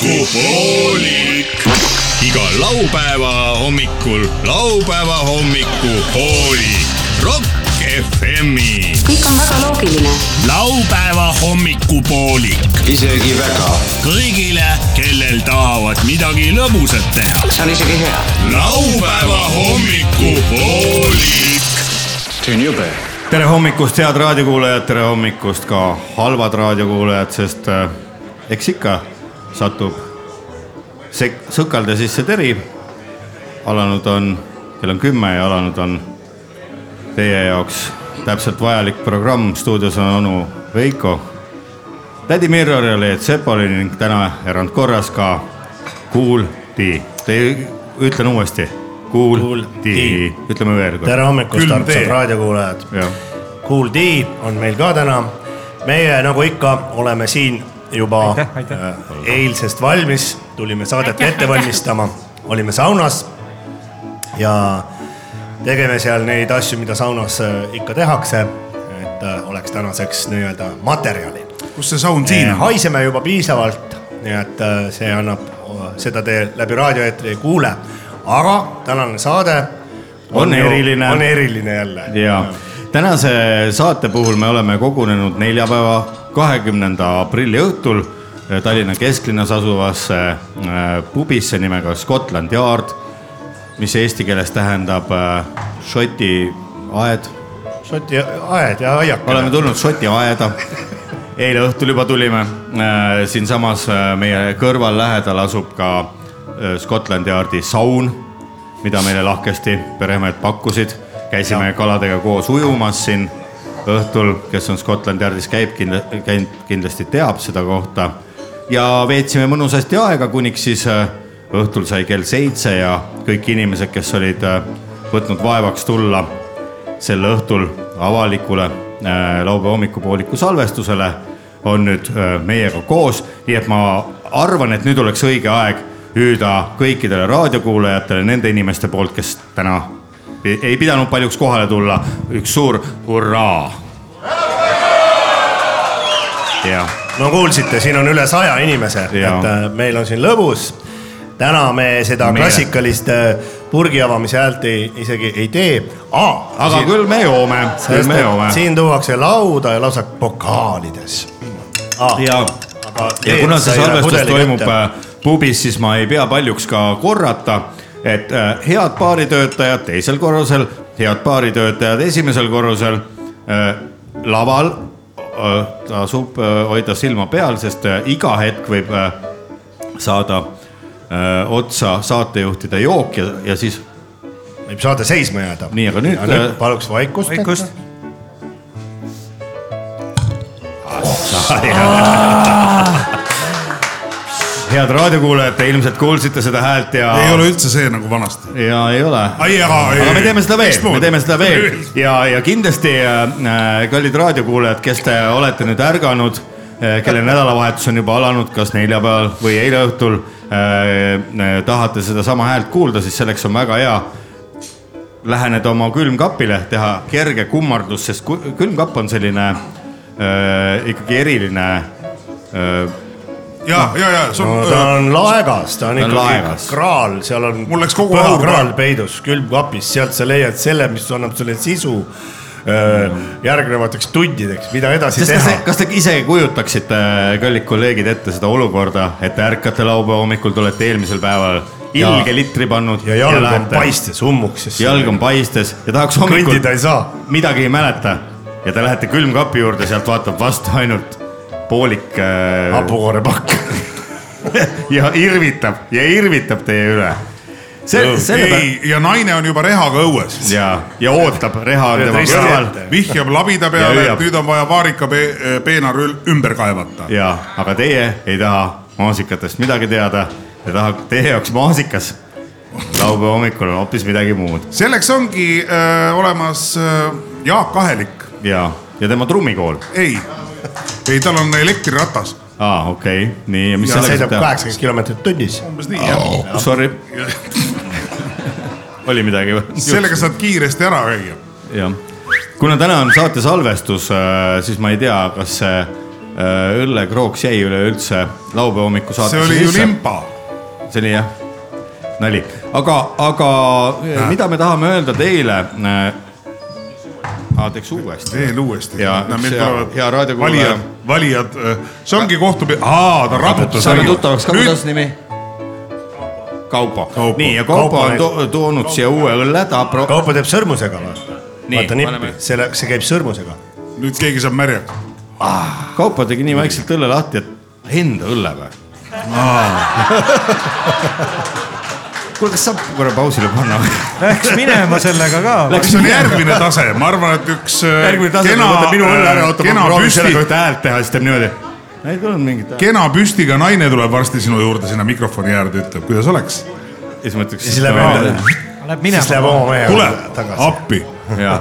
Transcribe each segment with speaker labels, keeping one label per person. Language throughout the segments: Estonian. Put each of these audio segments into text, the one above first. Speaker 1: hommikupoolik . iga laupäeva hommikul laupäeva hommikupoolik . Rock FM-i .
Speaker 2: kõik on väga loogiline .
Speaker 1: laupäeva hommikupoolik
Speaker 3: isegi väga .
Speaker 1: kõigile , kellel tahavad midagi lõbusat teha .
Speaker 3: see on isegi hea .
Speaker 1: laupäeva hommikupoolik .
Speaker 3: see on jube .
Speaker 4: tere hommikust , head raadiokuulajad , tere hommikust ka halvad raadiokuulajad , sest äh, eks ikka satub sek- , sõkalde sisse teri . alanud on , kell on kümme ja alanud on teie jaoks täpselt vajalik programm , stuudios on onu Veiko , tädi Mirror ja Leet Sepolin ning täna erandkorras ka Kuuldi . Te , ütlen uuesti , Kuuldi
Speaker 5: Kuuldi. ,
Speaker 4: ütleme veel kord .
Speaker 5: tere hommikust , armsad raadiokuulajad .
Speaker 4: jah
Speaker 5: Kuuldi on meil ka täna . meie nagu ikka oleme siin juba aitäh, aitäh. eilsest valmis , tulime saadet aitäh, ette valmistama , olime saunas ja tegime seal neid asju , mida saunas äh, ikka tehakse , et äh, oleks tänaseks nii-öelda materjali .
Speaker 6: kus see saun siin
Speaker 5: siin
Speaker 6: on ?
Speaker 5: haiseme juba piisavalt , nii et äh, see annab , seda te läbi raadioeetri ei kuule , aga tänane saade
Speaker 4: On
Speaker 5: ju-
Speaker 4: eriline.
Speaker 5: on eriline jälle .
Speaker 4: ja tänase saate puhul me oleme kogunenud neljapäeva , kahekümnenda aprilli õhtul äh, Tallinna kesklinnas asuvasse äh, pubisse nimega Scotland Yard , mis eesti keeles tähendab äh, Šoti aed .
Speaker 5: Šoti aed ja aiak .
Speaker 4: oleme tulnud Šoti aeda . eile õhtul juba tulime . siinsamas äh, meie kõrval lähedal asub ka äh, Scotland Yardi saun , mida meile lahkesti peremehed pakkusid . käisime ja. kaladega koos ujumas siin õhtul , kes on Scotland Yardis käib , käinud kindlasti teab seda kohta . ja veetsime mõnusasti aega , kuniks siis äh, õhtul sai kell seitse ja kõik inimesed , kes olid äh, võtnud vaevaks tulla sel õhtul avalikule äh, laupäeva hommikupooliku salvestusele on nüüd äh, meiega koos , nii et ma arvan , et nüüd oleks õige aeg hüüda kõikidele raadiokuulajatele nende inimeste poolt , kes täna ei ei pidanud paljuks kohale tulla , üks suur hurraa . jah ,
Speaker 5: no kuulsite , siin on üle saja inimese , et
Speaker 4: Jaa.
Speaker 5: äh, meil on siin lõbus . täna me seda
Speaker 4: Meeletu.
Speaker 5: Meele. klassikalist äh, purgi avamise häält ei , isegi ei tee .
Speaker 4: aga siin... küll me joome , küll me joome .
Speaker 5: siin tuuakse lauda ja lausa pokaalides .
Speaker 4: ja , ja kuna see salvestus toimub äh, pubis , siis ma ei pea paljuks ka korrata , et äh, head baaritöötajad teisel korrusel , head baaritöötajad esimesel korrusel äh, , laval äh, tasub äh, hoida silma peal , sest äh, iga hetk võib äh, saada äh, otsa saatejuhtide jook ja , ja siis
Speaker 5: võib saade seisma jääda .
Speaker 4: Nii, aga nüüd, äh,
Speaker 5: paluks vaikust .
Speaker 4: Vaikust. . head raadiokuulajad , te ilmselt kuulsite seda häält ja .
Speaker 6: ei ole üldse see nagu vanasti .
Speaker 4: ja ei ole .
Speaker 6: Ai, aga-
Speaker 4: aga me teeme seda veel ,
Speaker 6: Mismoodi?
Speaker 4: me teeme seda veel ja , ja kindlasti äh, kallid raadiokuulajad , kes te olete nüüd ärganud , kelle nädalavahetus on juba alanud , kas neljapäeval või eile õhtul äh, , tahate sedasama häält kuulda , siis selleks on väga hea läheneda oma külmkapile , teha kerge kummardus , sest ku- külmkapp on selline äh, ikkagi eriline äh,
Speaker 6: ja , ja , ja see
Speaker 5: no
Speaker 6: on
Speaker 5: ta
Speaker 6: no, ,
Speaker 5: on laegas , ta on
Speaker 4: on
Speaker 5: ikkagi
Speaker 4: laegas.
Speaker 5: kraal , seal on .
Speaker 6: Mul läks kogu aur
Speaker 5: kraal peidus külmkapis , sealt sa leiad selle , mis annab sulle sisu öö, järgnevateks tundideks , mida edasi
Speaker 4: sest kas te
Speaker 5: teha .,
Speaker 4: kas te ise kujutaksite , kallid kolleegid , ette seda olukorda , et te ärkate laupäeva hommikul , te olete eelmisel päeval ilge litri pannud
Speaker 5: ja jalg on
Speaker 4: lähete-
Speaker 5: paistes ummuks , sest
Speaker 4: jalg on paistes ja tahaks hommikul
Speaker 5: kõndida ei saa .
Speaker 4: midagi ei mäleta ja te lähete külmkapi juurde , sealt vaatab vastu ainult poolik äh,
Speaker 5: hapukoorepakk .
Speaker 4: ja irvitab ja irvitab teie üle . see , selle peale
Speaker 6: ei , ja naine on juba rehaga õues .
Speaker 4: ja , ja ootab , reha on
Speaker 5: Ja
Speaker 4: tema
Speaker 5: tõesti
Speaker 4: kõrval
Speaker 5: ette.
Speaker 6: vihjab labida peale ,
Speaker 4: hüüab.
Speaker 6: et nüüd on vaja vaarika pe- eh, peenar ül- ümber kaevata .
Speaker 4: ja , aga teie ei taha maasikatest midagi teada , te tahate , teie jaoks maasikas laupäeva hommikul on hoopis midagi muud
Speaker 6: selleks ongi öö, olemas äh, öö, Jaak Ahelik .
Speaker 4: ja , ja tema trummikool .
Speaker 6: ei , ei , tal on elektriratas .
Speaker 4: aa , okei okay. , nii ja mis
Speaker 5: ta
Speaker 4: sellega
Speaker 5: sõidab
Speaker 4: saab teha ? Oh.
Speaker 5: kaheksakümmend kilomeetrit tunnis .
Speaker 6: umbes nii , jah .
Speaker 4: Sorry . oli midagi või ?
Speaker 6: sellega saad kiiresti ära käia .
Speaker 4: äh, jah , kuna täna on saate salvestus , siis ma ei tea , kas see õllekrooks jäi üleüldse laupäeva hommiku
Speaker 6: see
Speaker 4: saatesse
Speaker 6: oli ju limpa .
Speaker 4: see oli jah , nali , aga , aga äh. mida me tahame öelda teile äh, ? aa , teeks uuesti .
Speaker 6: veel uuesti .
Speaker 4: Ja üks hea- hea raadiokuulaja-
Speaker 6: valijad , valijad , see ongi kohtupi- , aa , ta raputas .
Speaker 4: saame tuttavaks ka ,
Speaker 6: nüüd
Speaker 4: kuidas nimi ? Kaupo,
Speaker 5: Kaupo.
Speaker 4: nii ja Kaupo,
Speaker 5: Kaupo
Speaker 4: kaupo on to
Speaker 5: näit-
Speaker 4: toonud siia uue õlle , ta pro- ,
Speaker 5: Kaupo teeb sõrmusega , vaata .
Speaker 4: Nii,
Speaker 5: vaata nippi
Speaker 4: paneme. ,
Speaker 5: selle , see käib sõrmusega .
Speaker 6: nüüd keegi saab märjaks .
Speaker 4: Kaupo Ah. tegi nii vaikselt õlle lahti , et enda õlle või ? kuule , kas saab korra pausile panna või ?
Speaker 2: Läks minema sellega ka .
Speaker 6: see on järgmine tase , ma arvan , et üks äh,
Speaker 4: järgmine tase ,
Speaker 6: kena eh,
Speaker 4: ma võtan minu õlle ära , oota ,
Speaker 6: kena
Speaker 4: ma proovin
Speaker 6: püsti
Speaker 4: sellega , ühte häält teha , siis teeb niimoodi . ei tulnud mingit häält .
Speaker 6: kena püstiga naine tuleb varsti sinu juurde sinna mikrofoni äärde , ütleb , kuidas oleks ,
Speaker 4: ja siis ma ütleks .
Speaker 5: ja siis läheb enda ,
Speaker 2: Läheb
Speaker 5: siis läheb
Speaker 2: minema .
Speaker 5: oma
Speaker 6: tule
Speaker 5: mehega tagasi .
Speaker 6: appi .
Speaker 4: enda .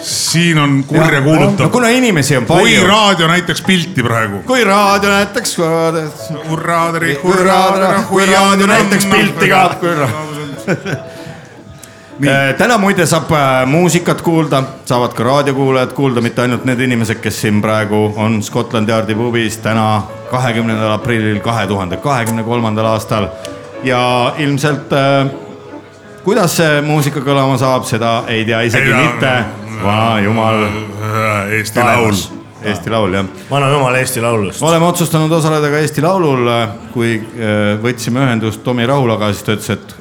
Speaker 6: siin on kurja
Speaker 4: no
Speaker 6: kuulutav .
Speaker 4: kuna inimesi on
Speaker 6: oi
Speaker 4: palju .
Speaker 6: raadio näitaks pilti praegu .
Speaker 4: kui raadio näitaks ,
Speaker 6: hurraa , tere ,
Speaker 4: Hurraa, tere, kui raadio näitaks pilti ka, kui ra- . Eh, täna muide saab äh, muusikat kuulda , saavad ka raadiokuulajad kuulda , mitte ainult need inimesed , kes siin praegu on Scotland Yardi pubis täna , kahekümnendal aprillil kahe tuhande kahekümne kolmandal aastal ja ilmselt äh, kuidas see muusika kõlama saab , seda ei tea isegi
Speaker 6: Ei
Speaker 4: ei,
Speaker 6: tea. Äh,
Speaker 4: mitte , vana jumal ,
Speaker 6: Eesti Laul .
Speaker 4: Eesti Laul jah
Speaker 5: vana jumal Eesti Laulust .
Speaker 4: oleme otsustanud osaleda ka Eesti Laulul , kui äh, võtsime ühendust Tomi Rahulaga , siis ta ütles , et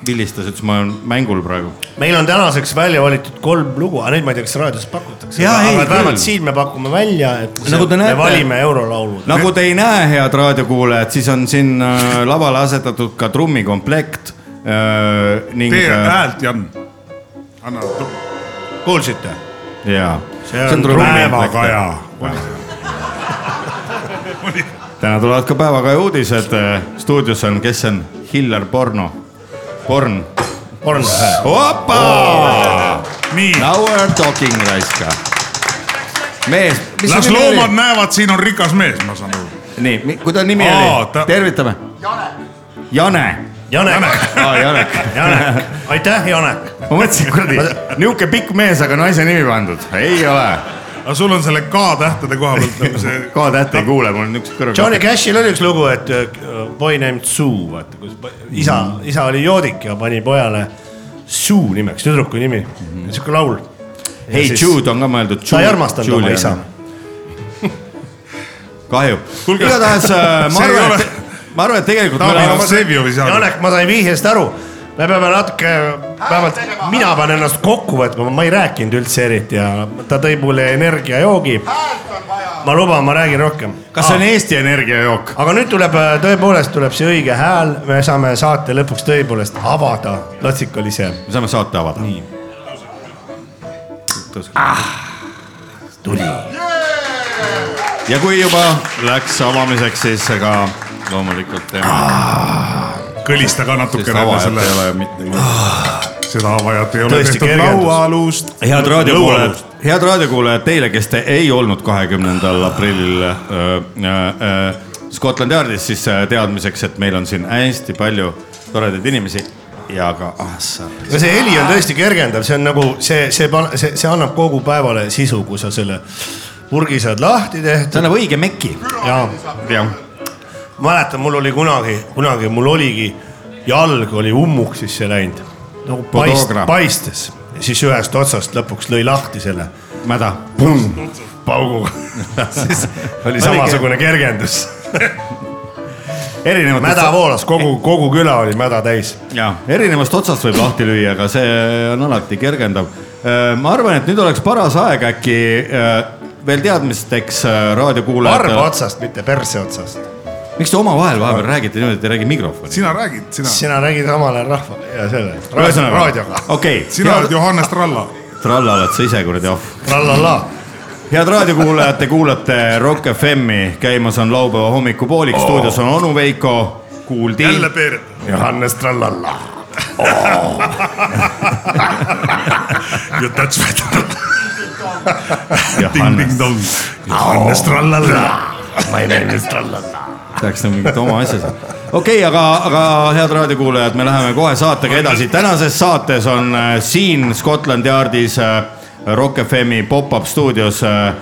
Speaker 4: vilistas , ütles ma olen mängul praegu .
Speaker 5: meil on tänaseks välja valitud kolm lugu , aga neid ma ei tea , kas raadios pakutakse .
Speaker 4: Jaa, ei,
Speaker 5: aga vähemalt
Speaker 4: küll.
Speaker 5: siin me pakume välja , et
Speaker 4: Nagu te
Speaker 5: see- me
Speaker 4: näete-
Speaker 5: valime eurolaulud .
Speaker 4: nagu te ei näe , head raadiokuulajad , siis on siin äh, lavale asetatud ka trummikomplekt äh, ning
Speaker 6: tee
Speaker 4: äh,
Speaker 6: häält , Jan . anna tu-
Speaker 5: kuulsite ?
Speaker 4: jaa .
Speaker 5: See on
Speaker 6: päevakaja .
Speaker 4: täna tulevad ka Päevakaja uudised , stuudios on , kes see on , Hillar Porno , Porn .
Speaker 5: porno hääl .
Speaker 4: opa ,
Speaker 6: nii ,
Speaker 4: now we are talking raiska . mees , mis
Speaker 6: las
Speaker 4: su nimi oli
Speaker 6: loomad ? näevad , siin on rikas mees , ma saan aru .
Speaker 4: nii , kui ta nimi
Speaker 6: Aa,
Speaker 4: oli
Speaker 6: ta-
Speaker 4: ta... , tervitame . Jane .
Speaker 5: Janek ,
Speaker 4: aa , Janek .
Speaker 5: Janek , aitäh , Janek .
Speaker 4: ma mõtlesin , kuradi , niisugune pikk mees , aga naise nimi pandud . ei ole .
Speaker 6: aga sul on selle K-tähtede koha pealt nagu see
Speaker 4: K-täht ei kuule , mul on niisugused
Speaker 5: Johnny
Speaker 4: kõrvad .
Speaker 5: Cashil oli üks lugu , et uh, Boy Named Sue , vaata kus po- isa ,
Speaker 4: Mhm.
Speaker 5: isa oli joodik ja pani pojale Sue nimeks , tüdruku nimi mm
Speaker 4: Mhm.
Speaker 5: -hmm. , siuke laul .
Speaker 4: hei , Jude on ka mõeldud .
Speaker 5: ta ei armastanud oma isa .
Speaker 4: kahju .
Speaker 6: Kuulge-
Speaker 4: igatahes äh, ma
Speaker 6: See ei
Speaker 4: arvan ,
Speaker 6: ole-
Speaker 4: et , ma arvan , et tegelikult me
Speaker 6: Taavi
Speaker 4: oleme
Speaker 6: Vassevjovi saade .
Speaker 5: Janek , ma sain vihjest aru , me peame natuke , vähemalt mina pean ennast kokku võtma , ma ei rääkinud üldse eriti ja ta tõi mulle energiajoogi . ma luban , ma räägin rohkem .
Speaker 4: kas see on Eesti Energia jook ?
Speaker 5: aga nüüd tuleb , tõepoolest tuleb see õige hääl , me saame saate lõpuks tõepoolest avada , Latsik oli see
Speaker 4: me saame saate avada .
Speaker 5: tuli .
Speaker 4: Ah. ja kui juba läks avamiseks , siis ka loomulikult teeme .
Speaker 6: Ah. kõlista ka
Speaker 4: sest
Speaker 6: natukene
Speaker 4: avajat
Speaker 6: selle Ah.
Speaker 4: ei , ole mitte midagi .
Speaker 6: seda avajat ei ole
Speaker 5: Tõesti
Speaker 6: tehtud
Speaker 5: kergendus.
Speaker 6: lauaalust .
Speaker 4: head raadiokuulajad , head raadiokuulajad teile , kes te ei olnud kahekümnendal aprillil äh, äh, äh, Scotland Yardis , siis äh, teadmiseks , et meil on siin hästi palju toredaid inimesi ja ka Assar .
Speaker 5: no see heli on tõesti kergendav , see on nagu see , see , see , see annab kogu päevale sisu , kui sa selle purgi saad lahti tehtud
Speaker 4: see annab õige meki .
Speaker 5: ja
Speaker 4: jah ,
Speaker 5: mäletan , mul oli kunagi , kunagi mul oligi jalg oli ummuks sisse läinud . nagu paist,
Speaker 4: Podogra.
Speaker 5: paistes , siis ühest otsast lõpuks lõi lahti selle
Speaker 4: mäda .
Speaker 5: pauguga . siis oli samasugune kergendus .
Speaker 4: erinevatest .
Speaker 5: mäda voolas , kogu , kogu küla oli mäda täis .
Speaker 4: ja Eh. erinevast otsast võib lahti lüüa , aga see on alati kergendav . ma arvan , et nüüd oleks paras aeg äkki äh, veel teadmisteks äh,
Speaker 5: varba
Speaker 4: raadiokuulajatele .
Speaker 5: otsast , mitte perse otsast .
Speaker 4: miks te omavahel vahepeal räägite niimoodi , et ei räägi mikrofoni ?
Speaker 6: sina räägid , sina ,
Speaker 5: sina räägid omal ajal rahva ja selle raadioga
Speaker 4: ühesõnaga ,. okei
Speaker 6: sina oled Johannes Tralla .
Speaker 4: tralla oled sa ise kuradi ahv .
Speaker 5: trallallaa
Speaker 4: head raadiokuulajad , te kuulate Rock FM-i , käimas on laupäeva hommikupoolik oh. , stuudios on onu Veiko , kuuldi .
Speaker 6: jälle peeretab .
Speaker 5: Johannes Trallalla .
Speaker 6: ja that's what .
Speaker 4: Johannes ,
Speaker 6: ding-ding-dong . Johannes Trallala .
Speaker 5: ma ei meeldi Trallalla .
Speaker 4: peaks nagu mingit oma asja saama . okei okay, , aga , aga head raadiokuulajad , me läheme kohe saatega edasi . tänases saates on äh, siin Scotland Yardis äh, Rock FM-i pop-up stuudios äh,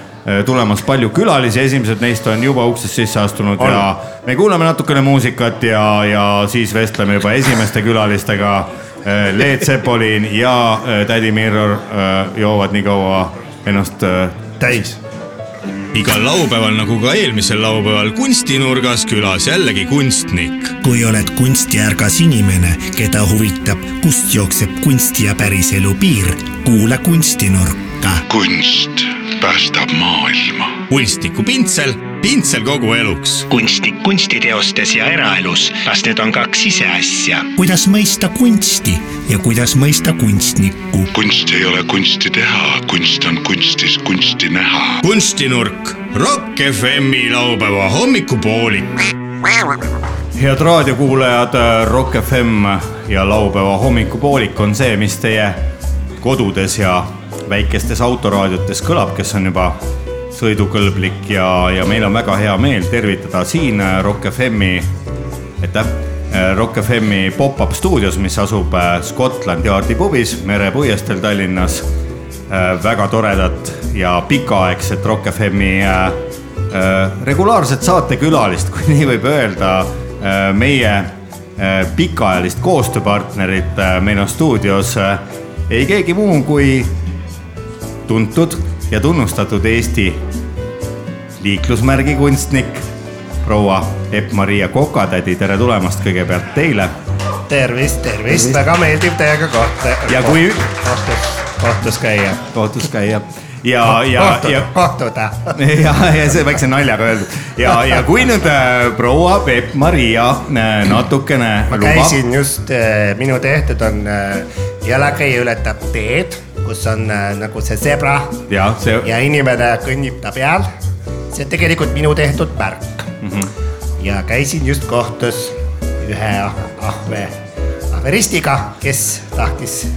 Speaker 4: tulemas palju külalisi , esimesed neist on juba uksest sisse astunud on. ja me kuulame natukene muusikat ja , ja siis vestleme juba esimeste külalistega . Leet Sepolin ja äh, tädi Mirror äh, joovad nii kaua ennast äh,
Speaker 5: täis .
Speaker 7: igal laupäeval nagu ka eelmisel laupäeval kunstinurgas külas jällegi kunstnik .
Speaker 8: kui oled kunstiärgas inimene , keda huvitab , kust jookseb kunsti ja päriselu piir , kuula kunstinurka .
Speaker 9: kunst päästab maailma .
Speaker 7: kunstniku pintsel , pintsel kogu eluks .
Speaker 8: kunstnik kunstiteostes ja eraelus , kas need on kaks iseasja ? kuidas mõista kunsti ja kuidas mõista kunstnikku ?
Speaker 9: kunst ei ole kunsti teha , kunst on kunstis kunsti näha .
Speaker 7: kunstinurk , Rock FM-i laupäeva hommikupoolik .
Speaker 4: head raadiokuulajad , Rock FM ja laupäeva hommikupoolik on see , mis teie kodudes ja väikestes autoraadiotes kõlab , kes on juba sõidukõlblik ja , ja meil on väga hea meel tervitada siin äh, Rock FM-i , aitäh , Rock FM-i pop-up stuudios , mis asub äh, Scotland Yardi pubis Merepuiesteel Tallinnas . äh, väga toredat ja pikaaegset Rock FM-i äh, Äh, regulaarset saatekülalist , kui nii võib öelda , meie äh, pikaajalist koostööpartnerit äh, meil on stuudios äh, ei keegi muu kui tuntud ja tunnustatud Eesti liiklusmärgi kunstnik proua Epp-Maria Kokatädi , tere tulemast kõigepealt teile .
Speaker 5: tervist , tervist , väga meeldib teiega kohta .
Speaker 4: Ja kui-
Speaker 5: kohtus , kohtus käia .
Speaker 4: kohtus käia ja , ja , ja
Speaker 5: kohtuda .
Speaker 4: ja , ja see väikse naljaga öeldud ja , ja kui nüüd äh, proua Peep-Maria äh, natukene
Speaker 5: ma
Speaker 4: lubab
Speaker 5: käisin just , minu tehted on äh, jalakäija ületab teed , kus on äh, nagu see zebra
Speaker 4: ja see
Speaker 5: ja inimene kõnnib ta peal . see on tegelikult minu tehtud märk mm .
Speaker 4: Mhm.
Speaker 5: -hmm. ja käisin just kohtus ühe ahve , ahveristiga , kes tahtis ,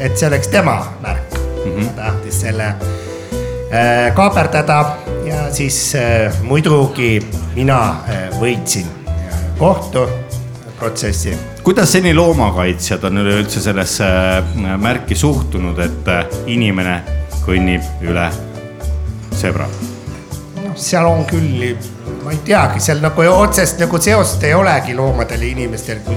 Speaker 5: et see oleks tema märk mm . -hmm. ta tahtis selle äh, kaaperdada ja siis äh, muidugi mina äh, võitsin kohtuprotsessi .
Speaker 4: kuidas seni loomakaitsjad on üleüldse sellesse äh, märki suhtunud , et äh, inimene kõnnib üle zebra ?
Speaker 5: noh , seal on küll , ma ei teagi , seal nagu otsest nagu seost ei olegi loomadel ja inimestel , kui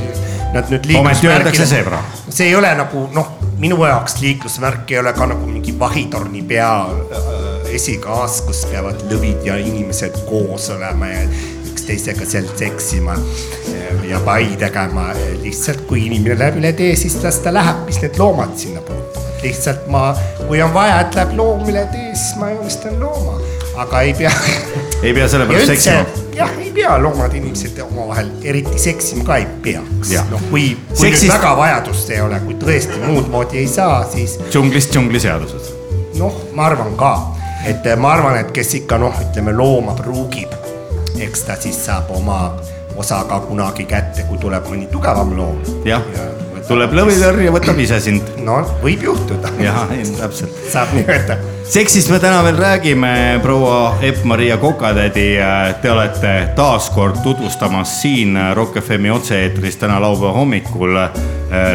Speaker 5: nad nüüd
Speaker 4: Ometi öeldakse
Speaker 5: liiklusmärgile-
Speaker 4: zebra.
Speaker 5: see ei ole nagu noh , minu jaoks liiklusmärk ei ole ka nagu mingi vahitorni pea äh, esikaas , kus peavad lõvid ja inimesed koos olema ja üksteisega seal seksima äh, ja pai tegema . lihtsalt kui inimene läheb üle tee , siis las ta läheb , mis need loomad sinna puutuvad . lihtsalt ma , kui on vaja , et läheb loom üle tee , siis ma joonistan looma , aga ei pea .
Speaker 4: ei pea
Speaker 5: ja
Speaker 4: sellepärast
Speaker 5: üldse
Speaker 4: seksima .
Speaker 5: jah , ei pea loomad inimesed omavahel eriti seksima ka ei peaks
Speaker 4: Jah. .
Speaker 5: noh , kui , kui Seksist...
Speaker 4: Seksist-
Speaker 5: nüüd väga vajadust ei ole , kui tõesti muud moodi ei saa , siis
Speaker 4: džunglist džungli seadused .
Speaker 5: noh , ma arvan ka , et eh, ma arvan , et kes ikka noh , ütleme looma pruugib , eks ta siis saab oma osa ka kunagi kätte , kui tuleb mõni tugevam loom .
Speaker 4: jah , tuleb . lõvitõrj ja võtab ise sind .
Speaker 5: no võib juhtuda ,
Speaker 4: jah , täpselt .
Speaker 5: saab nii-öelda .
Speaker 4: seksist me täna veel räägime , proua Epp-Maria Kokatädi , te olete taas kord tutvustamas siin Rock FM-i otse-eetris täna laupäeva hommikul ,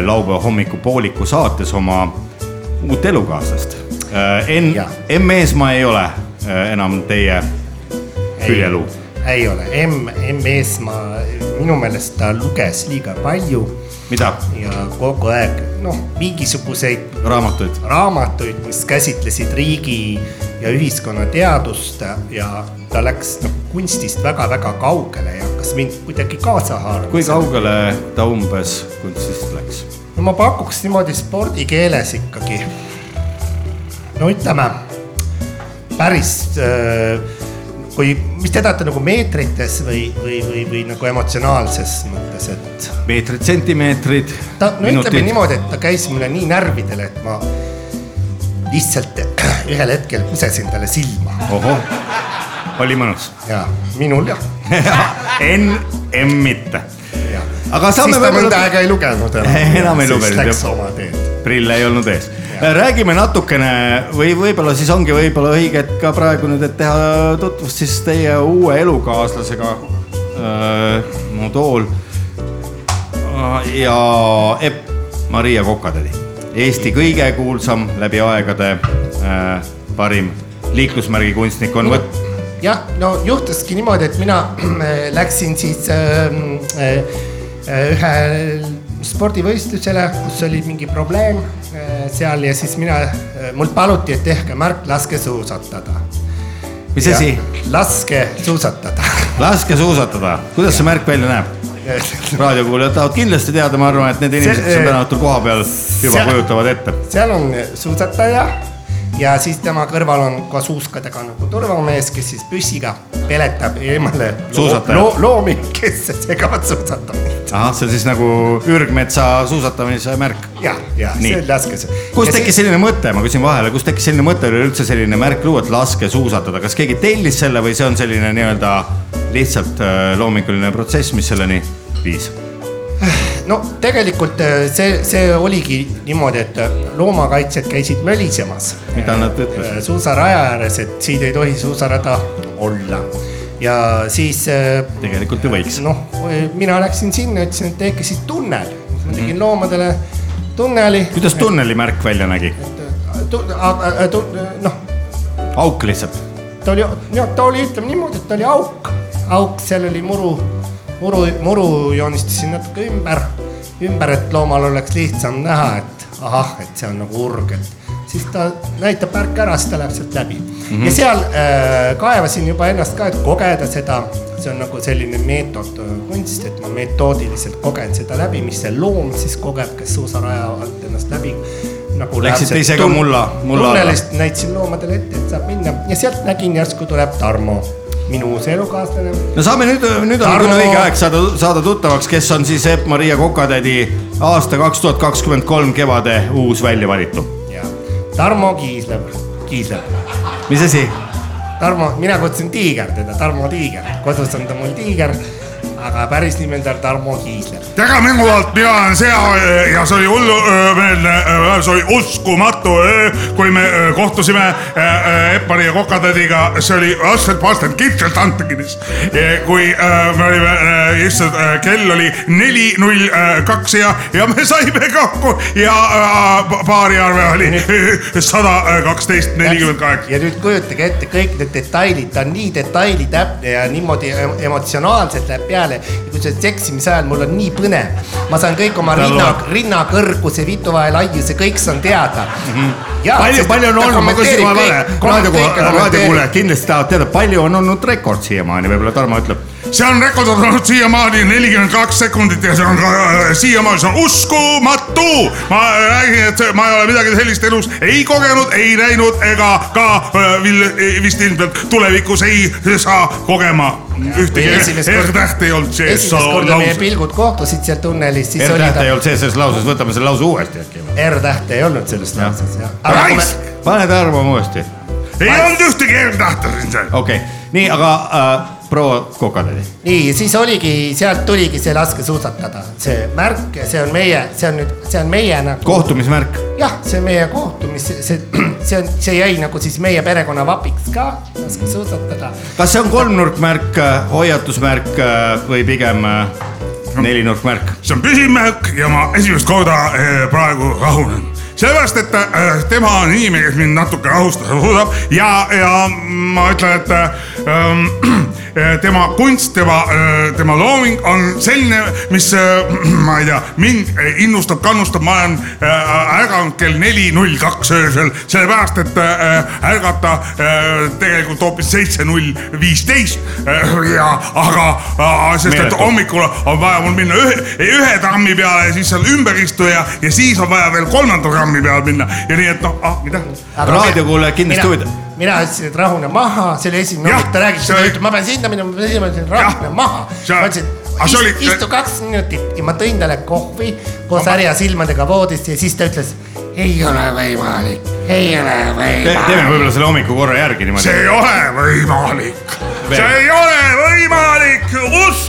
Speaker 4: laupäeva hommikupooliku saates oma uut elukaaslast . Eh, Enn
Speaker 5: Jah. ,
Speaker 4: M Eesmaa ei ole äh, enam teie küljelu .
Speaker 5: ei ole , M , M Eesmaa , minu meelest ta luges liiga palju
Speaker 4: mida ,
Speaker 5: ja kogu aeg noh , mingisuguseid
Speaker 4: raamatuid ?
Speaker 5: raamatuid , mis käsitlesid riigi ja ühiskonnateadust ja ta läks nagu kunstist väga-väga kaugele ja hakkas mind kuidagi kaasa haarama .
Speaker 4: kui kaugele ta umbes kunstist läks ?
Speaker 5: no ma pakuks niimoodi spordikeeles ikkagi . no ütleme päris , kui , mis te tahate nagu meetrites või , või , või , või nagu emotsionaalses mõttes , et
Speaker 4: meetrid , sentimeetrid ?
Speaker 5: ta , no ütleme . niimoodi , et ta käis mulle nii närvidele , et ma lihtsalt ühel hetkel pusesin talle silma
Speaker 4: ohoh , oli mõnus .
Speaker 5: ja minul jah ,
Speaker 4: Enn , M mitte .
Speaker 5: ja .
Speaker 4: Aga saame
Speaker 5: siis ta
Speaker 4: võib-olla-
Speaker 5: mõnda aega ei lugenud
Speaker 4: Enam ei lugenud,
Speaker 5: siis läks
Speaker 4: jah.
Speaker 5: oma teed .
Speaker 4: prille ei olnud ees . räägime natukene või võib-olla siis ongi võib-olla õige , et ka praegu nüüd , et teha tutvust siis teie uue elukaaslasega äh, . mu tool ja Epp Maria Kokatädi , Eesti kõige kuulsam läbi aegade äh, parim liiklusmärgi kunstnik on võt- ,
Speaker 5: jah , no juhtuski niimoodi , et mina äh, läksin siis äh, äh, äh, ühe spordivõistlusele , kus oli mingi probleem äh, seal ja siis mina äh, , mul paluti , et tehke märk , laske suusatada .
Speaker 4: mis asi ??
Speaker 5: laske suusatada .
Speaker 4: laske suusatada , kuidas see märk välja näeb ? raadiokuulajad tahavad kindlasti teada , ma arvan , et need inimesed , kes on täna õhtul kohapeal , juba
Speaker 5: see-
Speaker 4: kujutavad ette .
Speaker 5: seal on eh, suusataja ja siis tema kõrval on ka suuskadega nagu turvamees , kes siis püssiga peletab eemale loo-
Speaker 4: Suusataja.
Speaker 5: loo- loomi , kes segavad suusatamist .
Speaker 4: ahah , see on siis nagu ürgmetsa suusatamise märk .
Speaker 5: jah , ja
Speaker 4: Nii.
Speaker 5: see laskes .
Speaker 4: kust tekkis selline mõte , ma küsin vahele , kust tekkis selline mõte üleüldse selline märk luua , et laske suusatada , kas keegi tellis selle või see on selline nii-öelda lihtsalt äh, loominguline protsess , mis selleni viis ?
Speaker 5: no tegelikult äh, see , see oligi niimoodi , et äh, loomakaitsjad käisid mölisemas
Speaker 4: mida nad ütlesid ?
Speaker 5: äh, suusaraja ääres , et siin ei tohi suusarada olla . ja siis äh,
Speaker 4: tegelikult ju võiks .
Speaker 5: noh , mina läksin sinna , ütlesin , et tehke siis tunnel , ma tegin loomadele tunneli ,
Speaker 4: kuidas tunneli märk välja nägi ?
Speaker 5: noh ,
Speaker 4: auk lihtsalt .
Speaker 5: ta oli , ta oli , ütleme niimoodi , et ta oli auk , auk , seal oli muru , muru , muru joonistasin natuke ümber , ümber , et loomal oleks lihtsam näha , et ahah , et see on nagu urg , et siis ta näitab märke ära , siis ta läheb sealt läbi mm .
Speaker 4: Mhm.
Speaker 5: -hmm. ja seal äh, kaevasin juba ennast ka , et kogeda seda , see on nagu selline meetod , kunst , et ma metoodiliselt kogen seda läbi , mis see loom siis kogeb , kes suusaraja alt ennast läbi nagu
Speaker 4: Läksite
Speaker 5: läheb see
Speaker 4: ise ka
Speaker 5: tun-
Speaker 4: mulla- mulla alla?
Speaker 5: tunnelist näitasin loomadele ette , et saab minna ja sealt nägin järsku tuleb Tarmo , minu uus elukaaslane .
Speaker 4: no saame nüüd , nüüd on
Speaker 5: Tarmo-
Speaker 4: küll õige aeg saada , saada tuttavaks , kes on siis Epp-Maria Kokatädi aasta kaks tuhat kakskümmend kolm kevade uus väljavalitu .
Speaker 5: Tarmo Kiisler , Kiisler ,
Speaker 4: mis asi ?
Speaker 5: Tarmo , mina kutsun tiiger teda , Tarmo Tiiger , kodus on ta mul tiiger , aga päris nimi on tal Tarmo Kiisler .
Speaker 6: tere minu poolt , mina olen Sea öö, ja see oli hullumeelne , see oli uskumatu , kui me öö, kohtusime öö, Eppari ja Kokatädiga , see oli astmed-pastmed kitsalt Antakinis . kui öö, me olime , issand , kell oli neli null kaks ja , ja me saime kokku ja öö, paariarve oli
Speaker 4: äh,
Speaker 6: sada kaksteist nelikümmend kaheksa .
Speaker 5: ja nüüd kujutage ette kõik need detailid , ta on nii detailitäpne ja niimoodi em- emotsionaalselt läheb peale . kui see seksimise ajal mul on nii põnev , ma saan kõik oma
Speaker 4: Ta
Speaker 5: rinna
Speaker 4: loeb. ,
Speaker 5: rinna kõrguse , vitu vahel laiuse , kõik saan teada mm . -hmm.
Speaker 4: Mhm. palju , palju on olnud , ma küsin kohe vahele , raadiokuulaja , raadiokuulajad kindlasti tahavad teada , palju on olnud rekord siiamaani , võib-olla Tarmo ütleb .
Speaker 6: see on rekord on olnud siiamaani nelikümmend kaks sekundit ja see on ka äh, siiamaani , see on uskumatu . ma räägin , et see- ma ei ole midagi sellist elus ei kogenud , ei näinud ega ka äh, vil- vist ilmselt tulevikus ei saa kogema . ühtegi
Speaker 5: esimest korda-
Speaker 6: R-tähte ei olnud sees .
Speaker 5: esimest korda meie pilgud kohtusid seal tunnelis , siis oli
Speaker 4: R-tähte
Speaker 5: ta
Speaker 4: ei , olnud sees selles lauses , võtame selle lause uuesti äkki .
Speaker 5: R-tähte ei olnud selles lauses jah . aga kui me
Speaker 6: raisk ,
Speaker 4: pane Tarmo uuesti .
Speaker 6: ei olnud ühtegi R-tähte siin seal .
Speaker 4: okei okay. , nii , aga äh, proua Kokatädi ,
Speaker 5: nii , siis oligi , sealt tuligi see laske suusatada , see märk , see on meie , see on nüüd , see on meie nagu .
Speaker 4: kohtumismärk ,
Speaker 5: jah , see meie kohtumis , see , see on , see jäi nagu siis meie perekonna vapiks ka , laske suusatada .
Speaker 4: kas see on kolmnurkmärk , hoiatusmärk äh, või pigem äh, nelinurkmärk ?
Speaker 6: see on püsimärk ja ma esimest korda eh, praegu rahunen . sellepärast , et eh, tema on inimene , kes mind natuke rahustada suudab ja , ja ma ütlen , et eh, ähm, eh, tema kunst , tema , tema looming on selline , mis eh, ma ei tea , mind eh, innustab , kannustab , ma olen eh, ärganud kell neli null kaks öösel , sellepärast et eh, ärgata eh, tegelikult hoopis seitse null viisteist eh, ja aga , sest et
Speaker 4: Meeletu.
Speaker 6: hommikul hommikul on vaja mul minna ühe , ühe trammi peale ja siis seal ümber istuda ja , ja siis on vaja veel kolmanda trammi peale minna ja nii , et noh , ah mida .
Speaker 4: raadiokuulaja kindlasti huvitab .
Speaker 5: mina ütlesin , et rahune maha , see oli esimene
Speaker 6: Jah,
Speaker 5: hommik , ta rääkis
Speaker 6: see oli-
Speaker 5: seda , ma pean sinna minema , ma pean sinna minema , rahune
Speaker 6: Jah,
Speaker 5: maha .
Speaker 6: see-
Speaker 5: ma ütlesin
Speaker 6: aga see oli- ,
Speaker 5: istu kaks minutit ja ma tõin talle kohvi koos härja silmadega voodist ja siis ta ütles , ei ole võimalik , ei ole võimalik .
Speaker 4: teeme võib-olla selle hommiku korra järgi niimoodi
Speaker 6: see . ei ole võimalik , see ei ole võimalik ,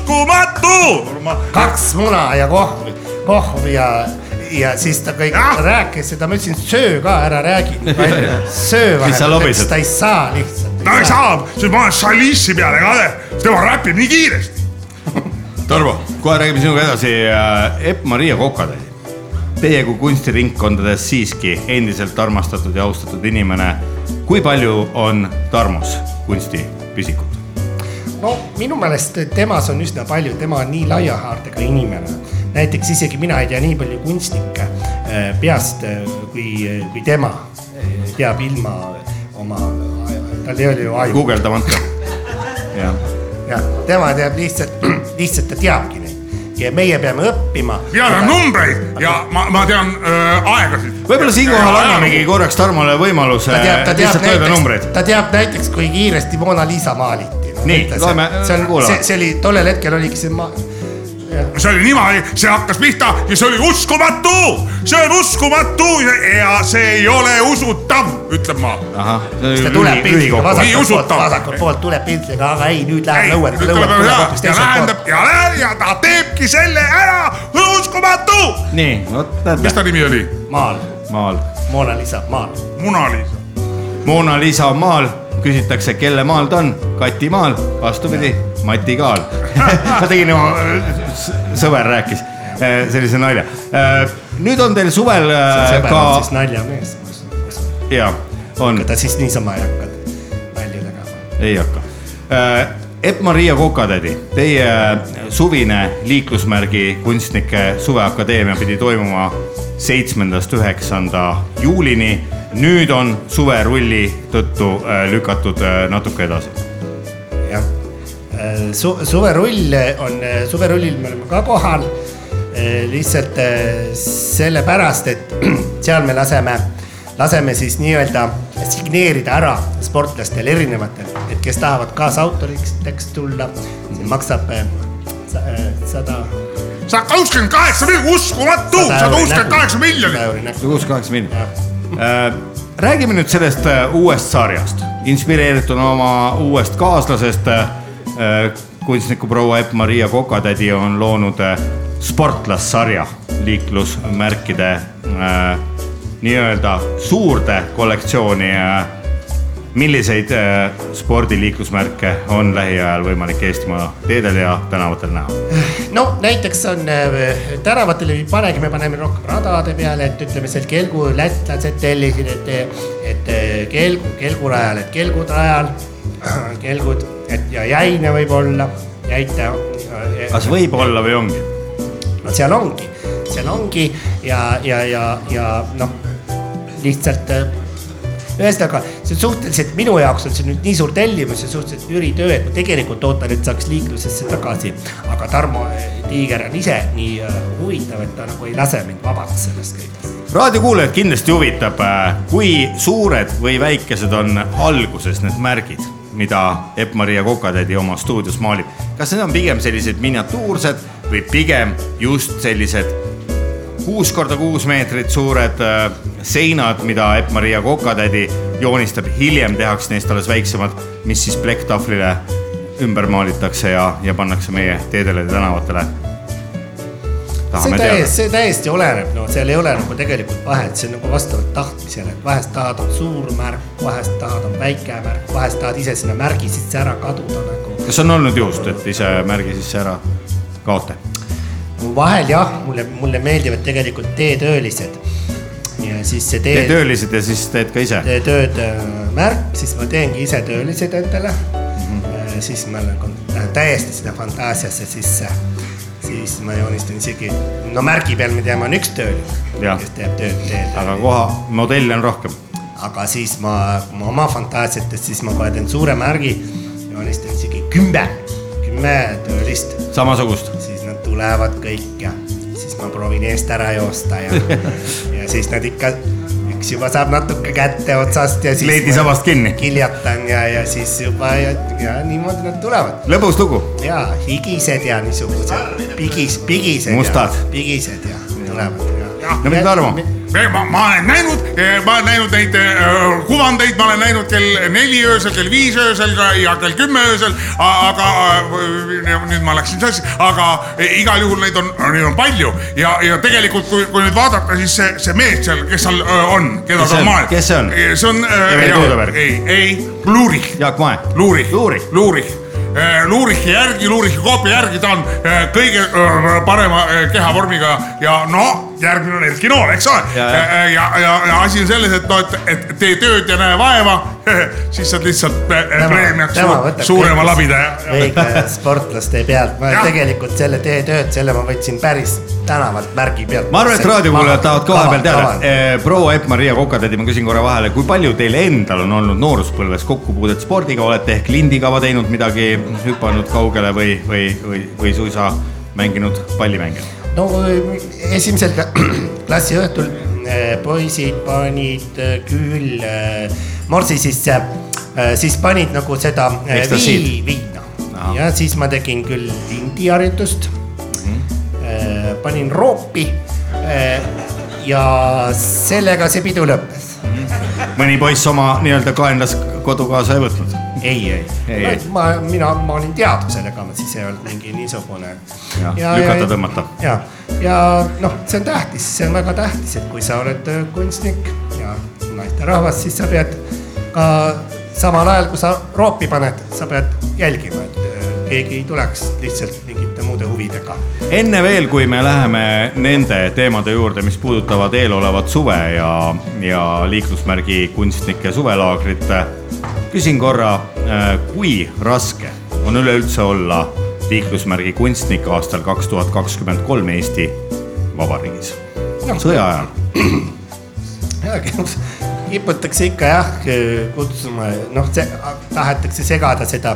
Speaker 6: uskumatu .
Speaker 5: kaks muna ja kohv , kohv ja , ja siis ta kõik
Speaker 6: Jah.
Speaker 5: rääkis ja ma ütlesin , söö ka ära , räägi . söö
Speaker 4: Mis sa
Speaker 5: vahepeal
Speaker 4: lobised? ,
Speaker 5: ta ei saa lihtsalt .
Speaker 6: ta ei . saa , sest Ah, ma olen Šalissi peale kade , tema räpib nii kiiresti .
Speaker 4: Tarmo , kohe räägime sinuga edasi äh, Epp-Maria Kokatädi . Teie kui kunstiringkondades siiski endiselt armastatud ja austatud inimene , kui palju on Tarmos kunstipisikut ?
Speaker 5: no minu meelest temas on üsna palju , tema on nii laia haardega inimene . näiteks isegi mina ei tea nii palju kunstnikke eh, peast eh, kui , kui tema eh, teab ilma oma , tal ei ole ju aju .
Speaker 4: guugeldamata . jah ,
Speaker 5: jah , tema teab lihtsalt , lihtsalt ta teabki neid ja meie peame õppima .
Speaker 6: tean numbreid ja ma , ma tean äh, aegasid .
Speaker 4: võib-olla siinkohal annamegi korraks Tarmole võimaluse
Speaker 5: ta teab , ta teab
Speaker 4: lihtsalt öelda
Speaker 5: näiteks
Speaker 4: numbreid ,.
Speaker 5: ta teab näiteks , kui kiiresti Mona Lisa maaliti .
Speaker 4: Nii, loeme,
Speaker 5: see on ,
Speaker 4: kuulame.
Speaker 5: see, see oli tollel hetkel oligi see ma... .
Speaker 6: see oli niimoodi , see hakkas pihta ja see oli uskumatu , see on uskumatu ja- ja see ei ole usutav , ütlen ma .
Speaker 4: ahah ,
Speaker 5: siis ta tuleb piltliga
Speaker 6: ei
Speaker 5: vasakult poolt ,
Speaker 6: usutav .
Speaker 5: vasakult poolt tuleb piltliga , aga ei , nüüd läheb
Speaker 6: ei ,
Speaker 5: lõuele ,
Speaker 6: nüüd
Speaker 5: lõuele
Speaker 6: tuleb
Speaker 5: tuleb
Speaker 6: ära
Speaker 5: hoopis
Speaker 6: ja
Speaker 5: teiselt poolt .
Speaker 6: lähendab ja läheb ja ta teebki selle ära , uskumatu .
Speaker 4: nii , vot
Speaker 6: mis ta nimi oli ?
Speaker 5: maal ,
Speaker 4: maal .
Speaker 5: Mona Lisa maal .
Speaker 6: Munaliis .
Speaker 4: Mona Lisa maal , küsitakse , kelle maal ta on , Kati maal , vastupidi , Mati Kaal . ma tegin oma , sõber rääkis eh, sellise nalja . nüüd on teil suvel eh,
Speaker 5: sõber
Speaker 4: ka
Speaker 5: on , siis naljamees ,
Speaker 4: jaa , on ,
Speaker 5: ta siis niisama ei hakka nalju tegema .
Speaker 4: ei hakka . Epp-Maria Kokatädi , teie suvine liiklusmärgi kunstnike suveakadeemia pidi toimuma seitsmendast üheksanda juulini . nüüd on suverulli tõttu eh, lükatud eh, natuke edasi
Speaker 5: jah , su- , suverull äh, on , suverullil me oleme ka kohal . lihtsalt äh, sellepärast , et seal me laseme , laseme siis nii-öelda signeerida ära sportlastel erinevatel , et kes tahavad kaasautoriks tulla , see maksab äh, sa- äh, sada .
Speaker 6: sada kuuskümmend kaheksa miljonit , uskumatu , sada kuuskümmend kaheksa miljonit .
Speaker 4: kuuskümmend kaheksa miljonit . räägime nüüd sellest äh, uuest sarjast , inspireerituna oma uuest kaaslasest äh, kunstniku proua Epp-Maria Kokatädi on loonud äh, sportlassarja liiklusmärkide äh, nii-öelda suurde kollektsiooni . milliseid äh, spordiliiklusmärke on lähiajal võimalik Eestimaa teedel ja tänavatel näha ?
Speaker 5: no näiteks on äh, tänavatele ei panegi , me paneme rohkem radade peale , et ütleme seal kelgu , lätlased tellisid , et , et äh, kelgu , kelgurajal , et kelgud rajal , kelgud , et ja jäine võib-olla , jäite . äh,
Speaker 4: kas võib olla või ongi ?
Speaker 5: no seal ongi , seal ongi ja , ja , ja , ja noh , lihtsalt äh, ühesõnaga , see on suhteliselt minu jaoks on see nüüd nii suur tellimus ja suhteliselt üritöö , et ma tegelikult ootan , et saaks liiklusesse tagasi . aga Tarmo äh, Tiiger on ise nii äh, huvitav , et ta nagu ei lase mind vabaks sellest kõigest .
Speaker 4: raadiokuulajad kindlasti huvitab , kui suured või väikesed on alguses need märgid , mida Epp-Maria Kokatädi oma stuudios maalib . kas need on pigem sellised miniatuursed või pigem just sellised kuus korda kuus meetrit suured äh, seinad , mida Epp-Maria Kokatädi joonistab , hiljem tehakse neist alles väiksemad , mis siis plekktahvlile ümber maalitakse ja , ja pannakse meie teedele ja tänavatele .
Speaker 5: see
Speaker 4: tahame teada
Speaker 5: täiesti ,. see täiesti oleneb , no seal ei ole nagu tegelikult vahet , see on nagu vastavalt tahtmisele , et vahest tahad on suur märk , vahest tahad on väike märk , vahest tahad ise sinna märgi sisse ära kaduda nagu .
Speaker 4: kas on olnud juhust , et ise märgi sisse ära kaote ?
Speaker 5: vahel jah , mulle , mulle meeldivad tegelikult teetöölised . ja siis see
Speaker 4: teed
Speaker 5: tee ,
Speaker 4: töölised ja siis teed ka ise ?
Speaker 5: tööd äh, märk , siis ma teengi ise töölised endale mm . -hmm. siis ma nagu lähen täiesti sinna fantaasiasse sisse . siis ma joonistan isegi , no märgi peal me teame , on üks tööline ,
Speaker 4: Jah.
Speaker 5: kes teeb tööd teel .
Speaker 4: aga koha , modelle on rohkem .
Speaker 5: aga siis ma , ma oma fantaasiates , siis ma kohe teen suure märgi , joonistan isegi kümme , kümme töölist
Speaker 4: samasugust .
Speaker 5: siis nad tulevad kõik ja siis ma proovin eest ära joosta ja , ja siis nad ikka , üks juba saab natuke kätte otsast ja siis .
Speaker 4: Kleidi sabast kinni.
Speaker 5: kiljatan ja , ja siis juba ja, ja niimoodi nad tulevad
Speaker 4: lõbus lugu .
Speaker 5: ja higised ja niisugused pigis , pigised .
Speaker 4: Mustad. .
Speaker 5: pigised ja tulevad ja .
Speaker 4: no mida Tarmo ?
Speaker 6: ma , ma olen näinud , ma olen näinud neid äh, kuvandeid , ma olen näinud kell neli öösel , kell viis öösel ka- ja kell kümme öösel , aga äh, nüüd ma läksin sassi , aga eh, igal juhul neid on , neid on palju ja , ja tegelikult , kui , kui nüüd vaadata , siis see , see mees seal , kes seal äh, on , keda
Speaker 4: Kes see
Speaker 6: ta
Speaker 4: on?
Speaker 6: maalib .
Speaker 4: Kes see on?
Speaker 6: see on
Speaker 4: Eveli Tuudeberg.
Speaker 6: äh, , ei , ei , Luurik ,
Speaker 4: Jaak Mae .
Speaker 6: Luurik ,
Speaker 4: Luurik.
Speaker 6: Luurik , luurike Äh, järgi , luurike koopi järgi , ta on eh, kõige eh, parema eh, kehavormiga ja no järgmine on Erki Nool , eks ole .
Speaker 4: Ja,
Speaker 6: ja ,
Speaker 4: ja.
Speaker 6: ja, ja, ja, ja asi on selles , et noh , et , et tee tööd ja näe vaeva , siis saad lihtsalt eh, preemiaks suur, suurema labida ja , ja .
Speaker 5: õige äh, sportlaste pealt , ma
Speaker 6: Jah.
Speaker 5: tegelikult selle tee tööd , selle ma võtsin päris tänavalt märgi pealt .
Speaker 4: ma arvan , et raadiokuulajad tahavad koha peal teada , proua Epp-Maria Kokatädi , ma küsin korra vahele , kui palju teil endal on olnud nooruspõlves kokkupuudet spordiga , olete ehk lindikava teinud midagi , hüpanud kaugele või , või , või , või suisa mänginud pallimänge ?
Speaker 5: no esimesel kla- klassi õhtul eh, poisid panid eh, küll eh, morsi sisse , siis panid nagu seda eh,
Speaker 4: Ekstasiid.
Speaker 5: vii- viina ja siis ma tegin küll lindiharjutust
Speaker 4: Mhm.
Speaker 5: Eh, panin roopi eh, ja sellega see pidu lõppes .
Speaker 4: mõni poiss oma nii-öelda kaenlas kodu kaasa ei võtnud ?
Speaker 5: ei , ei,
Speaker 4: ei , ei ,
Speaker 5: Noh, ma , mina , ma olin teadvus sellega , ma siis ei olnud mingi niisugune .
Speaker 4: jah , lükata-tõmmata .
Speaker 5: ja , ja noh , see on tähtis , see on väga tähtis , et kui sa oled äh, kunstnik ja naisterahvas , siis sa pead ka samal ajal , kui sa roopi paned , sa pead jälgima , et äh, keegi ei tuleks lihtsalt mingite muude huvidega .
Speaker 4: enne veel , kui me läheme nende teemade juurde , mis puudutavad eelolevat suve ja , ja liiklusmärgi kunstnike suvelaagrit , küsin korra , kui raske on üleüldse olla liiklusmärgi kunstnik aastal kaks tuhat kakskümmend kolm Eesti Vabariigis , sõja ajal ?
Speaker 5: kiputakse ikka jah äh, kutsuma , noh , tahetakse segada seda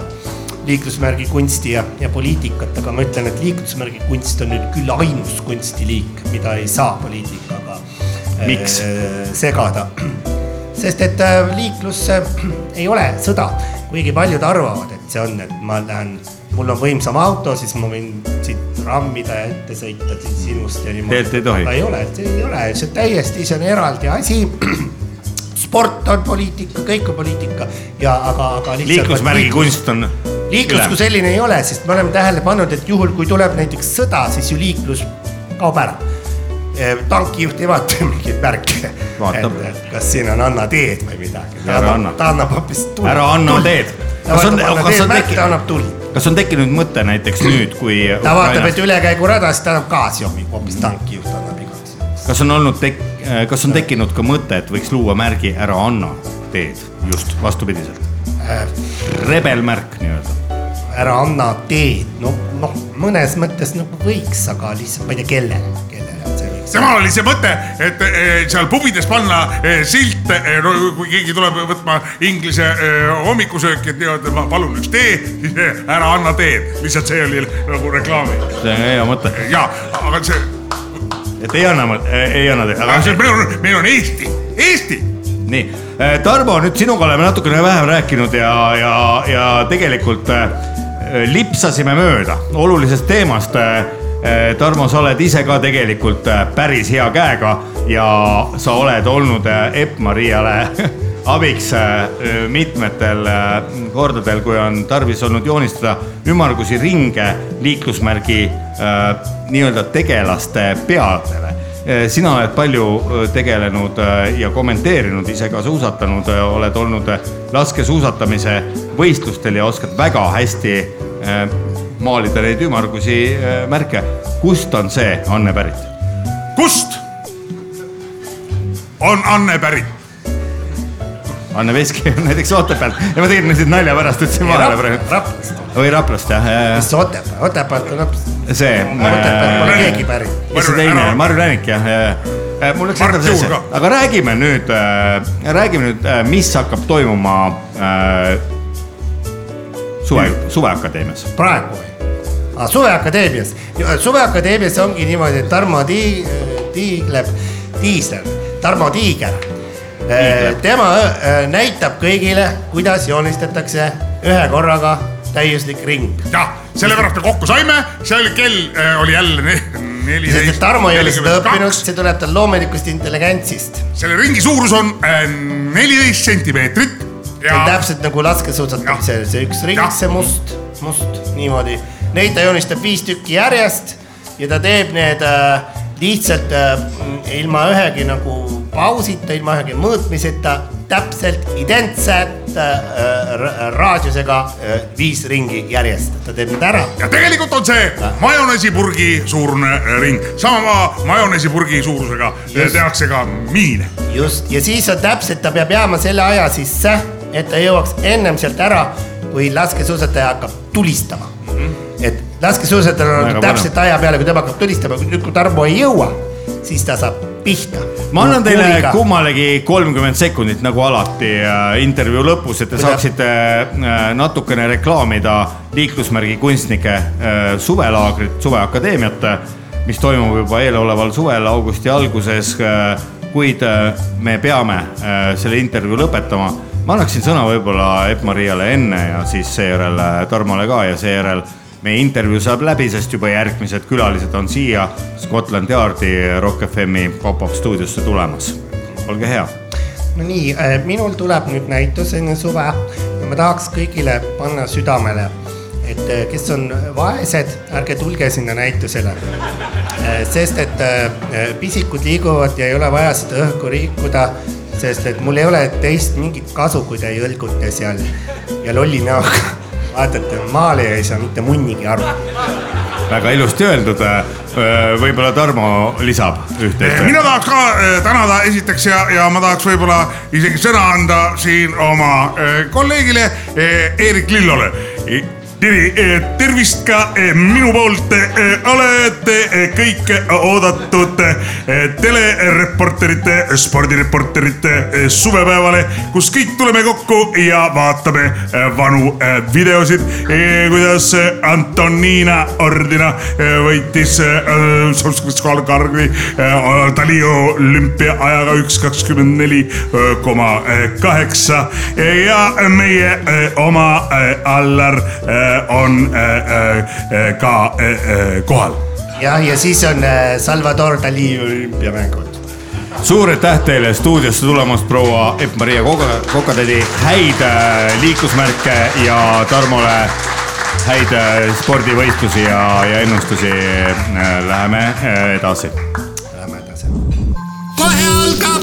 Speaker 5: liiklusmärgi kunsti ja , ja poliitikat , aga ma ütlen , et liiklusmärgi kunst on nüüd küll ainus kunstiliik , mida ei saa poliitikaga äh,
Speaker 4: Miks?
Speaker 5: segada . sest et äh, liiklus äh, ei ole sõda , kuigi paljud arvavad , et see on , et ma lähen , mul on võimsam auto , siis ma võin siit rammida ja ette sõita siit sinust ja niimoodi .
Speaker 4: Tegelikult ei tohi.
Speaker 5: aga ei ole , see ei ole , see on täiesti , see on eraldi asi . sport on poliitika , kõik on poliitika ja aga , aga .
Speaker 4: liiklusmärgi kunst on
Speaker 5: liiklus kui selline ei ole , sest me oleme tähele pannud , et juhul kui tuleb näiteks sõda , siis ju liiklus kaob ära . tankijuht ei vaata mingeid märke ,
Speaker 4: Vaatab.
Speaker 5: et et kas siin on anna teed või midagi .
Speaker 4: Ära anna.
Speaker 5: ta annab hoopis tuld .
Speaker 4: ära anna teed .
Speaker 5: ta
Speaker 4: kas on ,
Speaker 5: vaatab anna
Speaker 4: kas
Speaker 5: teed
Speaker 4: on
Speaker 5: märke , ta annab
Speaker 4: tekkinud ,
Speaker 5: tuld .
Speaker 4: kas on tekkinud mõte näiteks nüüd , kui
Speaker 5: ta vaatab , et
Speaker 4: Ukrainas ,
Speaker 5: ülekäigurada , siis ta annab gaasi hommikul , hoopis tankijuht annab igaks juhuks .
Speaker 4: kas on olnud tek- , kas on tekkinud ka mõte , et võiks luua märgi ära anna teed , just vastupidiselt ? rebelmärk nii-öelda .
Speaker 5: ära anna teed , noh , noh , mõnes mõttes nagu võiks , aga lihtsalt ma ei tea , kellele , kellele see võiks .
Speaker 6: temal oli see mõte , et eh, seal pubides panna eh, silt , kui keegi tuleb võtma inglise eh, hommikusööki , et nii-öelda ma palun üks tee , siis eh, ära anna teed , lihtsalt see oli nagu reklaami
Speaker 4: see on hea mõte ,
Speaker 6: ja , aga see ,
Speaker 4: et ei anna , ei anna teed ,
Speaker 6: aga
Speaker 4: aga
Speaker 6: see meil on , meil on Eesti , Eesti .
Speaker 4: nii . Tarmo , nüüd sinuga oleme natukene vähem rääkinud ja , ja , ja tegelikult eh, lipsasime mööda olulisest teemast . Tarmo , sa oled ise ka tegelikult eh, päris hea käega ja sa oled olnud eh, Epp-Mariale abiks eh, mitmetel eh, kordadel , kui on tarvis olnud joonistada ümmargusi ringe liiklusmärgi eh, nii-öelda tegelaste peadele Eh, sina oled palju öö, tegelenud öö, ja kommenteerinud , ise ka suusatanud , oled olnud öö, laskesuusatamise võistlustel ja oskad väga hästi öö, maalida neid ümmargusi öö, märke . kust on see anne pärit ?
Speaker 6: kust on Anne pärit ?
Speaker 4: Anne Veski on näiteks Otepäält ja ma tegin nüüd siin nalja pärast ütlesin vahele praegu .
Speaker 5: Raplast ,
Speaker 4: või Raplast jah ,
Speaker 5: mis Otepää , Otepäält on hoopis ,
Speaker 4: see . eh,
Speaker 5: Otepäält pole keegi pärit .
Speaker 4: kes see teine on , Marju Länik jah . mul läks
Speaker 6: Mart
Speaker 4: endal sisse
Speaker 6: Juur ka. ,
Speaker 4: aga räägime nüüd , räägime nüüd , mis hakkab toimuma äh, suve , suveakadeemias .
Speaker 5: praegu või ? Ah, suveakadeemias , suveakadeemias ongi niimoodi , et Tarmo Tii- , Tiigleb , Tiisler , Tarmo Tiiger . tema öö, näitab kõigile , kuidas joonistatakse ühe korraga täiuslik ring
Speaker 6: jah , sellepärast me kokku saime , see oli kell eh, oli jälle ne-
Speaker 5: sest et
Speaker 6: neliteist .
Speaker 5: Tarmo ei ole seda õppinud , see tuleb tal loomulikust intelligentsist .
Speaker 6: selle ringi suurus on eh, neliteist sentimeetrit
Speaker 5: see on
Speaker 6: ja
Speaker 5: täpselt nagu laskesuusatamise , see üks ring
Speaker 6: Jah. ,
Speaker 5: see must , must niimoodi . Neid ta joonistab viis tükki järjest ja ta teeb need äh, lihtsalt äh, ilma ühegi nagu pausita , ilma ühegi mõõtmiseta täpselt identse äh, ra- raadiusega äh, viis ringi järjest , ta teeb need ära .
Speaker 6: ja tegelikult on see majoneesipurgi suurune ring , sama majoneesipurgi suurusega eh,
Speaker 5: Just.
Speaker 6: tehakse ka miine .
Speaker 5: just , ja siis on täpselt , ta peab jääma selle aja sisse , et ta jõuaks ennem sealt ära , kui laskesuusataja hakkab tulistama . et laskesuusatajal
Speaker 4: Väga
Speaker 5: on täpselt aja peale , kui tema hakkab tulistama , nüüd kui Tarmo ei jõua , siis ta saab pihta .
Speaker 4: ma annan teile . kummalegi kolmkümmend sekundit , nagu alati äh, intervjuu lõpus , et te
Speaker 5: Kuidas?
Speaker 4: saaksite äh, natukene reklaamida liiklusmärgi kunstnike äh, suvelaagrit , suveakadeemiat , mis toimub juba eeloleval suvel augusti alguses . kuid äh, me peame äh, selle intervjuu lõpetama . ma annaksin sõna võib-olla Epp-Mariale enne ja siis seejärel äh, Tarmole ka ja seejärel meie intervjuu saab läbi , sest juba järgmised külalised on siia Scotland Yardi Rock FM-i pop-up stuudiosse tulemas . olge hea .
Speaker 5: no nii , minul tuleb nüüd näitus enne suve ja ma tahaks kõigile panna südamele , et eh, kes on vaesed , ärge tulge sinna näitusele . sest et eh, eh, pisikud liiguvad ja ei ole vaja seda õhku rikkuda , sest et mul ei ole teist mingit kasu , kui te jõlgute seal ja lolli näoga vaatate maale ja ei saa mitte munnigi aru .
Speaker 4: väga ilusti öeldud . võib-olla Tarmo lisab üht-teist .
Speaker 6: mina tahaks ka äh, tänada esiteks ja , ja ma tahaks võib-olla isegi sõna anda siin oma äh, kolleegile äh, Eerik Lillole . Tere , tervist ka äh, minu poolt , olete äh, kõik oodatud äh, telereporterite , spordireporterite äh, suvepäevale , kus kõik tuleme kokku ja vaatame äh, vanu äh, videosid , kuidas äh, Antonina Ordina äh, võitis äh, Soskuskal-Kargli äh, Talio olümpiaajaga üks kakskümmend neli eh, koma kaheksa ja meie äh, oma äh, Allar äh, on äh, äh, ka äh, äh, kohal .
Speaker 5: jah , ja siis on eh, Salvador Dali olümpiamängud .
Speaker 4: suur aitäh teile stuudiosse tulemast , proua Epp-Maria Koka- , Kokatädi , häid äh, liiklusmärke ja Tarmole häid äh, spordivõistlusi ja , ja ennustusi . Läheme äh, edasi
Speaker 10: kohe algab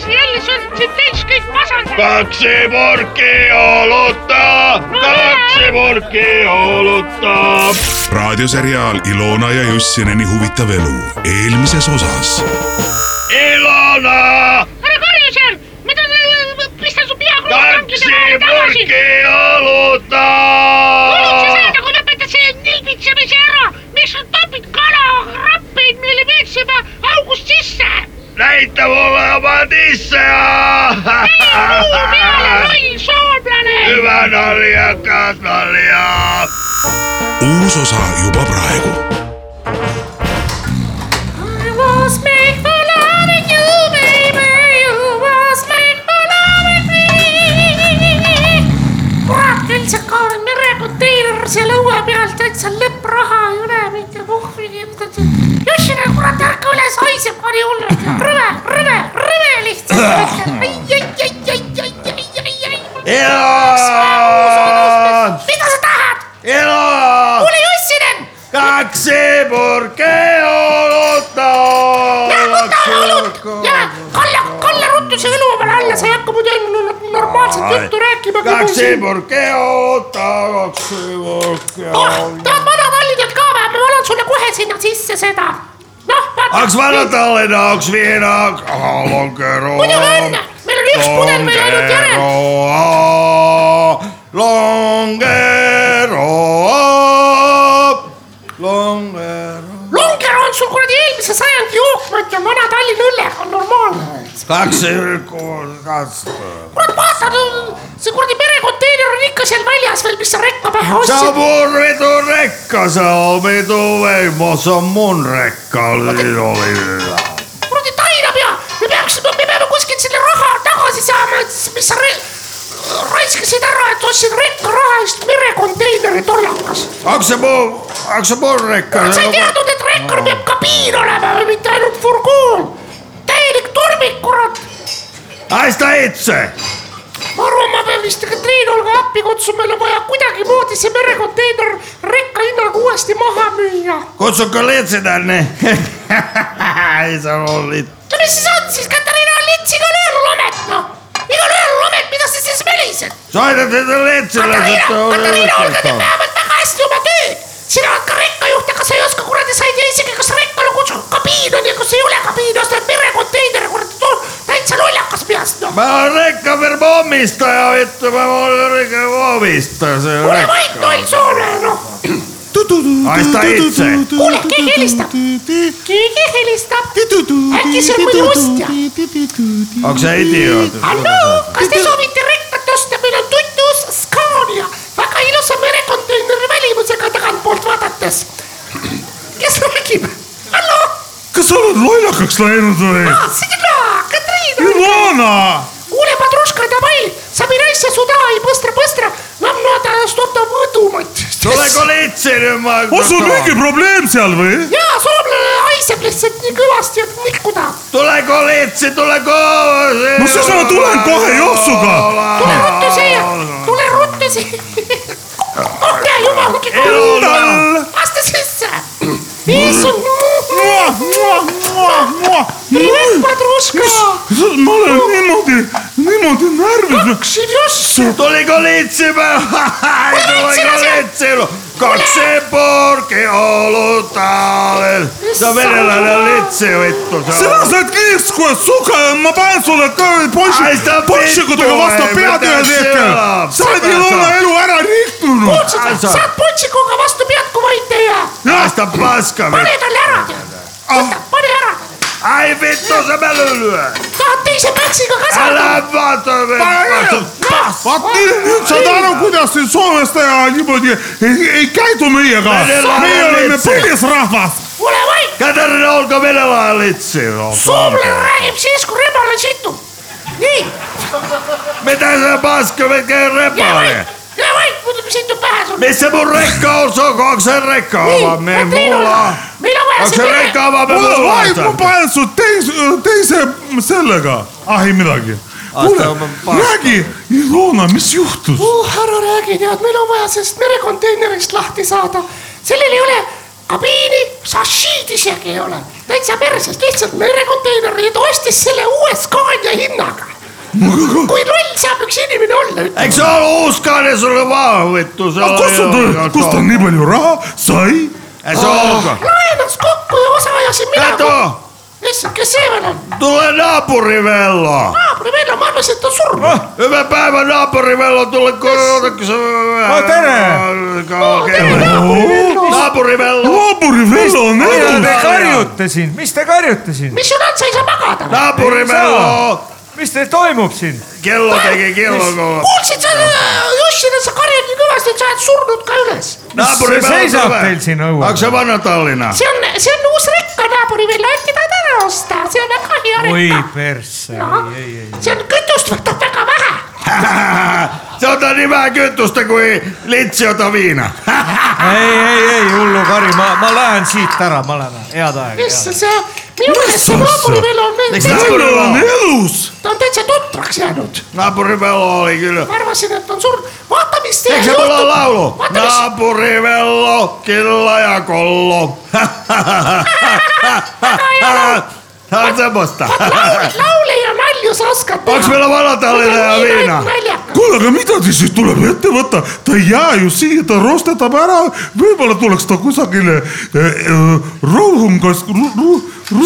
Speaker 11: sa jälle , sul on siin täis kõik masandad .
Speaker 12: kaksipurki oluta , kaksipurki oluta .
Speaker 13: raadioseriaal Ilona ja Jussineni huvitav elu eelmises osas .
Speaker 12: Ilona ,
Speaker 11: ära karju seal , mida ta , pista su pea tagasi .
Speaker 12: kaksipurki oluta .
Speaker 11: oled sa seda , kui lõpetad selle nilbitsemise ära , miks sa topid kalarappeid meile veetsema august sisse ?
Speaker 12: näita mulle oma tisse .
Speaker 11: loll soomlane .
Speaker 12: hüve naljakas nalja .
Speaker 13: uus osa juba praegu .
Speaker 11: I was made for loving you, baby. You was made for loving me . kurat küll , see Kaarel Mere konteiner seal õue peal täitsa lõppraha ei ole mitte puhvigi . Jossina , kurat , ärka üles , haiseb pani hullult . rõve , rõve , rõve lihtsalt . ai , ai , ai , ai , ai , ai , ai , ai .
Speaker 12: Ilona ,
Speaker 11: mida sa tahad ?
Speaker 12: Ilona .
Speaker 11: kuule , Jossinen .
Speaker 12: kaksipurki oluta .
Speaker 11: jaa , Kalle , Kalle , ruttu see õlu omale alla , sa ei hakka muidu enne normaalset juttu rääkima .
Speaker 12: kaksipurki oluta , kaksipurki
Speaker 11: tahad
Speaker 12: oluta .
Speaker 11: vana validelt ka või ? ma valan sulle kohe sinna sisse seda . noh , vaata .
Speaker 12: Aks vana Tallinna , aks Viina , Alonkeroa .
Speaker 11: muidugi on , meil on üks pudel veel ainult järel .
Speaker 12: Longeroa , Longeroa , Longeroa .
Speaker 11: Longer on sul kuradi eelmise sajandi jookmõte , vana Tallinna õlle , on normaalne .
Speaker 12: kaksipurki , kaksipurki .
Speaker 11: kurat , vaata , see kuradi perekonteiner on ikka seal väljas veel , mis sa rekka pähe
Speaker 12: se on
Speaker 11: ostsid .
Speaker 12: mun vitu rekka , se on vitu veimo , se on mun rekka , oli oli .
Speaker 11: kuradi tainapea , me peaksime , me peame kuskilt selle raha tagasi saama , mis sa re- raiskasid ära , et ostsid rekka raha eest merekonteineri tollakas .
Speaker 12: onko se mun , onko se mun rekka ?
Speaker 11: sa ei teadnud , et rekkal peab kabiin olema või mitte ainult furgoon , täielik tormik , kurat .
Speaker 12: aista etse ,
Speaker 11: ma arvan , ma pean vist Katriin Olga appi kutsuma , meil on vaja kuidagimoodi see merekonteiner rekka hinnaga uuesti maha müüa .
Speaker 12: kutsuge Leetsi tänne . ei saa olla litt-
Speaker 11: no mis siis on siis , Katariina on lits igal ööl lomet , noh . igal ööl lomet , mida sa siis mölised ?
Speaker 12: saada teda Leetsile ,
Speaker 11: Katariina ,
Speaker 12: sest
Speaker 11: Katariina , olga teeb
Speaker 12: ta
Speaker 11: vähemalt väga hästi oma tööd . sina oled ka rekkajuht , aga sa ei oska kuradi , sa ei tea isegi , kas rekkal on kus kabiin on ja kus ei ole kabiin , ostad merekonteineri kuradi , täitsa lollakas peast , noh .
Speaker 12: ma olen rekka firma omistaja , ütle , ma olen rekka omistaja , see on
Speaker 11: ole vait , loll soomlane , noh .
Speaker 12: aista etse .
Speaker 11: kuule , keegi helistab , keegi helistab , äkki see on mõni ostja ?
Speaker 12: aga sa idioot .
Speaker 11: halloo , kas te soovite rekkat osta , meil on tutvus Scania , väga ilusa merekonteineri välimusega tagantpoolt vaadates . kes räägib ? halloo ,
Speaker 9: kas sa oled lollakaks läinud või ?
Speaker 6: Ah!
Speaker 11: sina , Katriin .
Speaker 9: Ilona ,
Speaker 11: kuule , Padruška , davai , sa mine asja suda , ei põstra , põstra , nam noada stota võdumat .
Speaker 12: tule Leetsi nüüd , ma .
Speaker 9: on sul mingi probleem seal või ?
Speaker 11: jaa , soomlane haiseb lihtsalt nii kõvasti , et nikkuda .
Speaker 12: tule Leetsi , tule koos .
Speaker 9: no siis ma tulen kohe jooksuga .
Speaker 11: tule ruttu siia , tule ruttu siia . ole jumal , mingi kool . astu sisse . issand . Привет, подружка .
Speaker 9: ma olen niimoodi , niimoodi närvis .
Speaker 12: tuliko liitsimä? Tuliko liitsilu? Kaksi purki olutta olen. Se on venäläinen litsi vittu.
Speaker 9: sina saad kiiskua , suga ja ma panen sulle poissi , potsikutega vastu pead ühel hetkel . sa oled Ilona elu ära rikkunud .
Speaker 11: saad potšikuga vastu pead , kui võid teha .
Speaker 12: Aista paska
Speaker 11: pane
Speaker 12: vittu.
Speaker 11: talle ära , tead . võta , pane ära .
Speaker 12: Ai vittu se mä lylyä.
Speaker 11: tahad teise pätsiga ka saada
Speaker 12: Älä ? vaata vittu.
Speaker 9: vaat nii , nüüd saad aru , kuidas siin soomlastega niimoodi ei, ei käidu meiega . meie oleme põlisrahvas .
Speaker 11: ole vait ,
Speaker 12: Katarina olko venäläinen litsi. no.
Speaker 11: soomlane räägib siis , kui rebane situb . nii ,
Speaker 12: Mitä se paska vetkä repale?
Speaker 11: ole vait , muidu situb pähe sulle .
Speaker 12: Missä mun rekka on? Se on, onko se rekka oma? Me ei mulla.
Speaker 11: meil on vaja
Speaker 12: Onko se rekka oma? Me
Speaker 9: mul on
Speaker 12: mulla.
Speaker 9: vaid , ma panen su teise , teise sellega . ah ei midagi . kuule , räägi , Ilona , e mis juhtus ?
Speaker 11: oh , ära räägi , tead , meil on vaja sellest merekonteinerist lahti saada . sellel ei ole kabiini , sašiid isegi ei ole . täitsa perses , lihtsalt merekonteiner nüüd ostis selle uue Scania hinnaga . kui loll saab üks inimene olla , ütle .
Speaker 12: Eikö se ollut uskainen sulle vaan vittu? Se
Speaker 9: aga
Speaker 12: oli
Speaker 9: kust ta
Speaker 12: ihan ,
Speaker 9: kust ta
Speaker 12: totta.
Speaker 9: nii palju raha sai ?
Speaker 12: Ei se
Speaker 11: Ah.
Speaker 12: ollutkaan.
Speaker 11: laenas kokku ja osa ajasin mina .
Speaker 12: Kato,
Speaker 11: issand , kes see veel on ?
Speaker 12: tulee naapurivello.
Speaker 11: naabri Vello , ma arvasin , et ta on surnud .
Speaker 12: Hyvää päivää naapurivello, tule korjata se... Ah,
Speaker 2: No, tere!
Speaker 12: Naapurivello!
Speaker 9: naaburivello on
Speaker 2: mida te
Speaker 9: elus .
Speaker 2: karjute siin , mis te karjute siin ?
Speaker 11: mis sul on , sa ei saa magada või ?
Speaker 12: Naapurivello!
Speaker 2: mis teil toimub siin ?
Speaker 12: Kello teki kello.
Speaker 11: kuulsid sa , Jussina , sa karjud nii kõvasti , et sa oled surnud ka üles
Speaker 2: see
Speaker 12: Naapurivello
Speaker 2: seisab
Speaker 12: tule.
Speaker 2: teil siin õuel ?
Speaker 12: Onko se vanha Tallinna?
Speaker 11: see on , see on uus rekka naabrivillo , äkki tahad ära osta , see on väga hea
Speaker 2: oi
Speaker 11: rekka .
Speaker 2: persse , ei , ei , ei .
Speaker 11: see on kütust võtab väga vähe .
Speaker 12: Se on niin vähän kyttusta kuin litsi ota viina.
Speaker 2: ei , ei , ei , hullu kari , ma , ma lähen siit ära , ma lähen , head aega .
Speaker 11: issand , see , minu meelest see naabrivillo on meil
Speaker 12: Eks
Speaker 11: täitsa ,
Speaker 9: ta on
Speaker 12: Naapurivello,
Speaker 9: elus .
Speaker 11: ta on täitsa tutraks jäänud .
Speaker 12: naapurivello oli kyllä.
Speaker 11: ma arvasin , et on surnud , vaata , mis teil
Speaker 12: Eikö se mulla ole laulu?
Speaker 11: vaata , mis ,
Speaker 12: Naapurivello, killa ja kollo. Tää on semmoista.
Speaker 11: laule ja nalju sa oskad
Speaker 12: Onks meillä vanatallinna ja viina?
Speaker 9: kuule , aga mida siis nüüd tuleb ette võtta , ta ei jää ju siia , ta rostetab ära , võib-olla tuleks ta kusagile eh, rohumkas- ,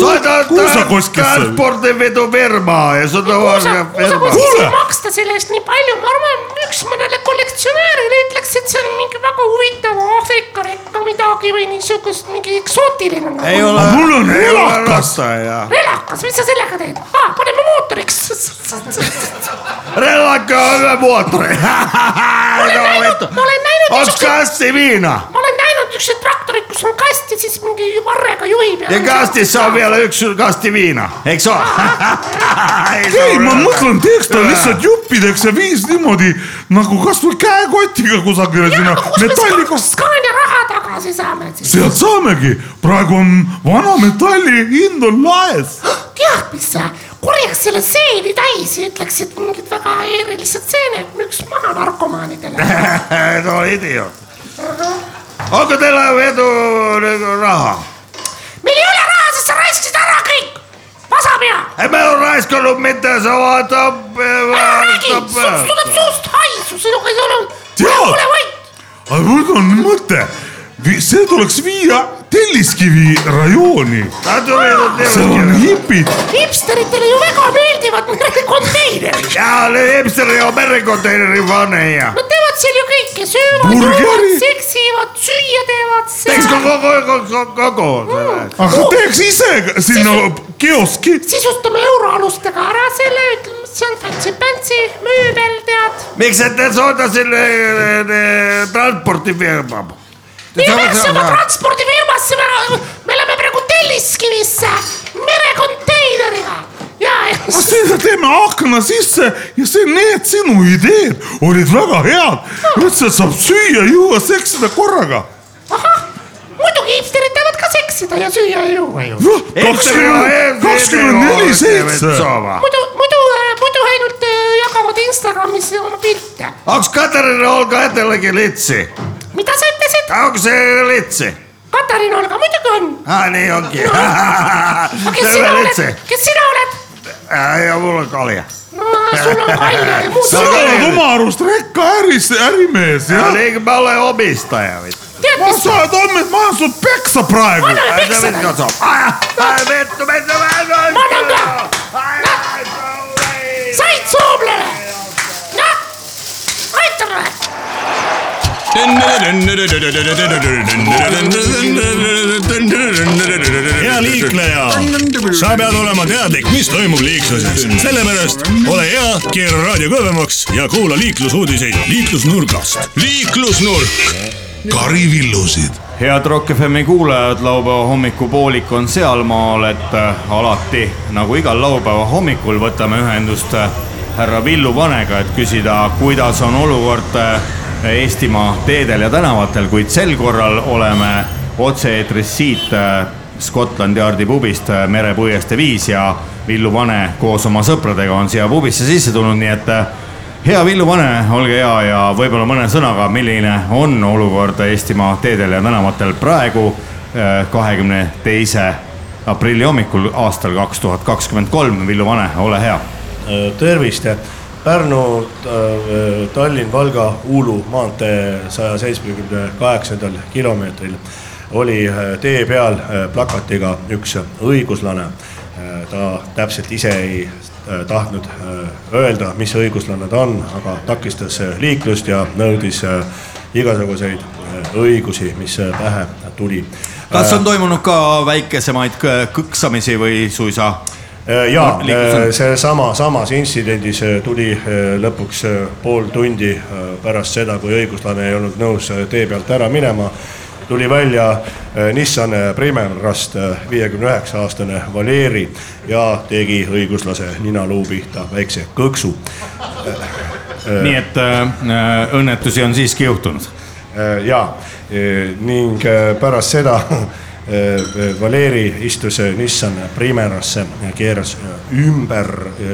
Speaker 12: Soita
Speaker 9: kuusakoskisse .
Speaker 12: transportin vitu firmaa ja se on
Speaker 11: kuusa , kuusakohas
Speaker 12: firmaa.
Speaker 11: ei
Speaker 9: Kuule!
Speaker 11: maksta selle eest nii palju , ma arvan , üks mõnele kollektsionäärile ütleks , et see on mingi väga huvitav Aafrika rekka midagi või niisugust mingi eksootiline
Speaker 12: Ei
Speaker 11: nagu .
Speaker 12: ole.
Speaker 9: mul on
Speaker 12: ei ole
Speaker 9: elakas ,
Speaker 12: rattaajaa.
Speaker 11: elakas , mis sa sellega teed ah, ? paneme mootoriks .
Speaker 12: Relakka on hyvä moottori.
Speaker 11: olen
Speaker 12: no,
Speaker 11: näinud
Speaker 12: vittu. ,
Speaker 11: ma olen näinud
Speaker 12: Onks
Speaker 11: niisuguseid ,
Speaker 12: kasti viina?
Speaker 11: ma olen näinud niisuguseid traktoreid , kus on kast ja siis mingi varrega juhib .
Speaker 12: Ja kastissa on vielä yksi kasti viina. Eikö se ole? Ei se
Speaker 9: ei
Speaker 12: ole
Speaker 9: ma
Speaker 12: rattaajaa.
Speaker 9: mõtlen , teeks ta lihtsalt juppideks ja viis niimoodi nagu kasvõi käekotiga kusagile sinna metalliga .
Speaker 11: Scania raha tagasi saame siis .
Speaker 9: sealt saamegi , praegu on vana metalli hind on laes .
Speaker 11: tead , mis sa , kurjaks selle stseeni täis ja ütleks , et mingid väga erilised stseenid , müks maha narkomaanidele .
Speaker 12: too idioot . aga teil on edu nagu raha .
Speaker 11: meil ei ole raha , sest sa raiskasid ära kõik , pasapea .
Speaker 12: ei me ei raiskanud mitte , sa vaata .
Speaker 11: ära räägi , sinust tuleb suust haisu , sinuga ei ole .
Speaker 6: tead , aga mul on mõte , see tuleks viia Telliskivi rajooni . seal on hipid .
Speaker 11: hipsteritele ju väga meeldivad merekonteinerid .
Speaker 12: jaa , Hipsteri ja merekonteineri pane ja .
Speaker 11: Nad teevad seal ju kõike , söövad ,
Speaker 12: Burgeri.
Speaker 11: joovad , seksivad , süüa teevad .
Speaker 12: teeks kogu , kogu , kogu , kogu .
Speaker 6: aga teeks ise sinna kioski .
Speaker 11: sisustame euroalustega ära selle , ütleme , see on fancy-pantsy mööbel , tead .
Speaker 12: miks te sooda selle eh, eh, transpordifirma ?
Speaker 11: nimeks oma transpordifirmasse , me läheme praegu Telliskivisse merekonteineriga ja , ja
Speaker 6: sinna teeme akna sisse ja see , need sinu ideed olid väga head . üldse saab süüa , juua , seksida korraga .
Speaker 11: muidugi hipsterid teavad ka seksida ja süüa ja juua ju .
Speaker 6: noh , kakskümmend , kakskümmend neli seitse .
Speaker 11: muidu , muidu , muidu ainult äh, jagavad Instagramis oma pilte .
Speaker 12: onks Katariina Olga Etelegi litsi ?
Speaker 11: mida sa ütlesid ?
Speaker 12: onks see litsi ?
Speaker 11: Katariin Olga muidugi on .
Speaker 12: aa , nii ongi .
Speaker 11: aga kes sina oled , kes sina oled ?
Speaker 12: ja mul on kalja .
Speaker 11: sul on kalja ja muud .
Speaker 6: sa oled oma arust rekkaäris , ärimees , jah ?
Speaker 12: ei , ma olen omistaja .
Speaker 11: tead ,
Speaker 6: mis sa oled homme , ma annan sulle peksa praegu .
Speaker 11: Ma annan peksa. ma annan ka . said soomlane . noh , aitame .
Speaker 7: hea
Speaker 14: hea liikleja , sa pead olema teadlik , mis toimub liikluses . sellepärast ole hea , keera raadio kõvemaks ja kuula liiklusuudiseid liiklusnurgast . liiklusnurk .
Speaker 4: Kari Villusid . head Rock FM-i kuulajad , laupäeva hommikupoolik on sealmaal , et äh, alati nagu igal laupäeva hommikul võtame ühendust äh, härra Villu Vanega , et küsida , kuidas on olukord äh, Eestimaa teedel ja tänavatel , kuid sel korral oleme otse-eetris siit äh, Scotland Yardi pubist äh, Merepuiestee viis ja Villu Vane koos oma sõpradega on siia pubisse sisse tulnud , nii et äh, hea Villu Vane , olge hea ja võib-olla mõne sõnaga , milline on olukord Eestimaa teedel ja tänavatel praegu , kahekümne teise aprilli hommikul aastal kaks tuhat kakskümmend kolm . Villu Vane , ole hea .
Speaker 5: Eh, tervist , Pärnu , äh, Tallinn , Valga , Uulu maantee saja seitsmekümne kaheksandal kilomeetril oli äh, tee peal äh, plakatiga üks õiguslane . ta täpselt ise ei äh, tahtnud äh, öelda , mis õiguslane ta on , aga takistas äh, liiklust ja nõudis äh, igasuguseid äh, õigusi , mis äh, pähe tuli . Eh. Äh,
Speaker 4: kas on toimunud ka väikesemaid kõ- kõksamisi või suisa ?
Speaker 5: ja Äh, seesama , samas intsidendis äh, tuli äh, lõpuks äh, pool tundi äh, pärast seda , kui õiguslane ei olnud nõus äh, tee pealt ära minema , tuli välja äh, Nissan Primerast viiekümne üheksa aastane Valeri ja tegi õiguslase ninaluu pihta väikse kõksu . Äh, eh.
Speaker 4: nii et äh, õnnetusi on siiski juhtunud ?
Speaker 5: ja ning äh, pärast seda äh, Valeri istus äh, Nissan Primerasse , keeras äh, ümber ,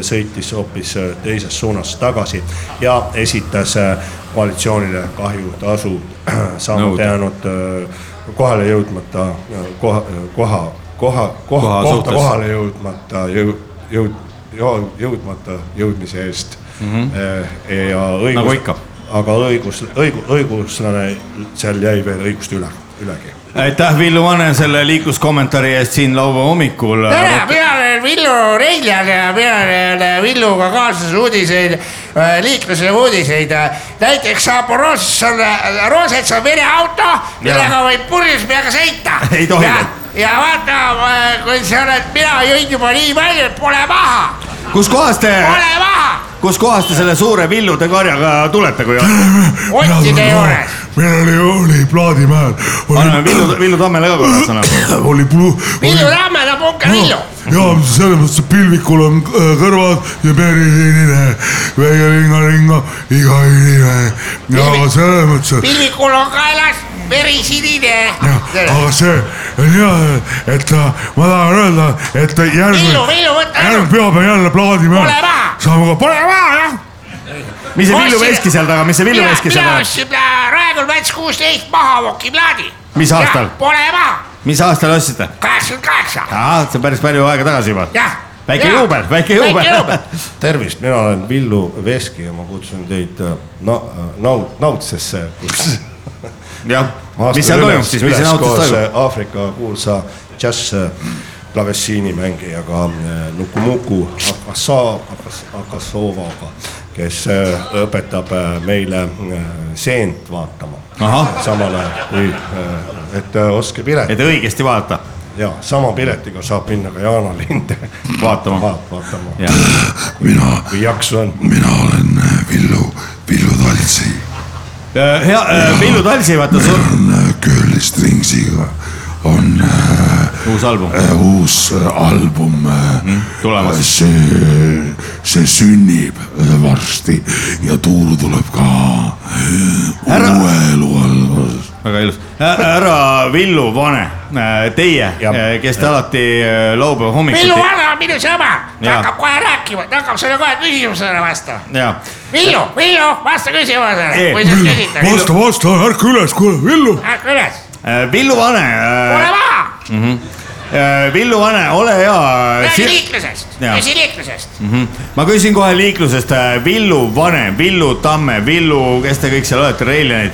Speaker 5: sõitis hoopis äh, teises suunas tagasi ja esitas äh, koalitsioonile kahjutasu saamata
Speaker 4: Nõude.
Speaker 5: jäänud äh, kohale jõudmata äh, koha , koha , koha , koha ,
Speaker 4: Koha
Speaker 5: kohta
Speaker 4: suhtes.
Speaker 5: kohale jõudmata jõu- , jõud- , jõudmata jõudmise eest mm . -hmm. ja õigus .
Speaker 4: Mhm. Nagu ikka.
Speaker 5: aga õigus , õigu- , õiguslane , seal jäi veel õigust üle , ülegi .
Speaker 4: aitäh , Villu Vane , selle liikluskommentaari eest siin laupäeva hommikul .
Speaker 10: tere , mina olen Villu Reiljak ja mina olen Villuga kaasas uudiseid , liikluse uudiseid . näiteks Zaporožis on , Roosets on Vene auto , millega võib purjus peaga sõita .
Speaker 4: Ei tohi veel. .
Speaker 10: ja vaata , kui sa oled , mina jõin juba nii palju , et pole maha ,
Speaker 4: kus kohas te ,
Speaker 10: pole maha ,
Speaker 4: kus kohas te selle suure villude karjaga tulete , kui on ?
Speaker 10: otside juures .
Speaker 6: meil oli , oli plaadimäel .
Speaker 4: anname Villu , Villu Tammele ka korra sõna .
Speaker 6: oli plu- .
Speaker 10: Villu Tamme , no punka Villu .
Speaker 6: ja selles mõttes , et pilvikul on äh, kõrvad ja perilinine , väike ringa-ringa , iga inimene . ja selles mõttes , et
Speaker 10: pilvikul on kaelas verisinine .
Speaker 6: jah , aga see , et äh, ma tahan öelda , et
Speaker 10: Villu ,
Speaker 6: järgmine ,
Speaker 10: Villu , võta
Speaker 6: järgmine pühapäev jälle plaadime .
Speaker 10: Ole maha!
Speaker 6: saame ka , pane maha ,
Speaker 4: mis see Villu veiski seal taga , mis see Villu
Speaker 10: Mina-
Speaker 4: veiski seal
Speaker 10: mina
Speaker 4: taga ?
Speaker 10: ostsin äh, Raekoja plats kuusteist maha vokiplaadi .
Speaker 4: Mis aastal?
Speaker 10: Pole maha ,
Speaker 4: mis aastal ostsite ?
Speaker 10: kaheksakümmend kaheksa .
Speaker 4: ahah , see on päris palju aega tagasi juba .
Speaker 10: Jah.
Speaker 4: väike
Speaker 10: Jah.
Speaker 4: juubel , väike
Speaker 10: Väike
Speaker 4: juubel
Speaker 10: juubel. .
Speaker 5: tervist , mina olen Villu Veski ja ma kutsun teid äh, na- , naud- , naudsesse , kus
Speaker 4: jah , mis seal toimub siis , mis seal nautis toimub ?
Speaker 5: äh, Aafrika kuulsa džäss klavessiinimängijaga äh, Nukumuku Akasa- Akas- Akasovaga , kes äh, õpetab äh, meile äh, seent vaatama . samal ajal kui , et äh, ostke pilet .
Speaker 4: et õigesti vaadata .
Speaker 5: ja sama piletiga saab minna ka Jaana linde
Speaker 4: vaatama ,
Speaker 5: vaatama .
Speaker 9: mina ,
Speaker 5: kui jaksu on .
Speaker 9: mina olen äh, Villu , Villu Taltsi .
Speaker 4: Äh, hea , Villu Talsi , vaata sul .
Speaker 9: Curly Stringsiga on äh,
Speaker 4: uus album Mhm,
Speaker 9: äh, , uus äh, album äh,
Speaker 4: tulemas.
Speaker 9: see , see sünnib äh, varsti ja tuur tuleb ka Ära... uue elu alguses .
Speaker 4: väga ilus . härra Villu Vane , teie , kes te alati äh, laupäeva
Speaker 10: Villu
Speaker 4: hommikuti .
Speaker 10: Vana on minu sõber , ta
Speaker 4: Jaa.
Speaker 10: hakkab kohe rääkima , ta hakkab sulle kohe küsimusele vastama .
Speaker 4: jaa .
Speaker 10: Villu , Villu , vasta küsimusele , kui sa küsid .
Speaker 6: vasta , vasta , ärka üles , kuule , Villu .
Speaker 10: ärka üles ,
Speaker 4: Äh, Villu Vane . Mhm.
Speaker 10: ole maha ,
Speaker 4: Äh, Villu Vane , ole hea .
Speaker 10: räägi liiklusest ,
Speaker 4: Jaa.
Speaker 10: küsi liiklusest .
Speaker 4: Mhm. ma küsin kohe liiklusest , Villu Vanem , Villu Tamme , Villu , kes te kõik seal olete , Reiljanid .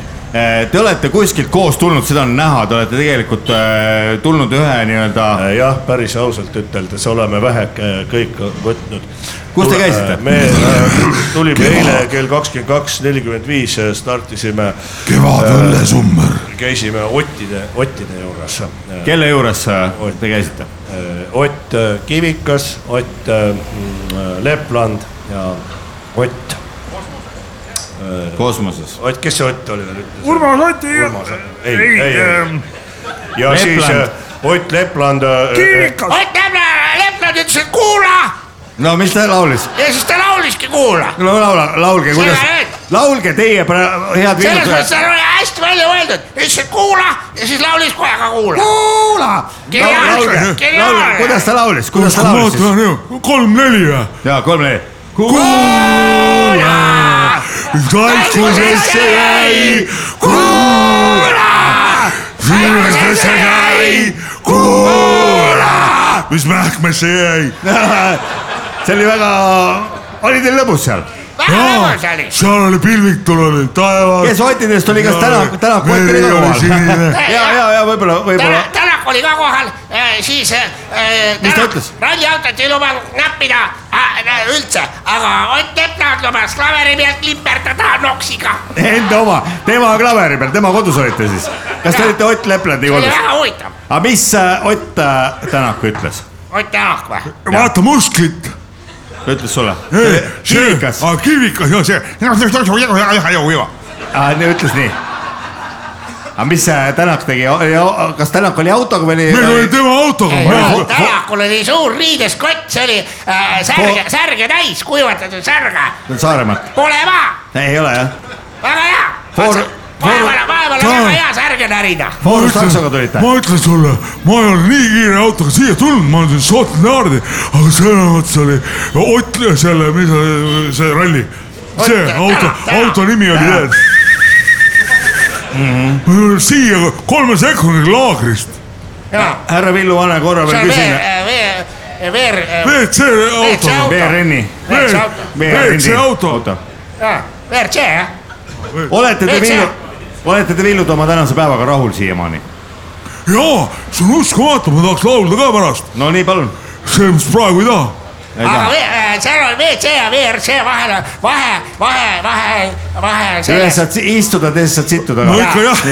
Speaker 4: Te olete kuskilt koos tulnud , seda on näha , te olete tegelikult äh, tulnud ühe nii-öelda .
Speaker 5: Äh, jah , päris ausalt üteldes oleme vähe äh, kõik võtnud .
Speaker 4: Kus te käisite?
Speaker 5: me äh, tulime eile kell kakskümmend kaks , nelikümmend viis äh, startisime ,
Speaker 9: Kevadõlle summer .
Speaker 5: käisime Ottide , Ottide juures .
Speaker 4: kelle juures äh, te käisite ?
Speaker 5: Ott äh, Kivikas , Ott äh, mm, Lepland ja Ott .
Speaker 4: kosmoses .
Speaker 5: Ott , kes see Ott oli veel ?
Speaker 6: Urmas Oti .
Speaker 5: ei , ei , ei . ja siis äh, Ott Lepland äh,
Speaker 10: Ott Lämna- Lepland ütles , et kuula
Speaker 4: no mis ta laulis ?
Speaker 10: ja siis ta lauliski kuula .
Speaker 4: no laula , laulge , kuidas
Speaker 10: Sina näed. ,
Speaker 4: laulge teie pra- , head
Speaker 10: selles mõttes
Speaker 4: villutajad
Speaker 10: seal . oli hästi välja mõeldud , ütles , et kuula ja siis laulis kohe ka kuula .
Speaker 4: kuula .
Speaker 10: geniaalne , geniaalne .
Speaker 4: kuidas ta laulis , kuidas ta laulis siis ?
Speaker 6: kolm-neli või ?
Speaker 4: jaa , kolm-neli .
Speaker 6: kuula , taikumisesse jäi , kuula , silmadesse jäi , kuula , mis mähkmesse jäi .
Speaker 4: see oli väga , oli teil lõbus seal ?
Speaker 10: väga lõbus oli .
Speaker 6: seal oli pilvik tulnud , taevas .
Speaker 4: kes Ottidest oli , kas Tänak , Tänak Ott oli ka kohal ? ja , ja , ja võib-olla , võib-olla .
Speaker 10: Tänak , Tänak oli ka kohal , siis äh,
Speaker 4: Mis ta
Speaker 10: Tänak
Speaker 4: ütles?
Speaker 10: ralliautot ei lubanud näppida äh, nä- üldse , aga Ott Lepland lubas klaveri pealt liperdada noksiga .
Speaker 4: Enda oma , tema klaveri peal , tema kodus olite siis . kas te olite Ott Leplandi
Speaker 10: see oli väga
Speaker 4: kodus ?
Speaker 10: huvitav ,
Speaker 4: aga mis äh, Ott äh, Tänak ütles ?
Speaker 10: Ott Tänak või ?
Speaker 6: vaata musklit .
Speaker 4: ta ütles sulle ?
Speaker 6: kivikas . kivikas , jah , see .
Speaker 4: ütles nii . aga mis äh, see Tänak tegi , kas Tänak oli autoga või oli ?
Speaker 6: meil oli tema autoga .
Speaker 10: Tänakul oli suur riideskott , see oli äh, särge , särge täis , kuivatatud särge ,
Speaker 4: Saaremaalt ,
Speaker 10: pole maha ,
Speaker 4: ei ole jah ?
Speaker 10: väga hea .
Speaker 4: For-
Speaker 10: vaevale , vaevale
Speaker 6: Tänak-
Speaker 10: väga hea särge närida .
Speaker 4: Foorus taksoga tulite ?
Speaker 6: ma ütlen sulle , ma ei ole nii kiire autoga siia tulnud , ma olen siin Šotlaardi , aga selles mõttes oli Ott , selle , mis see , see ralli , see
Speaker 10: Ott-
Speaker 6: auto ,
Speaker 10: Tänak-
Speaker 6: auto nimi oli
Speaker 10: Tänak.
Speaker 6: tead . ma tulin siia kolme sekundiga laagrist .
Speaker 10: jaa ,
Speaker 4: härra Villu Vane korra
Speaker 10: see
Speaker 4: veel
Speaker 10: on
Speaker 4: küsin
Speaker 10: veer , veer , veer .
Speaker 6: WC auto .
Speaker 4: VRN-i .
Speaker 10: WC auto.
Speaker 6: WC auto .
Speaker 10: jaa , WRC jah .
Speaker 4: olete te
Speaker 10: WC.
Speaker 4: Villu , olete te Villu oma tänase päevaga rahul siiamaani ?
Speaker 6: jaa , see on uskumatu , ma tahaks laulda ka pärast .
Speaker 4: no nii , palun .
Speaker 6: see , mis praegu ei taha .
Speaker 10: aga ve- äh, seal on WC ja WRC vahel on vahe , vahe , vahe , vahe
Speaker 4: ühes
Speaker 10: selles ,
Speaker 4: saad si- istuda , teises saad sittuda .
Speaker 10: No ikka jah.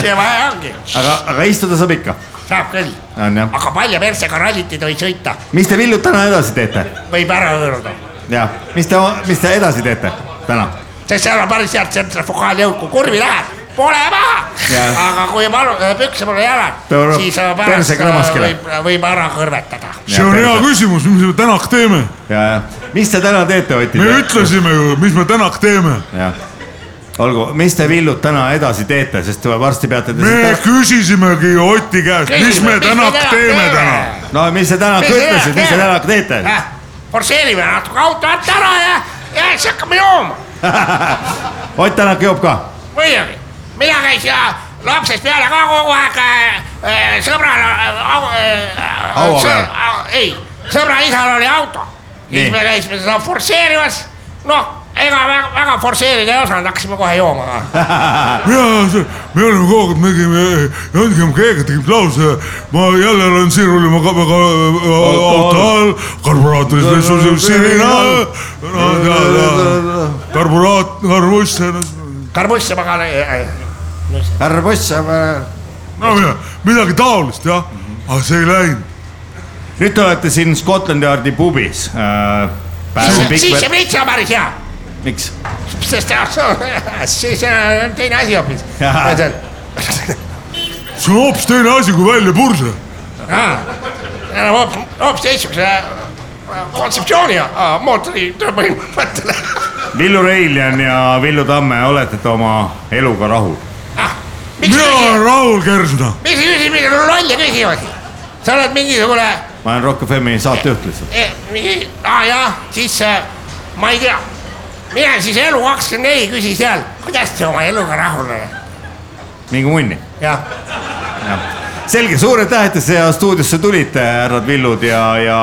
Speaker 10: see vahe ongi ,
Speaker 4: aga , aga istuda saab ikka .
Speaker 10: saab küll ,
Speaker 4: on jah .
Speaker 10: aga palja persega rallit ei tohi sõita ,
Speaker 4: mis te Villu täna edasi teete ?
Speaker 10: võib ära hõõruda ,
Speaker 4: jah , mis te , mis te edasi teete täna ?
Speaker 10: sest seal on päris head tsentrifugaaljõud , kui kurvi lähed , pole maha
Speaker 4: Jah. ,
Speaker 10: aga kui malu , pükse pole jalad
Speaker 4: Peab ,
Speaker 10: siis äh,
Speaker 4: perse
Speaker 10: pärast
Speaker 4: kramas
Speaker 10: äh,
Speaker 4: kella.
Speaker 10: võib , võib ära kõrvetada .
Speaker 6: see on hea küsimus , mis me tänak teeme .
Speaker 4: ja , ja mis te täna teete , Ott ?
Speaker 6: me ütlesime ju , mis me tänak teeme .
Speaker 4: jah , olgu , mis te villud täna edasi teete , sest varsti peate te
Speaker 6: me küsisimegi Oti käest , mis
Speaker 10: Küsime,
Speaker 6: me
Speaker 10: mis
Speaker 6: täna
Speaker 10: me täna
Speaker 6: teeme
Speaker 10: teeme?
Speaker 6: täna .
Speaker 4: no mis sa täna
Speaker 10: Mis sa
Speaker 4: ütlesid , mis sa
Speaker 10: täna
Speaker 4: täna teete ?
Speaker 10: forsseerime natuke auto alt ära ja , ja siis hakkame jooma . Ah.
Speaker 4: Ott Tänak joob ka ?
Speaker 10: muidugi , mina käisin ja lapsest peale ka kogu aeg äh, äh, sõbral äh, au- äh,
Speaker 4: Haua
Speaker 10: sõ-
Speaker 4: peal.
Speaker 10: au- ei , sõbra isal oli auto .
Speaker 4: Nii.
Speaker 10: siis me käisime seda forsseerimas , noh , ega väga, väga forsseerida ei osanud , hakkasime kohe jooma ka .
Speaker 6: mina , me oleme kogu aeg mingi , mängime keegi tegib lause , ma jälle olen sirul ja ma ka väga eh, auto all , karburaatoris vesus sirina , karburaat , karbuss .
Speaker 10: karbuss ja magan .
Speaker 4: karbuss ja magan .
Speaker 6: no mida , midagi taolist jah , aga see ei läinud .
Speaker 4: nüüd te olete siin Scotland Yardi pubis äh, .
Speaker 10: siis see plits on päris hea ,
Speaker 4: miks ?
Speaker 10: sest äh, siis äh, on teine asi hoopis .
Speaker 6: see on hoopis teine asi kui välja purse .
Speaker 10: enam hoopis , hoopis teistsuguse äh, kontseptsiooni äh, mootori tööpõhimõttele .
Speaker 4: Villu Reiljan ja Villu Tamme , olete te oma eluga rahul ?
Speaker 10: Ah,
Speaker 6: mina olen Raul Kersna .
Speaker 10: mis sa küsid , mida sul lolle küsivad ? sa oled mingisugune
Speaker 4: ma olen Rock FM-i saatejuht lihtsalt .
Speaker 10: eh, , mingi , aa jah , siis äh, ma ei tea , mine siis Elu24 küsi seal , kuidas te oma eluga rahul olete .
Speaker 4: minge munni .
Speaker 10: jah .
Speaker 4: selge , suur aitäh , et te siia stuudiosse tulite , härrad Villud ja , ja ,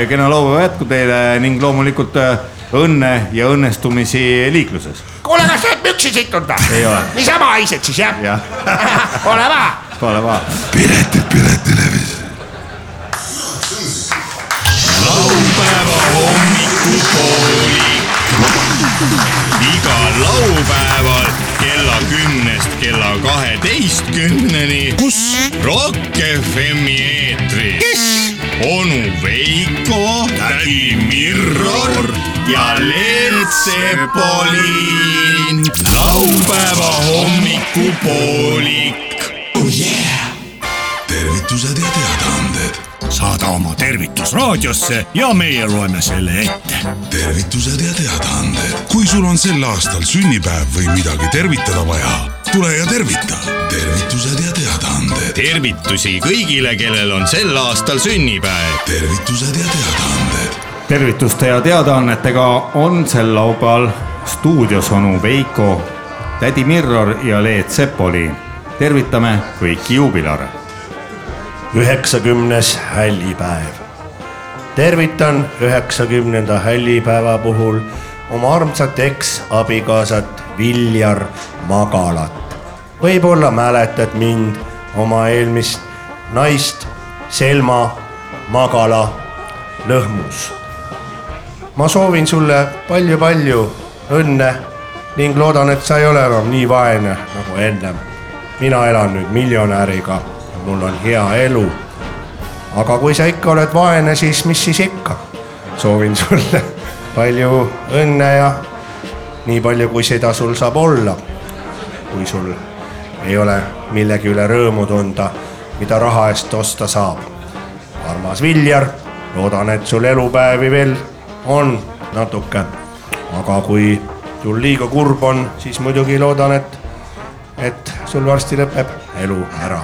Speaker 4: ja kena laupäeva jätku teile ning loomulikult äh, õnne ja õnnestumisi liikluses .
Speaker 10: kuule , kas sa oled püksi sittunud
Speaker 4: Ei ole.
Speaker 10: või ? niisama haised siis jah ?
Speaker 4: jah ,
Speaker 10: ole hea .
Speaker 4: ole vaja .
Speaker 7: laupäeva hommikupoolik . igal laupäeval kella kümnest kella kaheteistkümneni . kus ? Rock FM-i eetris . kes ? onu Veiko , tädi Mirror ja Leelt Sepolin . laupäeva hommikupoolik . oh yeah .
Speaker 14: tervitused ja teadaanded . saada oma tervitus raadiosse ja meie loeme selle ette .
Speaker 15: tervitused ja teadaanded . kui sul on sel aastal sünnipäev või midagi tervitada vaja , tule ja tervita . tervitused ja teadaanded .
Speaker 7: tervitusi kõigile , kellel on sel aastal sünnipäev .
Speaker 15: tervitused ja teadaanded .
Speaker 4: tervituste ja teadaannetega on sel laupäeval stuudios onu Veiko , tädi Mirror ja Leet Sepoli . tervitame kõiki juubilare .
Speaker 5: üheksakümnes hällipäev . tervitan üheksakümnenda hällipäeva puhul oma armsat eksabikaasat Viljar Magalat . võib-olla mäletad mind , oma eelmist naist Selma Magala Lõhmus . ma soovin sulle palju-palju õnne ning loodan , et sa ei ole enam nii vaene nagu ennem . mina elan nüüd miljonäriga ja mul on hea elu . aga kui sa ikka oled vaene , siis mis siis ikka . soovin sulle palju õnne ja nii palju , kui seda sul saab olla . kui sul ei ole millegi üle rõõmu tunda , mida raha eest osta saab . armas Viljar , loodan , et sul elupäevi veel on natuke . aga kui sul liiga kurb on , siis muidugi loodan , et , et sul varsti lõpeb elu ära .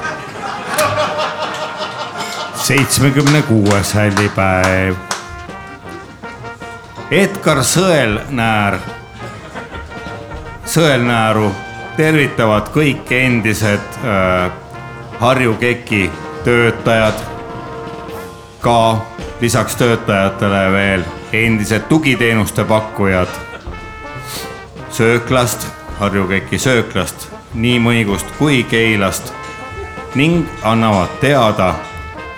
Speaker 4: seitsmekümne kuues hällipäev . Edgar Sõelnäär , Sõelnääru tervitavad kõik endised äh, Harju KEK-i töötajad , ka lisaks töötajatele veel endised tugiteenuste pakkujad sööklast , Harju KEK-i sööklast , nii Mõigust kui Keilast ning annavad teada ,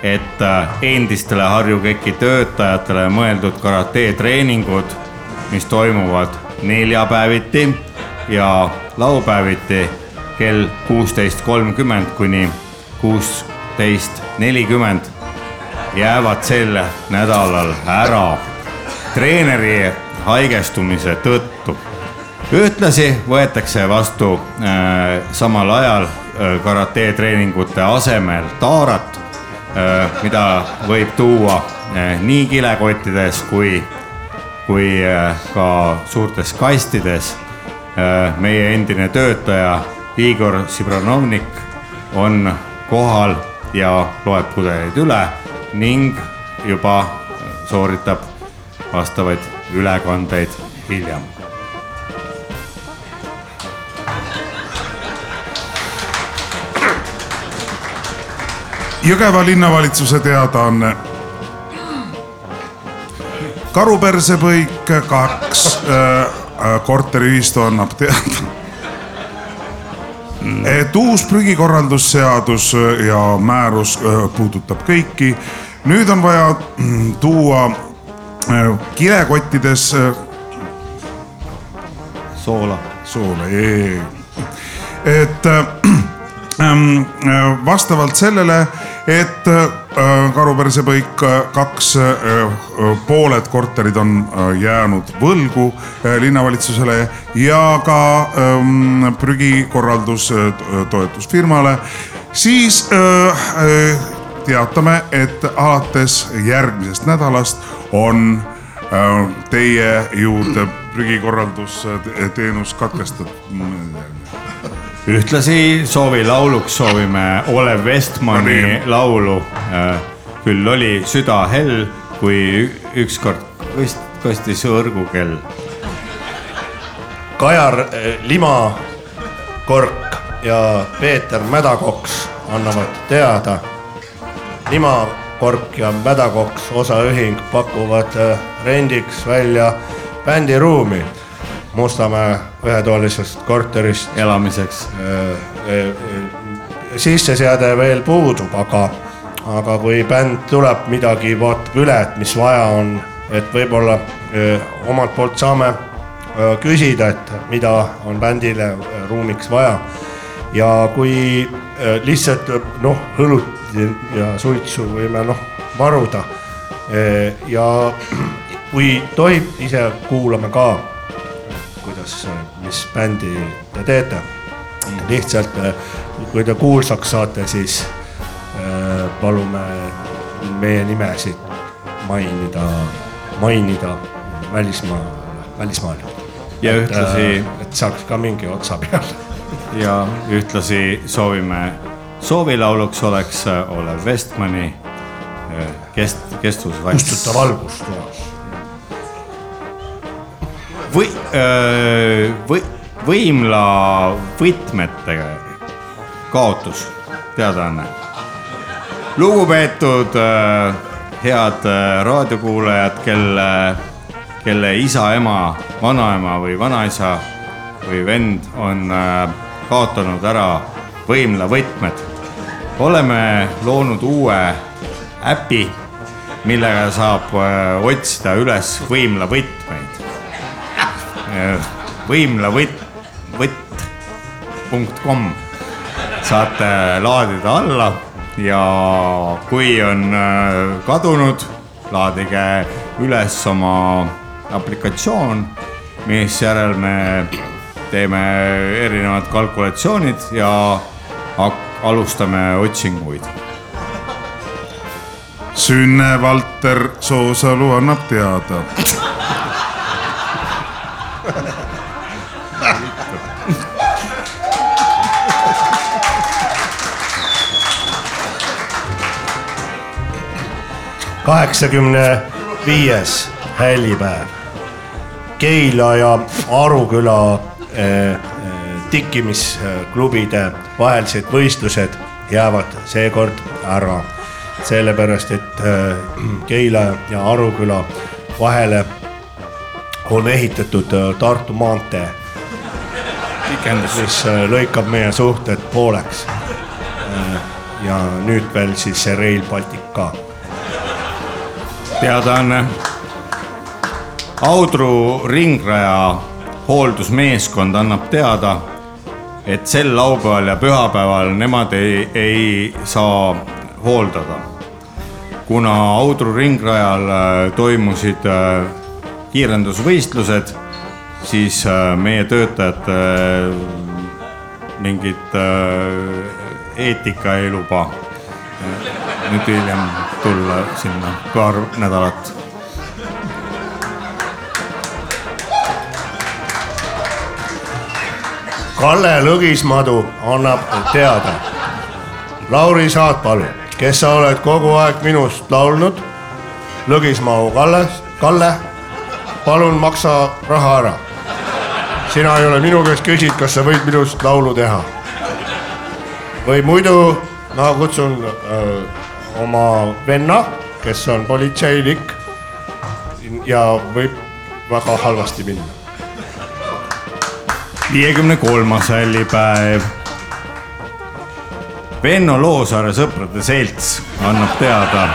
Speaker 4: et äh, endistele Harju KEK-i töötajatele mõeldud karateetreeningud , mis toimuvad neljapäeviti ja laupäeviti kell kuusteist kolmkümmend kuni kuusteist nelikümmend jäävad sel nädalal ära treeneri haigestumise tõttu . ühtlasi võetakse vastu äh, samal ajal äh, karateetreeningute asemel taarat äh, , mida võib tuua äh, nii kilekottides kui , kui äh, ka suurtes kastides meie endine töötaja Igor Sibranovnik on kohal ja loeb pudeleid üle ning juba sooritab vastavaid ülekandeid hiljem .
Speaker 6: Jõgeva linnavalitsuse teadaanne . karupõrsepõik kaks äh, , korteriühistu annab teada , et uus prügikorraldusseadus äh, ja määrus äh, puudutab kõiki . nüüd on vaja mm, tuua äh, kilekottides äh,
Speaker 4: soola .
Speaker 6: soola , et äh, ähm, äh, vastavalt sellele , et äh, Karupõrsepõik äh, kaks äh, äh, pooled korterid on äh, jäänud võlgu äh, linnavalitsusele ja ka ähm, prügikorraldus äh, to- toetusfirmale , siis äh, äh, teatame , et alates järgmisest nädalast on äh, teie juurde prügikorraldusteenus katkestatud .
Speaker 4: ühtlasi soovi lauluks soovime Olev Vestmani laulu . küll oli süda hell , kui ükskord kost- , kostis õrgukell .
Speaker 5: Kajar eh, Limakork ja Peeter Mädakoks annavad teada . limakork ja Mädakoks osaühing pakuvad eh, rendiks välja bändiruumi Mustamäe ühetoalisest korterist .
Speaker 4: elamiseks .
Speaker 5: sisseseade veel puudub , aga , aga kui bänd tuleb midagi , vaatab üle , et mis vaja on , et võib-olla eh, omalt poolt saame eh, küsida , et mida on bändile eh, ruumiks vaja . ja kui eh, lihtsalt noh , õlut ja suitsu võime noh varuda Eh, ja kui tohib , ise kuulame ka , kuidas , mis bändi te teete . lihtsalt , kui te kuulsaks saate , siis eh, palume meie nimesid mainida , mainida välismaa , välismaal .
Speaker 4: Ja ühtlasi-
Speaker 5: et saaks ka mingi otsa peale .
Speaker 4: ja ühtlasi soovime , soovilauluks oleks äh, Olev Vestmani äh, kest- , kestvusvals .
Speaker 5: kustutav valgus toas .
Speaker 4: või , või , võimla võtmete kaotus , teadaanne . lugupeetud öö, head öö, raadiokuulajad , kelle , kelle isa , ema , vanaema või vanaisa või vend on öö, kaotanud ära võimla võtmed . oleme loonud uue äpi , millega saab öö, otsida üles võimla võtmeid võimla võtt , võtt punkt kom saate laadida alla ja kui on äh, kadunud , laadige üles oma aplikatsioon , misjärel me teeme erinevad kalkulatsioonid ja hak- alustame otsinguid
Speaker 6: Sünne Valter Soosalu annab teada .
Speaker 5: kaheksakümne viies hälipäev . Keila ja Aruküla eh, eh, tikkimisklubide vahelised võistlused jäävad seekord ära . sellepärast , et eh, Keila ja Aruküla vahele on ehitatud eh, Tartu maantee . mis eh, lõikab meie suhted pooleks . ja nüüd veel siis see Rail Baltic ka
Speaker 4: teadaanne . Audru ringraja hooldusmeeskond annab teada , et sel laupäeval ja pühapäeval nemad ei , ei saa hooldada . kuna Audru ringrajal äh, toimusid äh, kiirendusvõistlused , siis äh, meie töötajad äh, mingit äh, eetika ei luba nüüd hiljem tulla sinna paar nädalat .
Speaker 5: Kalle Lõgismadu annab teada . Lauri Saatpalu , kes sa oled kogu aeg minust laulnud , Lõgismaa Kalle , Kalle , palun maksa raha ära . sina ei ole minu käest küsinud , kas sa võid minust laulu teha . või muidu ma kutsun öö, oma venna , kes on politseinik ja võib väga halvasti minna .
Speaker 4: viiekümne kolmas hällipäev . Venno Loosaare sõprade selts annab teada .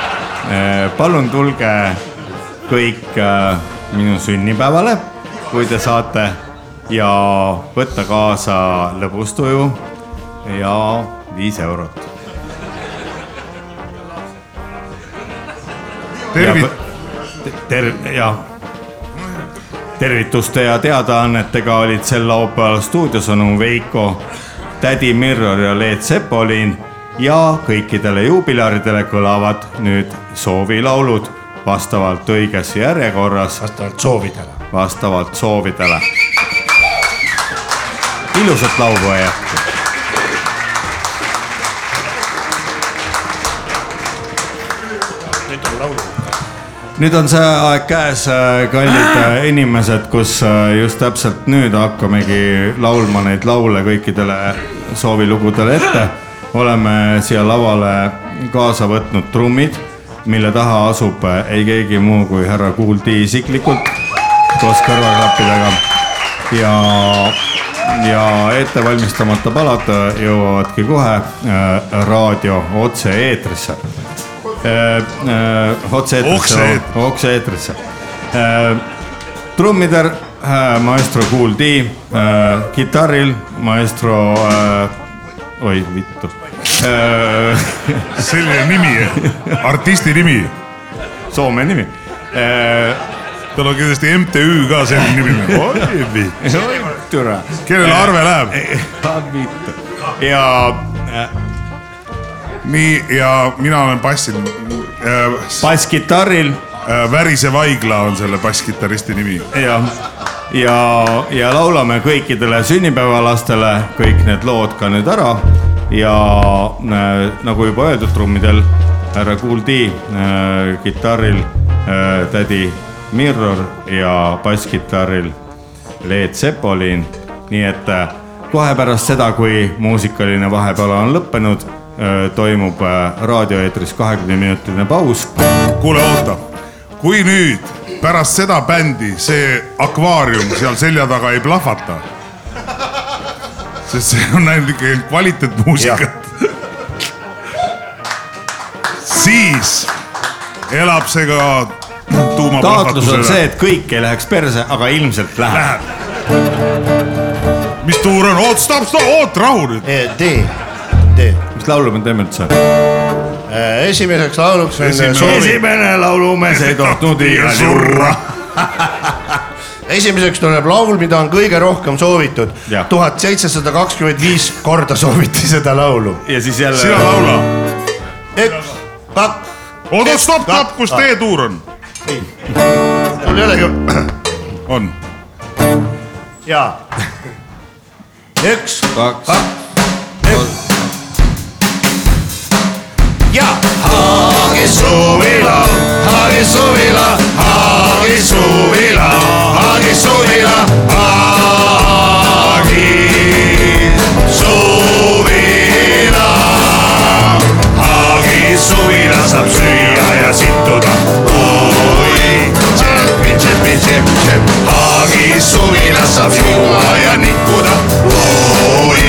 Speaker 4: palun tulge kõik eh, minu sünnipäevale , kui te saate ja võtta kaasa lõbustuju ja viis eurot .
Speaker 6: Tervit- .
Speaker 4: ter- , jah . tervituste ja teadaannetega olid sel laupäeval stuudios onu Veiko , tädi Mirror ja Leet Sepolin ja kõikidele juubilaridele kõlavad nüüd soovilaulud vastavalt õiges järjekorras .
Speaker 5: vastavalt soovidele .
Speaker 4: vastavalt soovidele . ilusat laupäeva jätku .
Speaker 5: nüüd on laulu .
Speaker 4: nüüd on see aeg käes , kallid äh, inimesed , kus äh, just täpselt nüüd hakkamegi laulma neid laule kõikidele soovilugudele ette . oleme siia lavale kaasa võtnud trummid , mille taha asub äh, ei keegi muu kui härra Kuuldi isiklikult koos kõrvaklappidega ja , ja ettevalmistamata palad äh, jõuavadki kohe äh, raadio Äh, otse-eetrisse otse-eetrisse , otse-eetrisse . trummidel äh, maestro Kool D äh, , kitarril maestro äh, , oi vittu äh, .
Speaker 6: selline nimi , artisti nimi .
Speaker 4: Soome nimi äh, .
Speaker 6: tal on kindlasti MTÜ ka selline nimi . oi
Speaker 4: vitt . türa .
Speaker 6: kellele
Speaker 4: Äh,
Speaker 6: arve läheb ?
Speaker 4: vittu . ja . äh,
Speaker 6: nii , ja mina olen bassil .
Speaker 4: basskitarril .
Speaker 6: Värise Vaigla on selle basskitarristi nimi .
Speaker 4: jah , ja , ja laulame kõikidele sünnipäevalastele kõik need lood ka nüüd ära ja äh, nagu juba öeldud , trummidel härra Kuuldi äh, , kitarril äh, tädi Mirror ja basskitarril Leet Sepolin , nii et äh, kohe pärast seda , kui muusikaline vahepeal on lõppenud , toimub äh, raadioeetris kahekümne minutiline paus .
Speaker 6: kuule , oota , kui nüüd pärast seda bändi see akvaarium seal selja taga ei plahvata , sest see on ainult ikkagi kvaliteetmuusikat , siis elab see ka
Speaker 4: taotlus on see ,
Speaker 6: tuumaplahvatusele .
Speaker 4: et kõik ei läheks perse , aga ilmselt läheb .
Speaker 6: mis tuur on , oot , stopp , stopp , oot , rahu nüüd .
Speaker 5: D , D .
Speaker 4: mis laulu me teeme üldse ?
Speaker 5: Äh, esimeseks lauluks on
Speaker 4: Esimene-
Speaker 5: soovi .
Speaker 4: esimene laulumees ei tohtnud iial surra. .
Speaker 5: esimeseks tuleb laul , mida on kõige rohkem soovitud . tuhat seitsesada kakskümmend viis korda sooviti seda laulu .
Speaker 4: ja siis jälle .
Speaker 6: sina laula .
Speaker 5: üks , kaks .
Speaker 6: oota , stopp , stopp , kus D-tuur on ?
Speaker 5: mul ei olegi .
Speaker 6: on .
Speaker 5: jaa . üks ,
Speaker 4: kaks ,
Speaker 5: üks .
Speaker 16: ja .
Speaker 7: Haagi suvila , Haagi suvila , Haagi suvila , Haagi suvila , Haagi suvila . Haagi suvila saab süüa ja sittuda . oi , tšepi , tšepi , tšepi , tšep . Haagi suvila saab juua ja nippuda . oi ,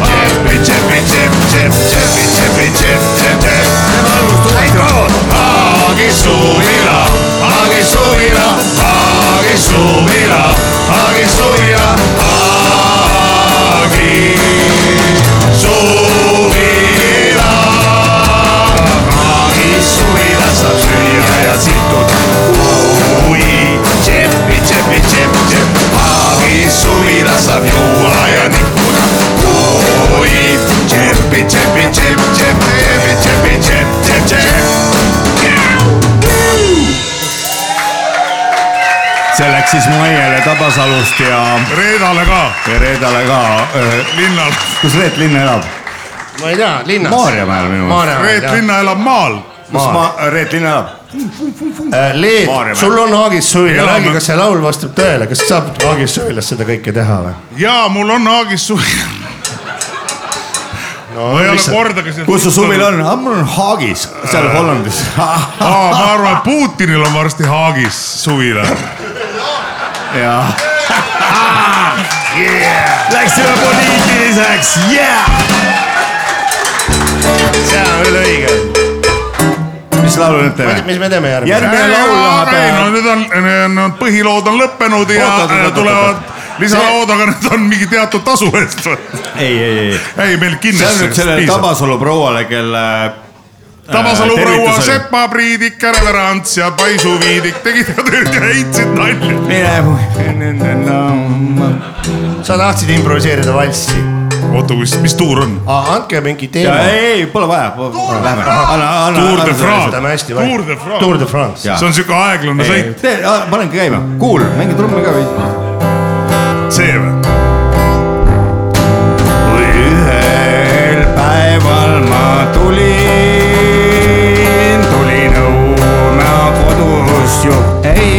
Speaker 7: tšepi , tšepi , tšep , tšep , tšepi , tšepi , tšep , tšep , tšep . Haagi suvila , Haagi suvila , Haagi suvila , Haagi suvila , Haagi suvila . Haagi suvila saab süüa ja sittuda . oi , tšepi , tšepi , tšep , tšep . Haagi suvila saab juua ja nippuda . oi , tšepi , tšepi , tšep , tšep , tšepi , tšepi , tšep , tšep , tšep .
Speaker 4: see see läks siis Maiele Tabasalust ja . Reedale ka . ja Reedale ka . linnal . kus Reet Linna elab ?
Speaker 5: ma ei tea , linnas .
Speaker 4: Maarjamäel minu meelest .
Speaker 5: elab maal .
Speaker 4: kus ma , Reet Linna elab ?
Speaker 14: Äh, Leet
Speaker 4: Maarjamäe. ,
Speaker 14: sul on Haagis suvila ,
Speaker 6: Elame-
Speaker 14: räägi , kas see laul vastab tõele , kas saab Haagis suvilas seda kõike teha või ?
Speaker 6: jaa , mul on Haagis suvi . ma ei ole kordagi seal-
Speaker 4: kus su suvila on ?
Speaker 14: Ah,
Speaker 4: mul on Haagis , seal Hollandis .
Speaker 6: aa , ma arvan , et Putinil on varsti Haagis suvila .
Speaker 4: jaa . Läksime poliitiliseks , yeah .
Speaker 14: see on küll õige .
Speaker 4: mis laulu nüüd teeme ?
Speaker 14: mis me teeme järgmine ?
Speaker 6: Ei, aga ei, no nüüd on , on , põhilood on lõppenud ja
Speaker 14: Oot, oot, oot,
Speaker 6: äh,
Speaker 14: oot,
Speaker 6: tulevad
Speaker 14: oot,
Speaker 6: lisalood , aga need on mingi teatud tasu eest või ?
Speaker 4: ei , ei , ei .
Speaker 6: ei , meil
Speaker 4: see on
Speaker 6: kindlasti
Speaker 4: nüüd sellele Tabasalu prouale , kelle . äh,
Speaker 7: Äh,
Speaker 6: Tabasalu proua , Sepa , Priidik , Kärverants ja Paisu Viidik tegid ka tööd ja heitsid nalja .
Speaker 14: sa tahtsid improviseerida valssi .
Speaker 6: oota , mis , mis tuur on ?
Speaker 14: andke mingi teema .
Speaker 6: Ja ei,
Speaker 4: pole vaja , lähme .
Speaker 6: Tour de
Speaker 14: võtame
Speaker 6: France
Speaker 14: hästi . vaikselt. Tour de France .
Speaker 6: see on siuke aeglane sõit .
Speaker 4: panengi käima , kuul , mängi trummi ka veidi .
Speaker 6: see või ?
Speaker 4: kui ühel päeval ma tulin , tulin õuna kodus ju ei ,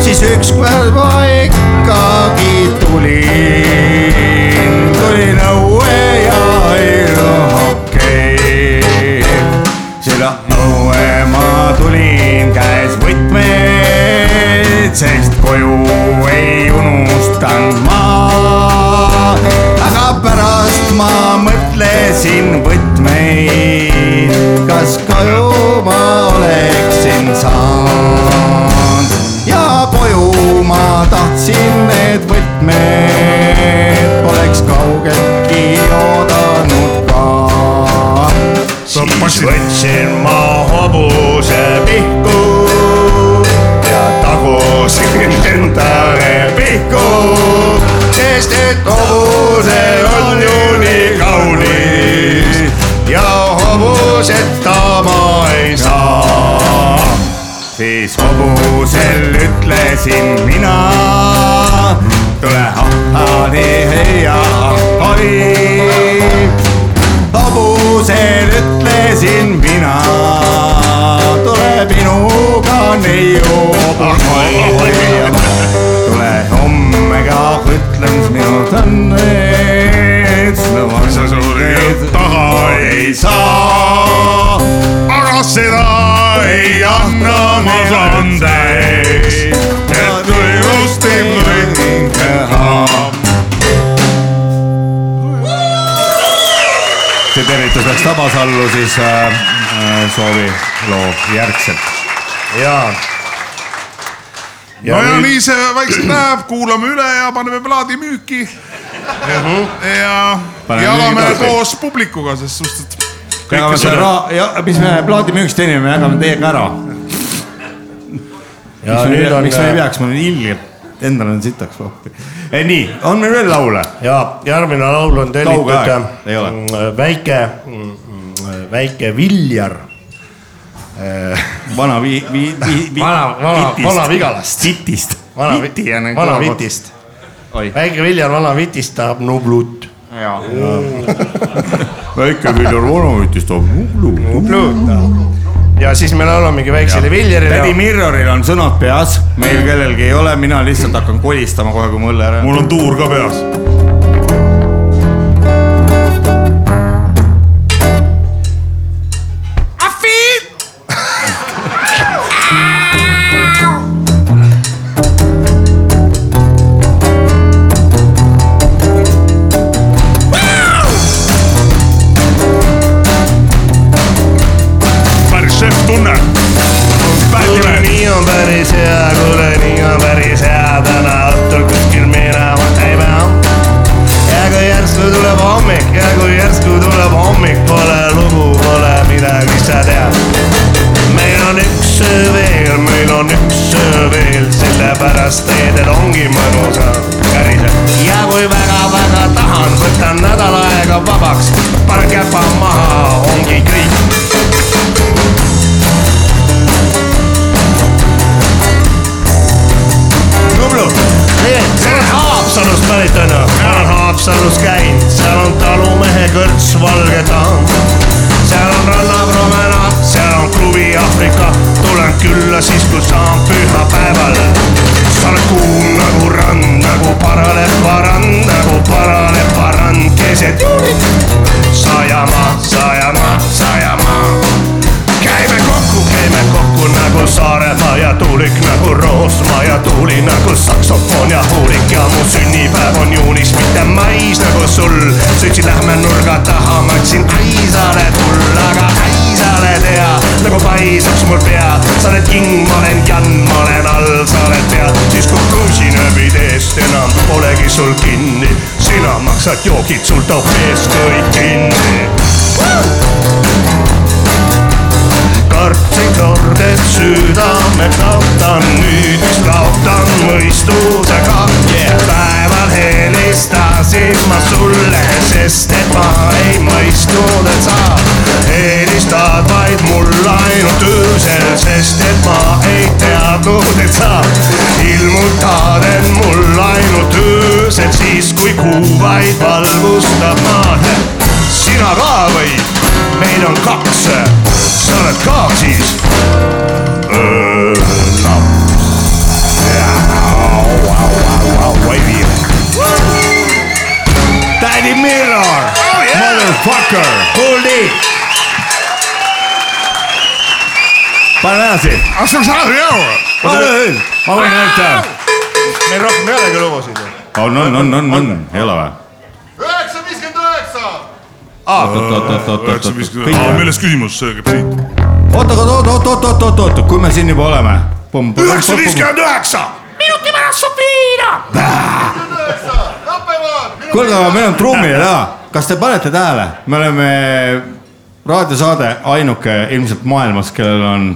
Speaker 4: siis ükskord ma ikkagi tulin , tulin õue ja ei okei seda õue ma tulin käes võtmed , sest koju ei unustanud ma . aga pärast ma mõtlesin võtmeid , kas koju ma oleksin saanud ja koju ma tahtsin need võtmed , poleks kaugeltki oodanud ka
Speaker 7: siis võtsin ma hobuse pihku ja tagusin endale pihku , sest et hobuse on ju nii kaunis ja hobuseta ma ei saa .
Speaker 4: siis hobusel ütlesin mina , tule ahhaadi heia ahhoi . hobusel ütlesin mina , tule minuga neiu ahhoi . tule homme ka ütlen , mis minult on , et sa sulle taha ei saa .
Speaker 6: aga seda ei anna ma andeks , et tuimust ei võinud teha .
Speaker 4: see tervitus läks Tabasallu siis äh, äh, soovi loo järgselt .
Speaker 14: jaa .
Speaker 6: no ja nii see vaikselt läheb , kuulame üle ja paneme plaadi müüki . ja
Speaker 4: Paneme
Speaker 6: jagame
Speaker 4: müüki tagasi.
Speaker 6: koos publikuga , sest suht , et .
Speaker 4: jagame selle raha , ja mis me plaadimüügist teenime , me jagame teiega ära .
Speaker 14: Ja nüüd on- äh,
Speaker 4: miks me ei peaks , mul on ilgelt , endal on sitaks pohvi . nii , on meil veel laule ?
Speaker 14: ja järgmine laul on
Speaker 4: Kauge
Speaker 14: tellitud
Speaker 4: aeg, ei ole.
Speaker 14: äh, väike , väike Viljar .
Speaker 4: vana vi- , vi- , vi- .
Speaker 14: vana , vana , vana Vigalast .
Speaker 4: Vitist .
Speaker 14: vana
Speaker 4: Viti
Speaker 14: Viti
Speaker 4: on nagu
Speaker 14: vana
Speaker 4: kõva koht.
Speaker 14: Vitist . väike Viljar Vana Vitist tahab Nublut . Äh,
Speaker 4: jaa . väike Viljar Vanovitist on mullu .
Speaker 14: ja siis me laulamegi väiksele Viljarile .
Speaker 4: tädi Mirroril on sõnad peas , meil kellelgi ei ole , mina lihtsalt hakkan kolistama kohe , kui ma õlle ära . mul on tuur ka peas .
Speaker 17: I feel.
Speaker 6: päris šef tunne .
Speaker 14: kuule , nii on päris hea , kuule , nii on päris hea , täna õhtul kuskil minema ei pea . ja kui järsku tuleb hommik ja kui järsku tuleb hommik , pole lugu , pole midagi , sa tead . meil on üks öö veel , meil on üks öö veel , sellepärast reedel ongi mõnus käriseb . ja kui väga-väga tahan , võtan nädal aega vabaks , panen käpa maha , ongi kõik . Tallinna , seal Haapsalus käin , seal on talumehe kõrts valge tamm . seal on rannapromenaad , seal on klubi Aafrika , tulen külla siis , kui saan pühapäeval . sa oled kuum nagu rand , nagu paraleparand , nagu paraleparand keset juulit . Sajamaa , Sajamaa , Sajamaa . käime kokku , käime kokku nagu Saaremaa ja tuulik , nagu Roosmaa ja tuuli , nagu saksofon ja huulik ja mu sünnipäev on juunis , mitte mais nagu sul . sõitsin Lähme nurga taha , ma ütlesin ai sa oled hull , aga ai sa oled hea , nagu paisuks mul pea . sa oled king , ma olen Jan , ma olen all , sa oled pea . siis kui kruusinööbid eest enam polegi sul kinni , sina maksad joogid , sul toob mees kõik kinni kartsin kord , et südame kaotan , nüüd vist kaotan mõistusega yeah. . päeval helistasin ma sulle , sest et ma ei mõistnud , et sa helistad vaid mul ainult öösel , sest et ma ei teadnud , et sa ilmutad end mul ainult öösel , siis kui kuu vaid valgustab maad . sina ka või ? meil on kaks , sa oled ka siis . Daddy Mirror oh, , yeah. motherfucker , hold it .
Speaker 4: pane edasi .
Speaker 7: aga sa saad ju aru ?
Speaker 4: ma võin , ma võin öelda .
Speaker 14: meil rohkem ei olegi lugusid ju .
Speaker 4: on , on , on , on , on , ei ole või ?
Speaker 12: üheksa viiskümmend üheksa .
Speaker 4: oot , oot , oot , oot , oot , oot , oot ,
Speaker 7: Ah, aa , milles küsimus käib siit ?
Speaker 4: oot , oot , oot , oot , oot , oot , oot , oot , kui me siin juba oleme .
Speaker 7: üheksa viiskümmend üheksa .
Speaker 11: minuti pärast saab viina .
Speaker 4: kuulge , aga meil on trummid ära , kas te panete tähele , me oleme raadiosaade ainuke ilmselt maailmas , kellel on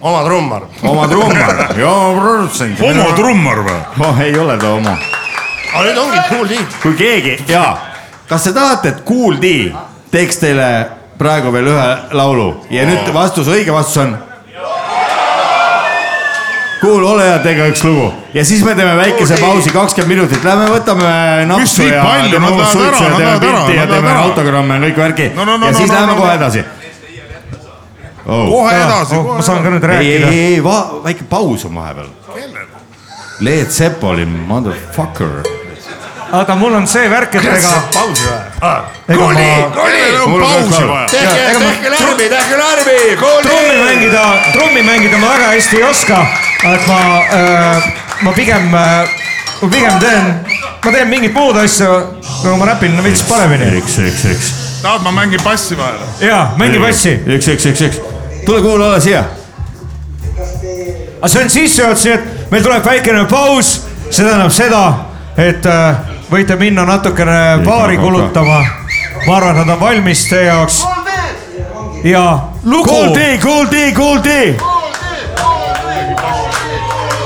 Speaker 14: oma trummar .
Speaker 4: oma trummar ,
Speaker 7: homo trummar või ? Ah,
Speaker 4: oh, . ei ole ta homo ,
Speaker 14: aga nüüd ongi Kool D .
Speaker 4: kui keegi ja , kas te tahate , et Kool D teeks teile praegu veel ühe laulu ja nüüd vastus , õige vastus on . Kuul , ole hea , tee ka üks lugu ja siis me teeme väikese pausi , kakskümmend minutit , lähme võtame napsu
Speaker 7: nii
Speaker 4: ja
Speaker 7: palju?
Speaker 4: teeme
Speaker 7: Nad
Speaker 4: uus
Speaker 7: lähevad ära,
Speaker 4: suitsu ja
Speaker 7: nad
Speaker 4: teeme
Speaker 7: lähevad ära,
Speaker 4: pilti ja
Speaker 7: nad
Speaker 4: teeme
Speaker 7: lähevad ära.
Speaker 4: autogramme ja kõik värki
Speaker 7: No, no, no,
Speaker 4: ja siis
Speaker 7: no,
Speaker 4: läheme
Speaker 7: no,
Speaker 4: kohe
Speaker 7: no.
Speaker 4: edasi .
Speaker 7: Kohe edasi, kohe
Speaker 4: Oh. Ah, ma saan ka nüüd
Speaker 7: rääkida.
Speaker 4: ei , ei , ei , va- , väike paus on vahepeal . Leed Sepolin , motherfucker .
Speaker 2: aga mul on see värk , et ega .
Speaker 14: pausi vaja .
Speaker 2: Kuli ,
Speaker 7: Mul on pausi vaja.
Speaker 5: tehke , tehke lärmi , tehke lärmi ,
Speaker 2: trummi
Speaker 5: kooli .
Speaker 2: mängida , trummi mängida ma väga hästi ei oska , et ma , ma pigem , ma pigem teen , ma teen mingeid muud asju , aga ma räpin veits paremini .
Speaker 4: üks , üks , üks .
Speaker 7: tahad , ma mängin bassi vahele ?
Speaker 2: jaa , mängi bassi .
Speaker 4: üks , üks , üks , üks . tule kuule , ole siia .
Speaker 2: aga see on sissejuhatus , nii et meil tuleb väikene paus , see tähendab seda , et äh, võite minna natukene baari kulutama . ma arvan , et nad on valmis teie jaoks . ja lugu .
Speaker 4: Kool D , Kool D , Kool D .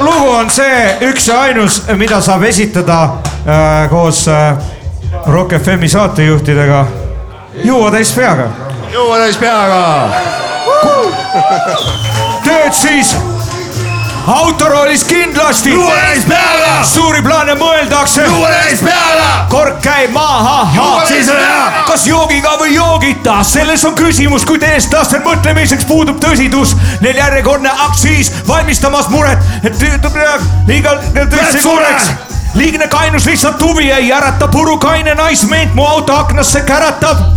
Speaker 2: lugu on see üks ja ainus , mida saab esitada äh, koos äh, Rock FM-i saatejuhtidega . juua täis peaga .
Speaker 14: jõua täis peaga .
Speaker 2: tööd siis autoroolis kindlasti .
Speaker 12: Juua täis peaga!
Speaker 2: suuri plaane mõeldakse .
Speaker 12: Juua täis peaga!
Speaker 2: kork käib maha
Speaker 12: Juua . täis peaga!
Speaker 2: kas joogiga või joogita , selles on küsimus , kuid eestlastel mõtlemiseks puudub tõsidus . Neil järjekordne aktsiis valmistamas muret , et tüütab igal tõesti suureks liigne kainus lihtsalt huvi ei ärata , purukaine naismeent mu auto aknasse käratab .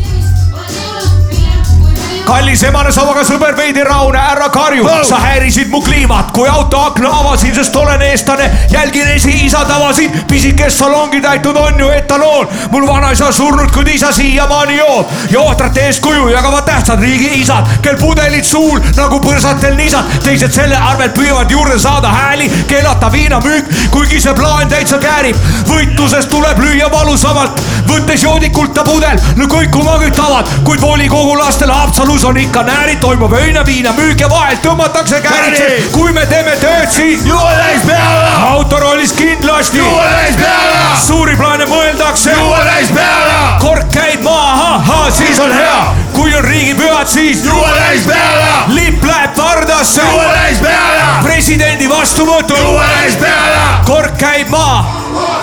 Speaker 2: kallis emane sauaga sõber veidi raune , ära karju
Speaker 12: Wow!
Speaker 2: wow. , sa häirisid mu kliimat , kui auto akna avasin , sest olen eestlane , jälgin esiisa tavasid , pisikest salongi täitnud on ju etaloon . mul vanaisa surnud , kuid isa siiamaani joob ja ohtrate eeskuju jagavad tähtsad riigiisad , kel pudelid suul nagu põrsatel nisad , teised selle arvelt püüavad juurde saada hääli , keelata viinamüük , kuigi see plaan täitsa käärib . võitluses tuleb lüüa valusamalt , võttes joodikult ta pudel , no kõik kumagi tavad , kuid volikogulastel Haapsalus on ikka näärid , toimub öine viinamüük ja vahel tõmmatakse käärid , kui me teeme tööd siin .
Speaker 12: Juua täis peaga!
Speaker 2: autoroolis kindlasti .
Speaker 12: Juua täis peaga!
Speaker 2: suuri plaane mõeldakse .
Speaker 12: Juua täis peaga!
Speaker 2: kord käid maha , ahhaa , siis on hea , kui on riigipühad , siis .
Speaker 12: Juua täis peaga!
Speaker 2: lipp läheb vardasse .
Speaker 12: Juua täis peaga!
Speaker 2: presidendi vastuvõtul .
Speaker 12: Juua täis peaga!
Speaker 2: kord käib maha ,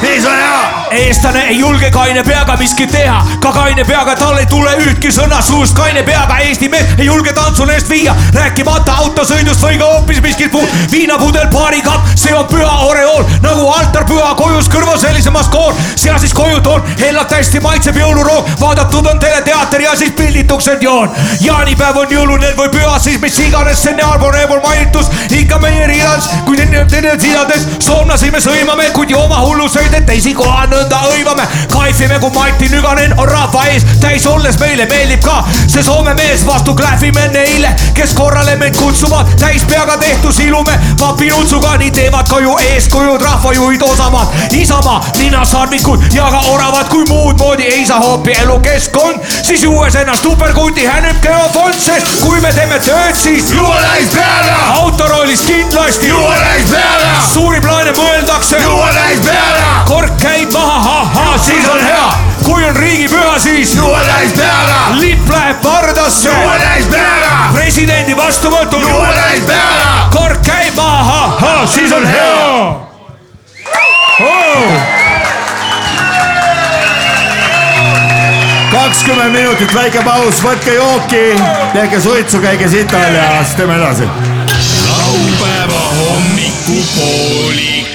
Speaker 2: nii sa hea . eestlane ei julge kaine peaga miskit teha , ka kaine peaga tal ei tule ühtki sõna suust , kaine peaga Eesti mees ei julge tantsule eest viia , rääkimata autosõidust või ka hoopis miskit muud . viinapudel , baarikapp , see on püha oreool nagu altar püha kojus kõrval sellisemas koor , seal siis koju toon , hellab täiesti maitseb jõuluroog , vaadatud on teleteater ja siis pildituks end joon . jaanipäev on jõuluneel või püha , siis mis iganes , see on Jaanpool eemal mainitus , ikka meie riias , kui nende teadades soomlasi me sõimame , kuid jooma hulluseid , et teisi koha nõnda hõivame . kaifime , kui Mati Nüganen on rahva ees , täis olles meile meeldib ka see Soome mees , vastu klähvime neile , kes korrale meid kutsuvad , täis peaga tehtu silume , papirutsuga , nii teevad ka ju eeskujud , rahvajuhid , osamad , Isamaa , linnasaadnikud ja ka oravad , kui muud moodi ei saa hoopi elukeskkond , siis juues ennast superkundi häneb geofond , sest kui me teeme tööd , siis
Speaker 11: Juua täis peale!
Speaker 2: autoroolis kindlasti
Speaker 11: Juua täis peale!
Speaker 2: suuri plaane mõeldakse
Speaker 11: Juua täis peale!
Speaker 2: kork käib maha , ahhaa , siis on hea , kui on riigipüha , siis
Speaker 11: Juua täis peale!
Speaker 2: lipp läheb vardasse .
Speaker 11: Juua täis peale!
Speaker 2: presidendi vastuvõtul .
Speaker 11: Juua täis peale!
Speaker 2: kork käib maha , ahhaa , siis on hea oh! .
Speaker 4: kakskümmend minutit väike paus , võtke jooki , tehke suitsu , käige sital ja siis teeme edasi .
Speaker 7: laupäeva hommikupoolik .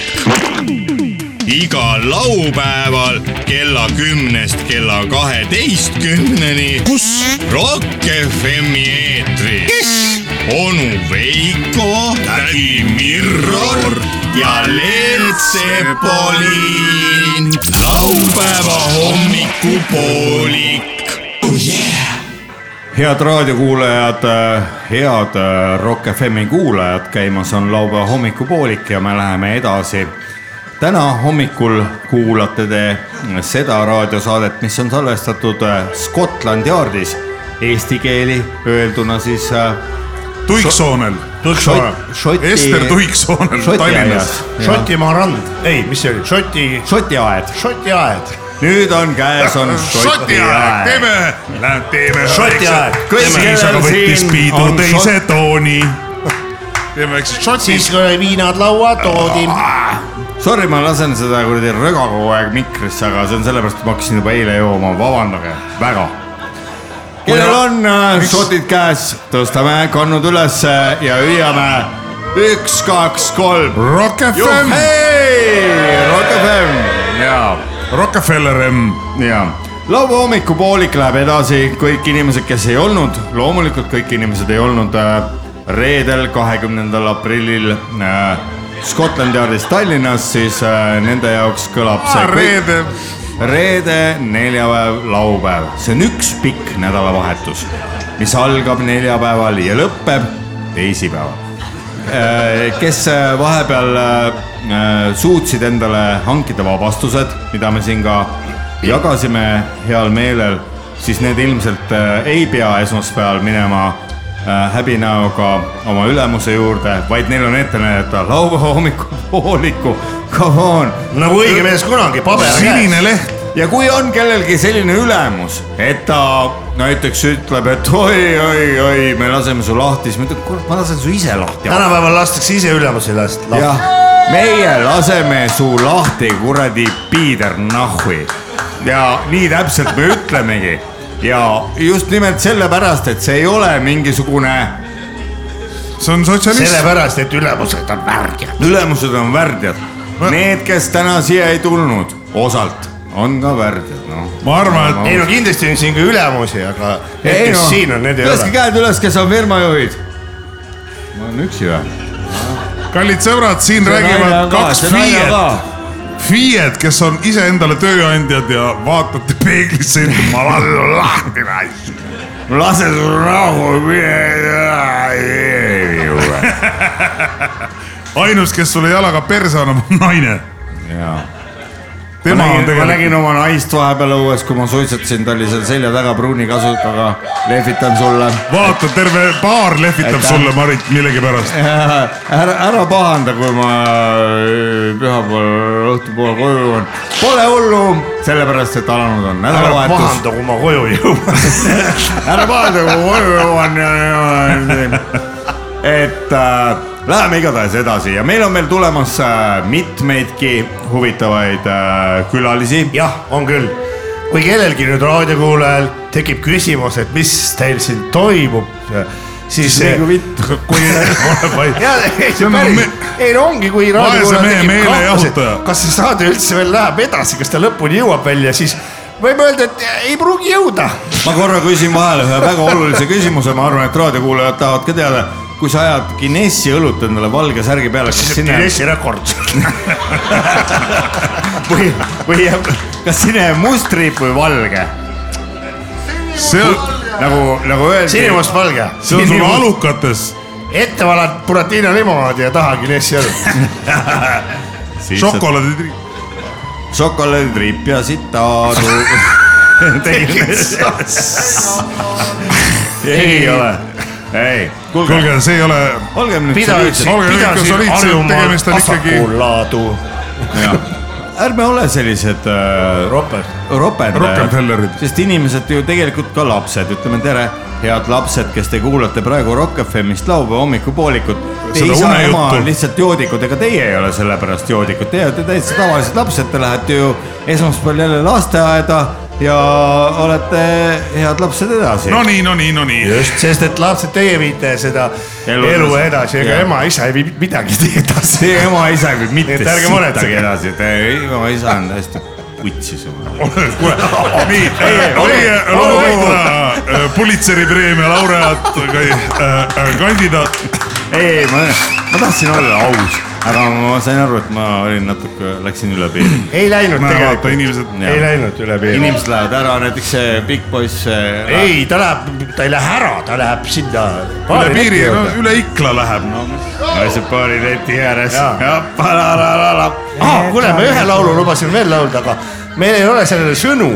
Speaker 7: igal laupäeval kella kümnest kella kaheteistkümneni . kus ? Rock FM-i eetris . onu Veiko , tädi Mirror ja Leelt Sepolin . laupäeva hommikupoolik .
Speaker 4: head raadiokuulajad , head äh, Rock FM-i kuulajad , käimas on laupäeva hommikupoolik ja me läheme edasi . täna hommikul kuulate te seda raadiosaadet , mis on salvestatud äh, Scotland Yardis , eesti keeli öelduna siis . äh,
Speaker 6: Tuiksoonel.
Speaker 5: Tuiksoonel.
Speaker 6: Ester Tuiksoonel Tallinnas.
Speaker 5: Šotimaa rand , ei , mis see oli , Šoti .
Speaker 4: Šotiaed .
Speaker 5: Šotiaed .
Speaker 4: nüüd on käes
Speaker 14: Äh,
Speaker 4: on
Speaker 6: šotiaeg ,
Speaker 4: šotiaeg .
Speaker 6: Äh, teeme , teeme .
Speaker 5: Šotiaeg.
Speaker 6: kõik ,
Speaker 5: Teeme
Speaker 6: kellel
Speaker 5: isa võttis
Speaker 6: siin
Speaker 5: piidu
Speaker 6: on
Speaker 5: teise
Speaker 6: teise tooni . teeme väikse šoti .
Speaker 5: siis kui viinad laua toodi .
Speaker 4: Sorry , ma lasen seda kuradi röga kogu aeg mikrisse , aga see on sellepärast , et ma hakkasin juba eile jooma , vabandage väga . kellel on äh, šotid käes , tõstame kannud ülesse ja hüüame üks , kaks , kolm .
Speaker 6: Rock FM .
Speaker 4: Rock FM , jaa .
Speaker 6: Rockefeller M .
Speaker 4: jaa , laupäeva hommikupoolik läheb edasi , kõik inimesed , kes ei olnud , loomulikult kõik inimesed ei olnud äh, reedel , kahekümnendal aprillil äh, Scotland Yardis Tallinnas , siis äh, nende jaoks kõlab see
Speaker 6: Aa, reede. .
Speaker 4: reede , neljapäev , laupäev , see on üks pikk nädalavahetus , mis algab neljapäeval ja lõpeb teisipäeval Äh, kes vahepeal äh, suutsid endale hankida vabastused , mida me siin ka jagasime heal meelel , siis need ilmselt äh, ei pea esmaspäeval minema äh, häbinäoga oma ülemuse juurde , vaid neil on ette näidata laupäeva hommikupooliku , come on .
Speaker 5: nagu õige mees kunagi , paber käes .
Speaker 4: Sinine leht . ja kui on kellelgi selline ülemus , et ta näiteks ütleb , et oi-oi-oi , me laseme su lahti , siis ma ütlen , kurat , ma lasen su ise lahti .
Speaker 5: tänapäeval lastakse ise ülemusi last .
Speaker 4: jah , meie laseme su lahti , kuradi piider nahui . ja nii täpselt me ütlemegi ja just nimelt sellepärast , et see ei ole mingisugune .
Speaker 6: see on sotsialism .
Speaker 5: sellepärast , et ülemused on värdjad .
Speaker 4: ülemused on värdjad . Need , kes täna siia ei tulnud , osalt on ka värdjad , noh .
Speaker 6: ma
Speaker 5: arvan , et . ei no kindlasti on siin ka ülemusi , aga need , kes no. siin on , need ei
Speaker 4: laske
Speaker 5: ole .
Speaker 4: käed üles , kes on firmajuhid . ma olen üksi või ?
Speaker 6: kallid sõbrad , siin
Speaker 4: See naine
Speaker 6: räägivad
Speaker 4: on ka,
Speaker 6: kaks
Speaker 4: see naine on
Speaker 6: FIE-d . FIE-d , kes on iseendale tööandjad ja vaatate peeglisse ja ütlete , ma lasen sulle lahti raisk .
Speaker 4: lase sulle rahu ,
Speaker 6: ainus , kes sulle jalaga perse annab , on naine .
Speaker 4: jaa . ma
Speaker 6: Tema on
Speaker 4: nägin , ma
Speaker 6: tegelikult-
Speaker 4: nägin oma naist vahepeal õues , kui ma suitsetasin , ta oli seal selja taga pruuni kasukaga , lehvitan sulle .
Speaker 6: vaata , terve paar lehvitab
Speaker 4: Aitäh.
Speaker 6: sulle , Marit , millegipärast .
Speaker 4: ära , ära pahanda , kui ma pühapäeval õhtupoole koju jõuan . Pole hullu , sellepärast et alanud on
Speaker 5: ära
Speaker 4: nädalavahetus .
Speaker 5: pahanda , kui ma koju jõuan .
Speaker 4: ära pahanda , kui ma koju jõuan ja , ja , ja , et äh, Läheme igatahes edasi ja meil on veel tulemas äh, mitmeidki huvitavaid äh, külalisi .
Speaker 5: jah , on küll . kui kellelgi nüüd raadiokuulajal tekib küsimus , et mis teil siin toimub , siis .
Speaker 12: Nagu
Speaker 5: vittu . kui . ei no ongi , kui
Speaker 12: Vaese
Speaker 5: raadiokuulajal
Speaker 12: mehe
Speaker 5: tekib kahtlus , et
Speaker 12: meelejahutaja.
Speaker 5: kas see saade üldse veel läheb edasi , kas ta lõpuni jõuab välja , siis võib öelda , et ei pruugi jõuda .
Speaker 4: ma korra küsin vahele ühe väga olulise küsimuse , ma arvan , et raadiokuulajad tahavad ka teada , kui sa ajad Guinessi õlut endale valge särgi peale , kas sinna
Speaker 5: Guinessi rekord
Speaker 4: või , või jääb , kas sinna jääb must triip või valge ? see on nagu , nagu öeldi .
Speaker 5: sinimustvalge .
Speaker 4: See on sul
Speaker 5: alukates . ette valad Buratino limonaadi ja taha Guinessi õlut .
Speaker 4: šokolaaditriip . šokolaaditriip ja sitaadu ei ole , ei .
Speaker 6: kuulge , see ei ole .
Speaker 4: olgem nüüd
Speaker 6: soliidsed . olgem nüüd soliidsed , tegemist on ikkagi .
Speaker 5: vasakulaadu .
Speaker 4: ärme ole sellised äh, roped , ropendajad , sest inimesed ju tegelikult ka lapsed , ütleme tere , head lapsed , kes te kuulate praegu Rock FM-ist laupäeva hommikupoolikut . Teie
Speaker 12: Seda
Speaker 4: isa ja ema
Speaker 12: unejuttu.
Speaker 4: on lihtsalt joodikud , ega teie ei ole sellepärast joodikud , te olete täitsa tavalised lapsed , te lähete ju esmaspäeval jälle lasteaeda ja olete head lapsed edasi .
Speaker 6: no nii , no nii , no nii .
Speaker 5: just , sest et lapsed , teie viite seda elu,
Speaker 4: Elu
Speaker 5: elu
Speaker 4: edasi.
Speaker 5: edasi , ega
Speaker 4: Jah.
Speaker 5: ema-isa ei vii midagi edasi .
Speaker 4: Teie ema-isa ei vii mitte
Speaker 5: et ärge
Speaker 4: sittagi
Speaker 5: muretsege .
Speaker 4: edasi , teie ema-isa on täiesti kutsis .
Speaker 6: kuule , nii , meie laupäeva Pulitzeri preemia laureaat , kandidaat .
Speaker 4: ei , ma , ma tahtsin olla aus , aga ma sain aru , et ma olin natuke , läksin üle piiri .
Speaker 5: ei läinud tegelikult ,
Speaker 4: inimesed
Speaker 5: ei läinud üle piiri .
Speaker 4: inimesed lähevad ära , näiteks see pikk poiss .
Speaker 5: ei , ta läheb , ta ei lähe ära , ta läheb sinna .
Speaker 4: Üle piiri, no üle
Speaker 5: ikla läheb , no .
Speaker 4: naised paari leti ääres .
Speaker 5: ah , kuule , ma ühe laulu lubasin veel laulda , aga meil ei ole sellele sõnu ,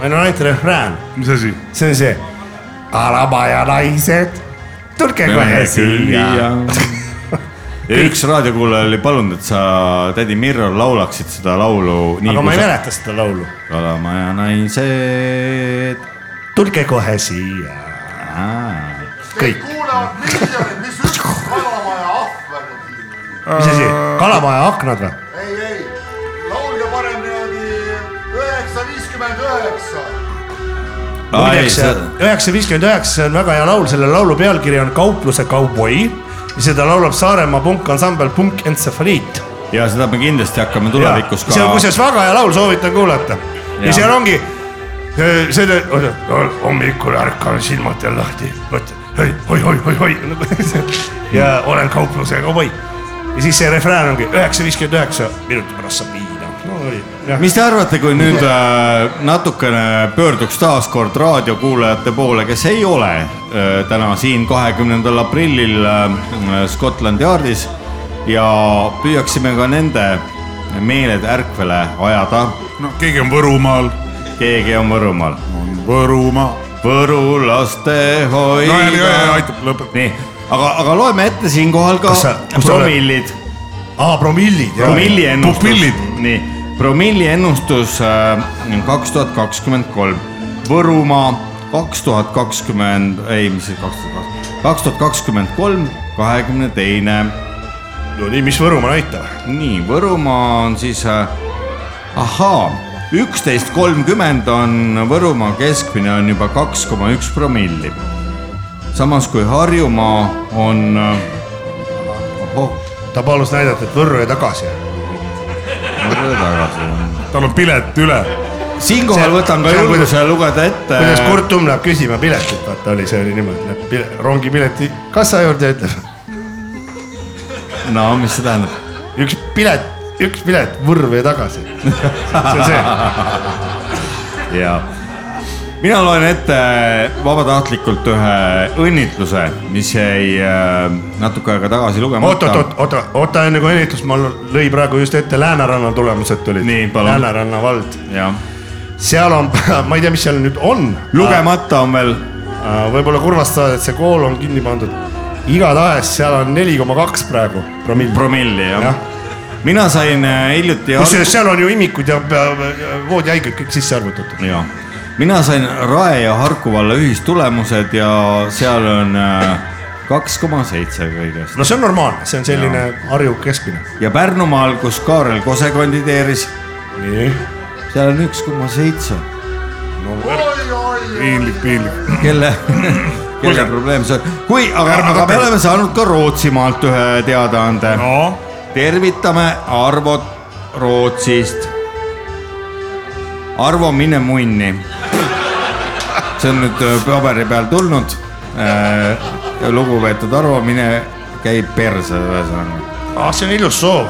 Speaker 5: meil on ainult refrään .
Speaker 6: mis asi ?
Speaker 5: see on see . alamaja naised , tulge kohe siia .
Speaker 4: üks raadiokuulaja oli palunud , et sa , tädi Mirro , laulaksid seda laulu .
Speaker 5: aga ma ei mäleta seda laulu .
Speaker 4: kalamaja naised .
Speaker 5: tulge kohe siia . kõik . mis asi , kalamaja aknad või ?
Speaker 18: ei , ei , laulge parem niimoodi üheksa viiskümmend üheksa .
Speaker 5: üheksa , üheksa viiskümmend üheksa on väga hea laul , selle laulu pealkiri on Kaupluse kauboi ja seda laulab Saaremaa punkansambel Punk Entsefaliit .
Speaker 4: ja seda me kindlasti hakkame tulevikus ka .
Speaker 5: see on kusjuures väga hea laul , soovitan kuulata . ja
Speaker 4: Jaa.
Speaker 5: seal ongi öö, selle , hommikul ärkan silmad jälle lahti , mõtlen oi , oi , oi , oi , oi ja olen kaupluse kauboi . ja siis see refrään ongi üheksa viiskümmend üheksa , minuti pärast saab viina . no oli .
Speaker 4: mis te arvate , kui nüüd äh, natukene pöörduks taas kord raadiokuulajate poole , kes ei ole äh, täna siin kahekümnendal aprillil äh, Scotland Yardis ja püüaksime ka nende meeled ärkvele ajada .
Speaker 6: no keegi on Võrumaal .
Speaker 4: keegi on Võrumaal . on
Speaker 6: Võrumaa .
Speaker 4: Võru lastehoid .
Speaker 6: No ärge- aitab, lõpeta.
Speaker 4: nii , aga , aga loeme ette siinkohal ka
Speaker 5: Kas sa- kas sa oled-
Speaker 4: promillid .
Speaker 5: aa , promillid .
Speaker 4: promilli ennustus , nii , promilli ennustus kaks tuhat kakskümmend kolm , Võrumaa kaks tuhat kakskümmend , ei , mis see kaks tuhat kakskümmend , kaks tuhat kakskümmend kolm , kahekümne teine .
Speaker 5: no nii , mis Võrumaa näitab ?
Speaker 4: nii , Võrumaa on siis , ahaa , üksteist kolmkümmend on Võrumaa keskmine on juba kaks koma üks promilli . samas kui Harjumaa on , äh, ohoh ,
Speaker 5: ta palus näidata , et Võrru ja tagasi .
Speaker 4: ma tulen tagasi .
Speaker 6: tal on pilet üle .
Speaker 4: Siinkohal võtan ka julguse lugeda ette .
Speaker 5: kuidas Kurt Tumm läheb küsima piletit , vaata oli , see oli niimoodi , läheb pile- rongipileti kassa juurde ja ütleb .
Speaker 4: no mis see tähendab ?
Speaker 5: üks pilet , üks pilet Võrru ja tagasi . see on see .
Speaker 4: ja mina loen ette vabatahtlikult ühe õnnitluse , mis jäi äh, natuke aega tagasi
Speaker 5: oot ,
Speaker 4: lugemata .
Speaker 5: oot , oot , oota , oota enne kui õnnitlus , ma lõi praegu just ette Lääneranna tulemused tulid . Lääneranna vald . seal on , ma ei tea , mis seal nüüd on .
Speaker 4: lugemata on veel .
Speaker 5: võib-olla kurvast saad , et see kool on kinni pandud . igatahes seal on neli koma kaks praegu promilli .
Speaker 4: promilli jah
Speaker 5: ja. .
Speaker 4: mina sain äh, hiljuti .
Speaker 5: kusjuures seal on ju imikud ja ja- ja voodihaiged kõik sisse arvutatud .
Speaker 4: ja , mina sain Rae ja Harku valla ühistulemused ja seal on äh, kaks koma seitse kõigest .
Speaker 5: no see on normaalne , see on selline Harju keskmine .
Speaker 4: ja Pärnumaal , kus Kaarel Kose kandideeris . nii . seal on üks koma seitse .
Speaker 6: piinlik , piinlik .
Speaker 4: kelle , kelle probleem see on , kui , aga , aga me oleme saanud ka Rootsimaalt ühe teadaande no. . tervitame Arvot Rootsist . Arvo , mine munni . see on nüüd äh, paberi peal tulnud . lugupeetud Arvo , mine käi perse , ühesõnaga .
Speaker 5: ah , see on ilus soov .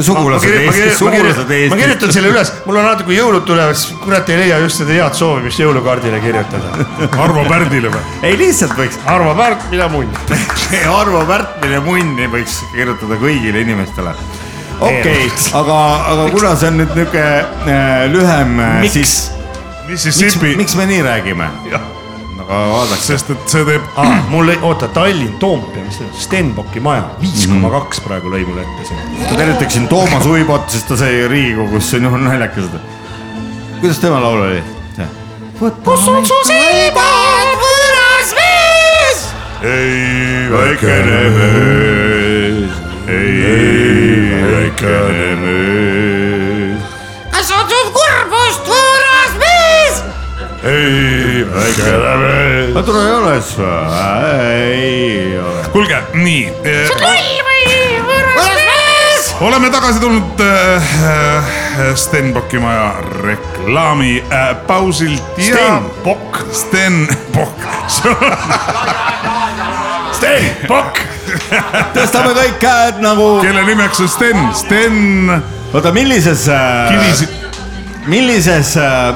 Speaker 4: sugulased Eestis , sugulased Eestis .
Speaker 5: ma kirjutan selle üles , mul on natuke jõulud tulevad , siis kurat ei leia just seda head soovi , mis jõulukaardile kirjutada .
Speaker 6: Arvo Pärdile või ?
Speaker 4: ei , lihtsalt võiks .
Speaker 5: Arvo Pärt , mina munn .
Speaker 4: Arvo Pärtmine munni võiks kirjutada kõigile inimestele . okei okay, , aga , aga kuna see on nüüd niuke äh, lühem ,
Speaker 6: Miks?
Speaker 4: siis .
Speaker 6: Mississippi.
Speaker 4: miks me nii räägime ? aga vaadake .
Speaker 6: sest et see teeb
Speaker 5: ah, . mul ei , oota , Tallinn , Toompea , mis see on , Stenbocki maja , viis koma kaks praegu lõi mulle ette siin .
Speaker 4: ma tervitaksin Toomas Uibot , sest ta sai Riigikogusse , noh naljakas . kuidas tema laul oli ?
Speaker 11: kus on su silmad , võõras mees ?
Speaker 4: ei Mhm. väikene mees , ei väikene mees ,
Speaker 11: kas on sul kurbust , võõras mees ?
Speaker 4: ei väikene mees . aga tore ei ole siis või ? ei ole .
Speaker 6: kuulge , nii .
Speaker 11: see on loll või , võõras mees ?
Speaker 6: oleme tagasi tulnud äh, äh, Stenbocki maja reklaami äh, pausilt ja . Stenbock . Stenbock . Stenbock .
Speaker 4: tõstame kõik käed nagu .
Speaker 6: kelle nimeks on Sten , Sten .
Speaker 4: oota , millises äh, ?
Speaker 6: Kivis- .
Speaker 4: millises äh,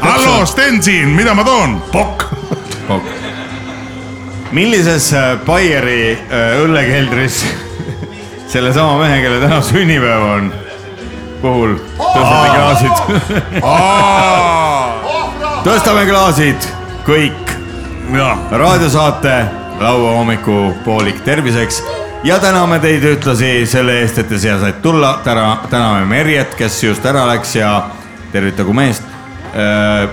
Speaker 4: äh,
Speaker 6: hallo , Sten siin , mida ma toon ? Bock .
Speaker 4: Pok. millises äh, Baieri äh, õllekeldris sellesama mehe , kelle täna sünnipäev on , puhul tõstame klaasid . tõstame klaasid , kõik . raadiosaate laupäeva hommikupoolik terviseks ja täname teid ühtlasi selle eest , et te siia said tulla . täna , täname Merjet , kes just ära läks ja tervitagu meest .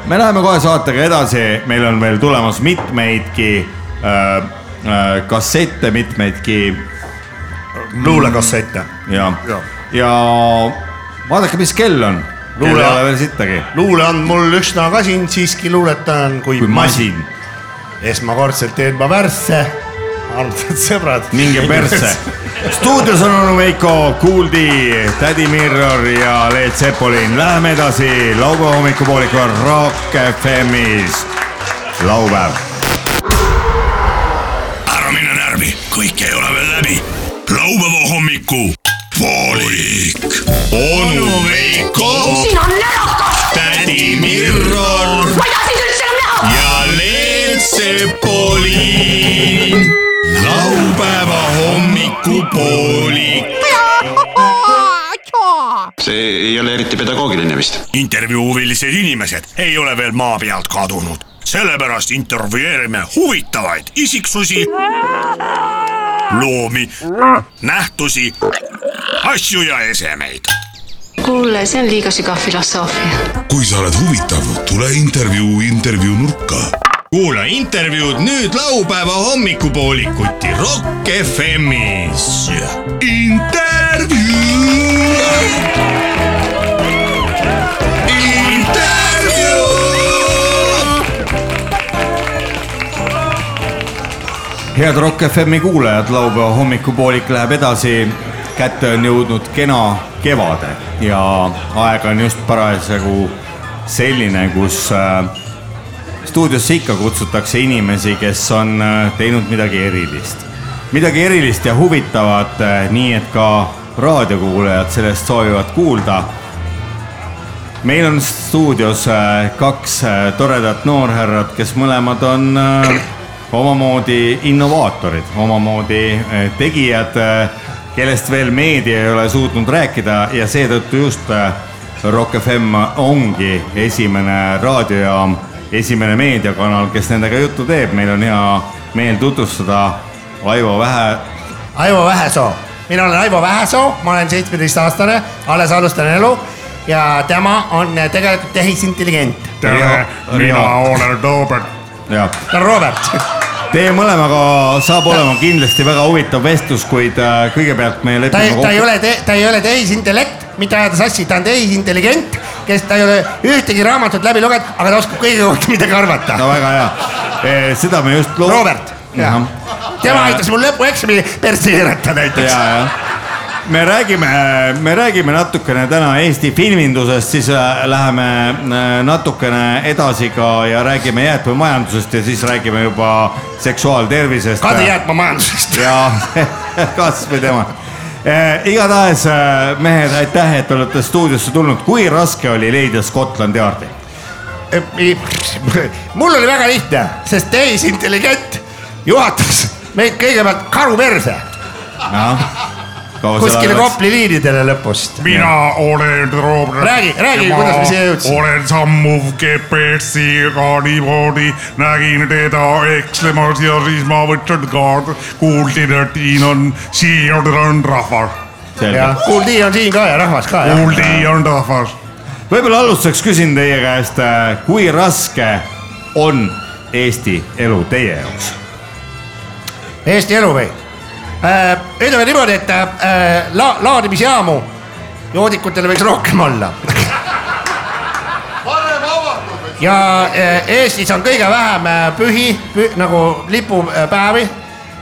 Speaker 4: me läheme kohe saatega edasi , meil on veel tulemas mitmeidki äh, äh, kassette , mitmeidki .
Speaker 5: luulekassette .
Speaker 4: ja ,
Speaker 5: Jah.
Speaker 4: ja vaadake , mis kell on . kell ei
Speaker 5: Luule-
Speaker 4: ole veel sittagi .
Speaker 5: luule on mul üsna kasin , siiski luuletan kui,
Speaker 4: Kui masin. .
Speaker 5: esmakordselt teen ma värsse , armsad sõbrad .
Speaker 4: minge perse . stuudios on onu Veiko , Kuuldi , tädi Mirror ja Leet Sepolin . Läheme edasi laupäeva hommikupoolikul Rock FM-is . laupäev .
Speaker 14: ära mine närvi , kõik ei ole veel läbi . laupäeva hommiku poolik . onu Veiko .
Speaker 11: siin on närakas ,
Speaker 14: tädi Mirror
Speaker 11: ma ei taha sind üldse enam näha .
Speaker 14: ja Leet Sepolin . laupäeva hommikupoolik .
Speaker 3: see ei ole eriti pedagoogiline vist .
Speaker 14: intervjuu huvilised inimesed ei ole veel maa pealt kadunud , sellepärast intervjueerime huvitavaid isiksusi , loomi , nähtusi , asju ja esemeid .
Speaker 19: kuule , see on liiga sügav filosoofia .
Speaker 15: kui sa oled huvitav , tule intervjuu intervjuu nurka .
Speaker 7: kuula intervjuud nüüd laupäeva hommikupoolikuti Rock FM-is .
Speaker 14: intervjuu .
Speaker 4: head Rock FM-i kuulajad , laupäeva hommikupoolik läheb edasi . kätte on jõudnud kena kevade ja aeg on just parasjagu selline , kus äh, stuudiosse ikka kutsutakse inimesi , kes on äh, teinud midagi erilist . midagi erilist ja huvitavat , nii et ka raadiokuulajad sellest soovivad kuulda meil on stuudios äh, kaks äh, toredat noorhärrat , kes mõlemad on äh, omamoodi innovaatorid , omamoodi äh, tegijad , kellest veel meedia ei ole suutnud rääkida ja seetõttu just äh, Rock FM ongi esimene raadiojaam , esimene meediakanal , kes nendega juttu teeb , meil on hea meel tutvustada Aivo Vähe
Speaker 5: Aivo Vähesoo , mina olen Aivo Vähesoo , ma olen seitsmeteistaastane , alles alustan elu ja tema on tegelikult tehisintelligent .
Speaker 6: tere , mina olen Robert .
Speaker 4: ja
Speaker 5: Robert .
Speaker 4: Teie mõlemaga saab olema kindlasti väga huvitav vestlus , kuid äh, kõigepealt me
Speaker 10: ta
Speaker 4: lepime ,
Speaker 10: ta ei ole , ta ei ole tehisintellekt , mitte ajada sassi , ta on tehisintelligent , kes ta ei ole ühtegi raamatut läbi lugenud , aga ta oskab kõige kohta midagi arvata .
Speaker 4: no väga hea , seda me just loo- .
Speaker 10: Robert , tema aitas mul lõpueksami persse keerata näiteks .
Speaker 4: me räägime , me räägime natukene täna Eesti filmindusest , siis äh, läheme äh, natukene edasi ka ja räägime jäätmemajandusest ja siis räägime juba seksuaaltervisest .
Speaker 10: kadujäätmemajandusest .
Speaker 4: ja kas või tema . igatahes äh, mehed , aitäh , et olete stuudiosse tulnud , kui raske oli leida Scotland Yardi ?
Speaker 10: eh, mul oli väga lihtne , sest tehisintelligent juhatas meid kõigepealt karu perse kuskile Kopli liinidele lõpust .
Speaker 6: mina olen Robert .
Speaker 10: Räägi- räägi,
Speaker 6: ja
Speaker 10: kuidas me
Speaker 6: ma
Speaker 10: siia jõudsime.
Speaker 6: olen sammuv GPS-iga niimoodi , nägin teda ekslemas ja siis ma võtsin kaardi , kuulsin , et siin on , siin on rahvas .
Speaker 4: Selge.
Speaker 10: kuuldi on siin ka ja rahvas ka .
Speaker 6: kuuldi on rahvas .
Speaker 4: võib-olla alustuseks küsin teie käest , kui raske on Eesti elu teie jaoks ?
Speaker 10: Eesti elu või ? Äh, ütleme niimoodi , et äh, la- , laadimisjaamu joodikutel võiks rohkem olla . ja äh, Eestis on kõige vähem äh, pühi pü, , nagu lipupäevi .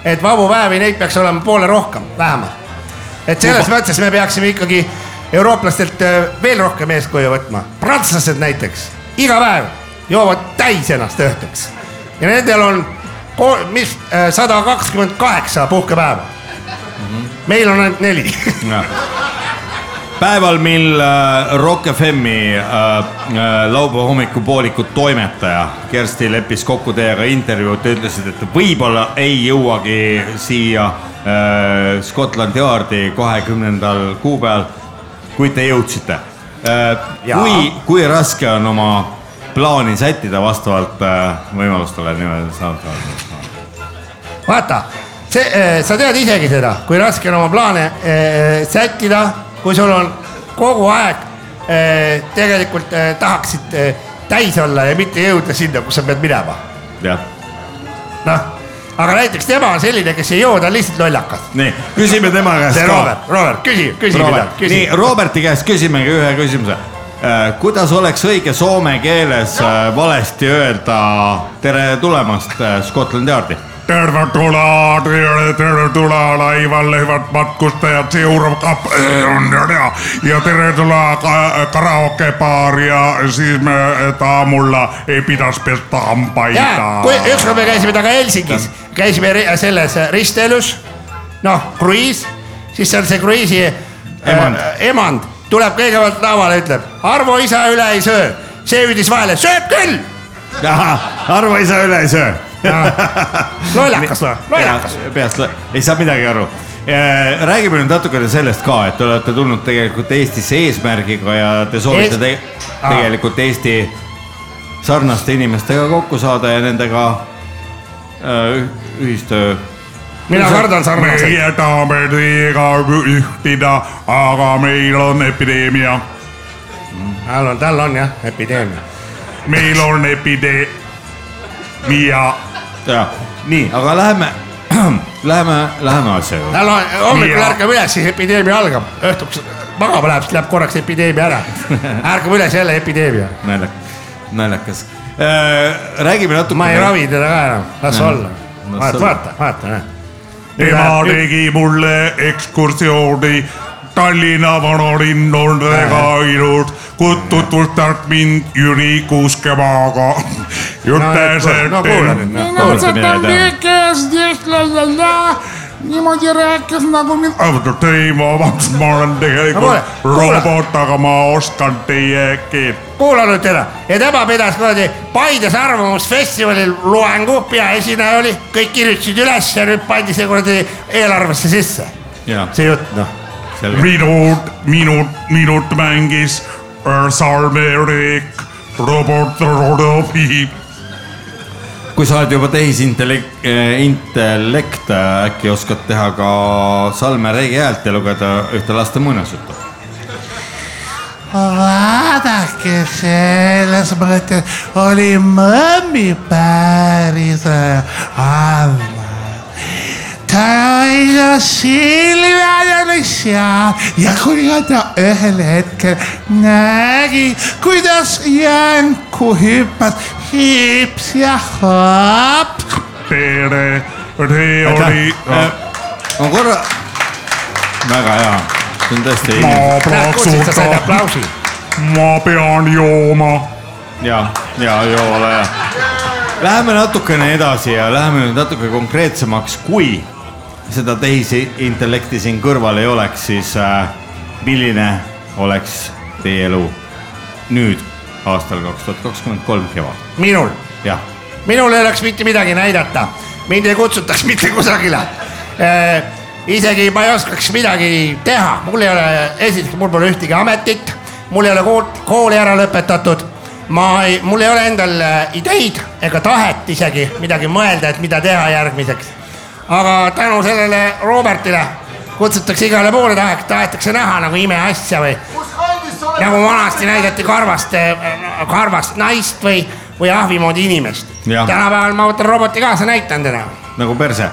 Speaker 10: et vabu päevi , neid peaks olema poole rohkem , vähemalt . et selles
Speaker 20: Juba.
Speaker 10: mõttes me peaksime ikkagi eurooplastelt äh, veel rohkem eeskuju võtma . prantslased näiteks iga päev joovad täis ennast õhtuks ja nendel on , mis , äh, sada kakskümmend kaheksa puhkepäeva . meil on ainult neli .
Speaker 4: päeval , mil äh, Rock FM-i äh, äh, laupäeva hommikupooliku toimetaja Kersti leppis kokku teiega intervjuud , te ütlesite , et võib-olla ei jõuagi siia äh, Scotland Yardi kahekümnendal kuupäeval , kuid te jõudsite äh, . kui , kui raske on oma plaani sättida vastavalt äh, võimalustele niimoodi saada ?
Speaker 10: vaata , see , sa tead isegi seda , kui raske on oma plaane eh, sättida , kui sul on kogu aeg eh, tegelikult eh, tahaksid eh, täis olla ja mitte jõuda sinna , kus sa pead minema .
Speaker 4: jah ,
Speaker 10: noh , aga näiteks tema on selline , kes ei joo , ta on lihtsalt lollakas .
Speaker 4: nii küsime tema käest
Speaker 10: see
Speaker 4: ka
Speaker 10: Robert , Robert , küsi , küsi midagi , küsi .
Speaker 4: nii , Roberti käest küsimegi ühe küsimuse . kuidas oleks õige soome keeles äh, valesti öelda tere tulemast äh, Scotland Yardi ?
Speaker 6: tervetuloa , tere- tervetuloa laivalle , hyvät matkustajat , seuraava kap- äh, on ja nea. Ja tervetuloa ka- karaokebaariin ja siis me et aamulla ei pitäisi pestä
Speaker 10: ja
Speaker 6: hampaita .
Speaker 10: kui ükskord me käisime taga Helsingis , käisime ri- selles ristelus , noh , kruiis , siis seal see kruiisi
Speaker 4: Emand.
Speaker 10: äh, emand tuleb kõigepealt lauale , ütleb Arvo isa üle ei söö , see hüüdis vahele , sööb küll .
Speaker 4: Arvo isa üle ei söö .
Speaker 10: lollakas või , lollakas .
Speaker 4: peast lõ- , ei saa midagi aru . räägime nüüd natukene sellest ka , et te olete tulnud tegelikult Eestisse eesmärgiga ja te soovite
Speaker 10: Eest-
Speaker 4: te
Speaker 10: Aa.
Speaker 4: tegelikult Eesti sarnaste inimestega kokku saada ja nendega äh, ühistöö .
Speaker 10: Minä kartan sarnaiset.
Speaker 6: Me jätämme liikaa yhtinä, aga meillä on epidemia.
Speaker 10: Täällä on, täällä on jah , epideemia .
Speaker 6: Meil on epide- ja .
Speaker 4: ja nii , aga läheme , läheme , läheme asja juurde .
Speaker 10: tal on , hommikul . ärkab üles , siis epideemia algab , õhtuks magama läheb , siis läheb korraks epideemia ära , ärkab üles jälle epideemia .
Speaker 4: naljakas , naljakas . Äh, räägime natuke .
Speaker 10: ma ei ravi teda ka enam , las
Speaker 4: Jah.
Speaker 10: olla .
Speaker 4: Las
Speaker 10: vaata ,
Speaker 4: olla.
Speaker 10: vaata , vaata , näe .
Speaker 6: tema tegi mulle ekskursiooni Tallinna vanalinnadega ilus , kui tutvustas mind Jüri Kuuskemaaga . ütles , et .
Speaker 18: No, kuule nüüd, noh.
Speaker 11: kes ja niimoodi rääkis nagu min- .
Speaker 6: oota , ei ma , vabandust , ma olen
Speaker 10: No
Speaker 6: tegelikult
Speaker 10: kuule, kuule.
Speaker 6: robot , aga ma oskan teie keelt .
Speaker 10: kuula nüüd teda ja tema pidas kuradi Paides Arvamusfestivalil loengu , peaesineja oli , kõik kirjutasid üles ja nüüd pandi see kuradi eelarvesse sisse .
Speaker 4: see
Speaker 10: jutt , noh .
Speaker 6: minut , minut , minut mängis äh, Salmerik , robot Rodovi .
Speaker 4: kui sa oled juba tehisintellekt , intellekt , äkki oskad teha ka Salme Reigi häält ja lugeda ühte laste muinasjuttu ?
Speaker 21: vaadake , selles mõttes oli mõmmi päris halva . ta oli ju Silvia ja oli seal ja kui ta ühel hetkel nägi , kuidas jänku hüppas hips ja hopp .
Speaker 6: tere , tee oli .
Speaker 4: Eh. ma korra , väga hea , see on tõesti .
Speaker 6: ma plaksutan , ma pean jooma .
Speaker 4: ja , ja joo ole hea . Läheme natukene edasi ja läheme nüüd natuke konkreetsemaks , kui seda tehisintellekti siin kõrval ei oleks , siis äh, milline oleks teie elu nüüd aastal kaks tuhat kakskümmend kolm kevad ?
Speaker 10: minul ,
Speaker 4: jah ,
Speaker 10: minul ei oleks mitte midagi näidata , mind ei kutsutaks mitte kusagile . Eh, isegi ma ei oskaks midagi teha , mul ei ole , esiteks mul pole ühtegi ametit , mul ei ole kool , kooli ära lõpetatud . ma ei , mul ei ole endal äh, ideid ega tahet isegi midagi mõelda , et mida teha järgmiseks . aga tänu sellele Robertile kutsutakse igale poole , tahetakse , tahetakse näha nagu imeasja või nagu vanasti näidati karvast , karvast naist või , või ahvi moodi inimest .
Speaker 4: Jah.
Speaker 10: tänapäeval ma võtan roboti kaasa , näitan teda .
Speaker 4: nagu perse .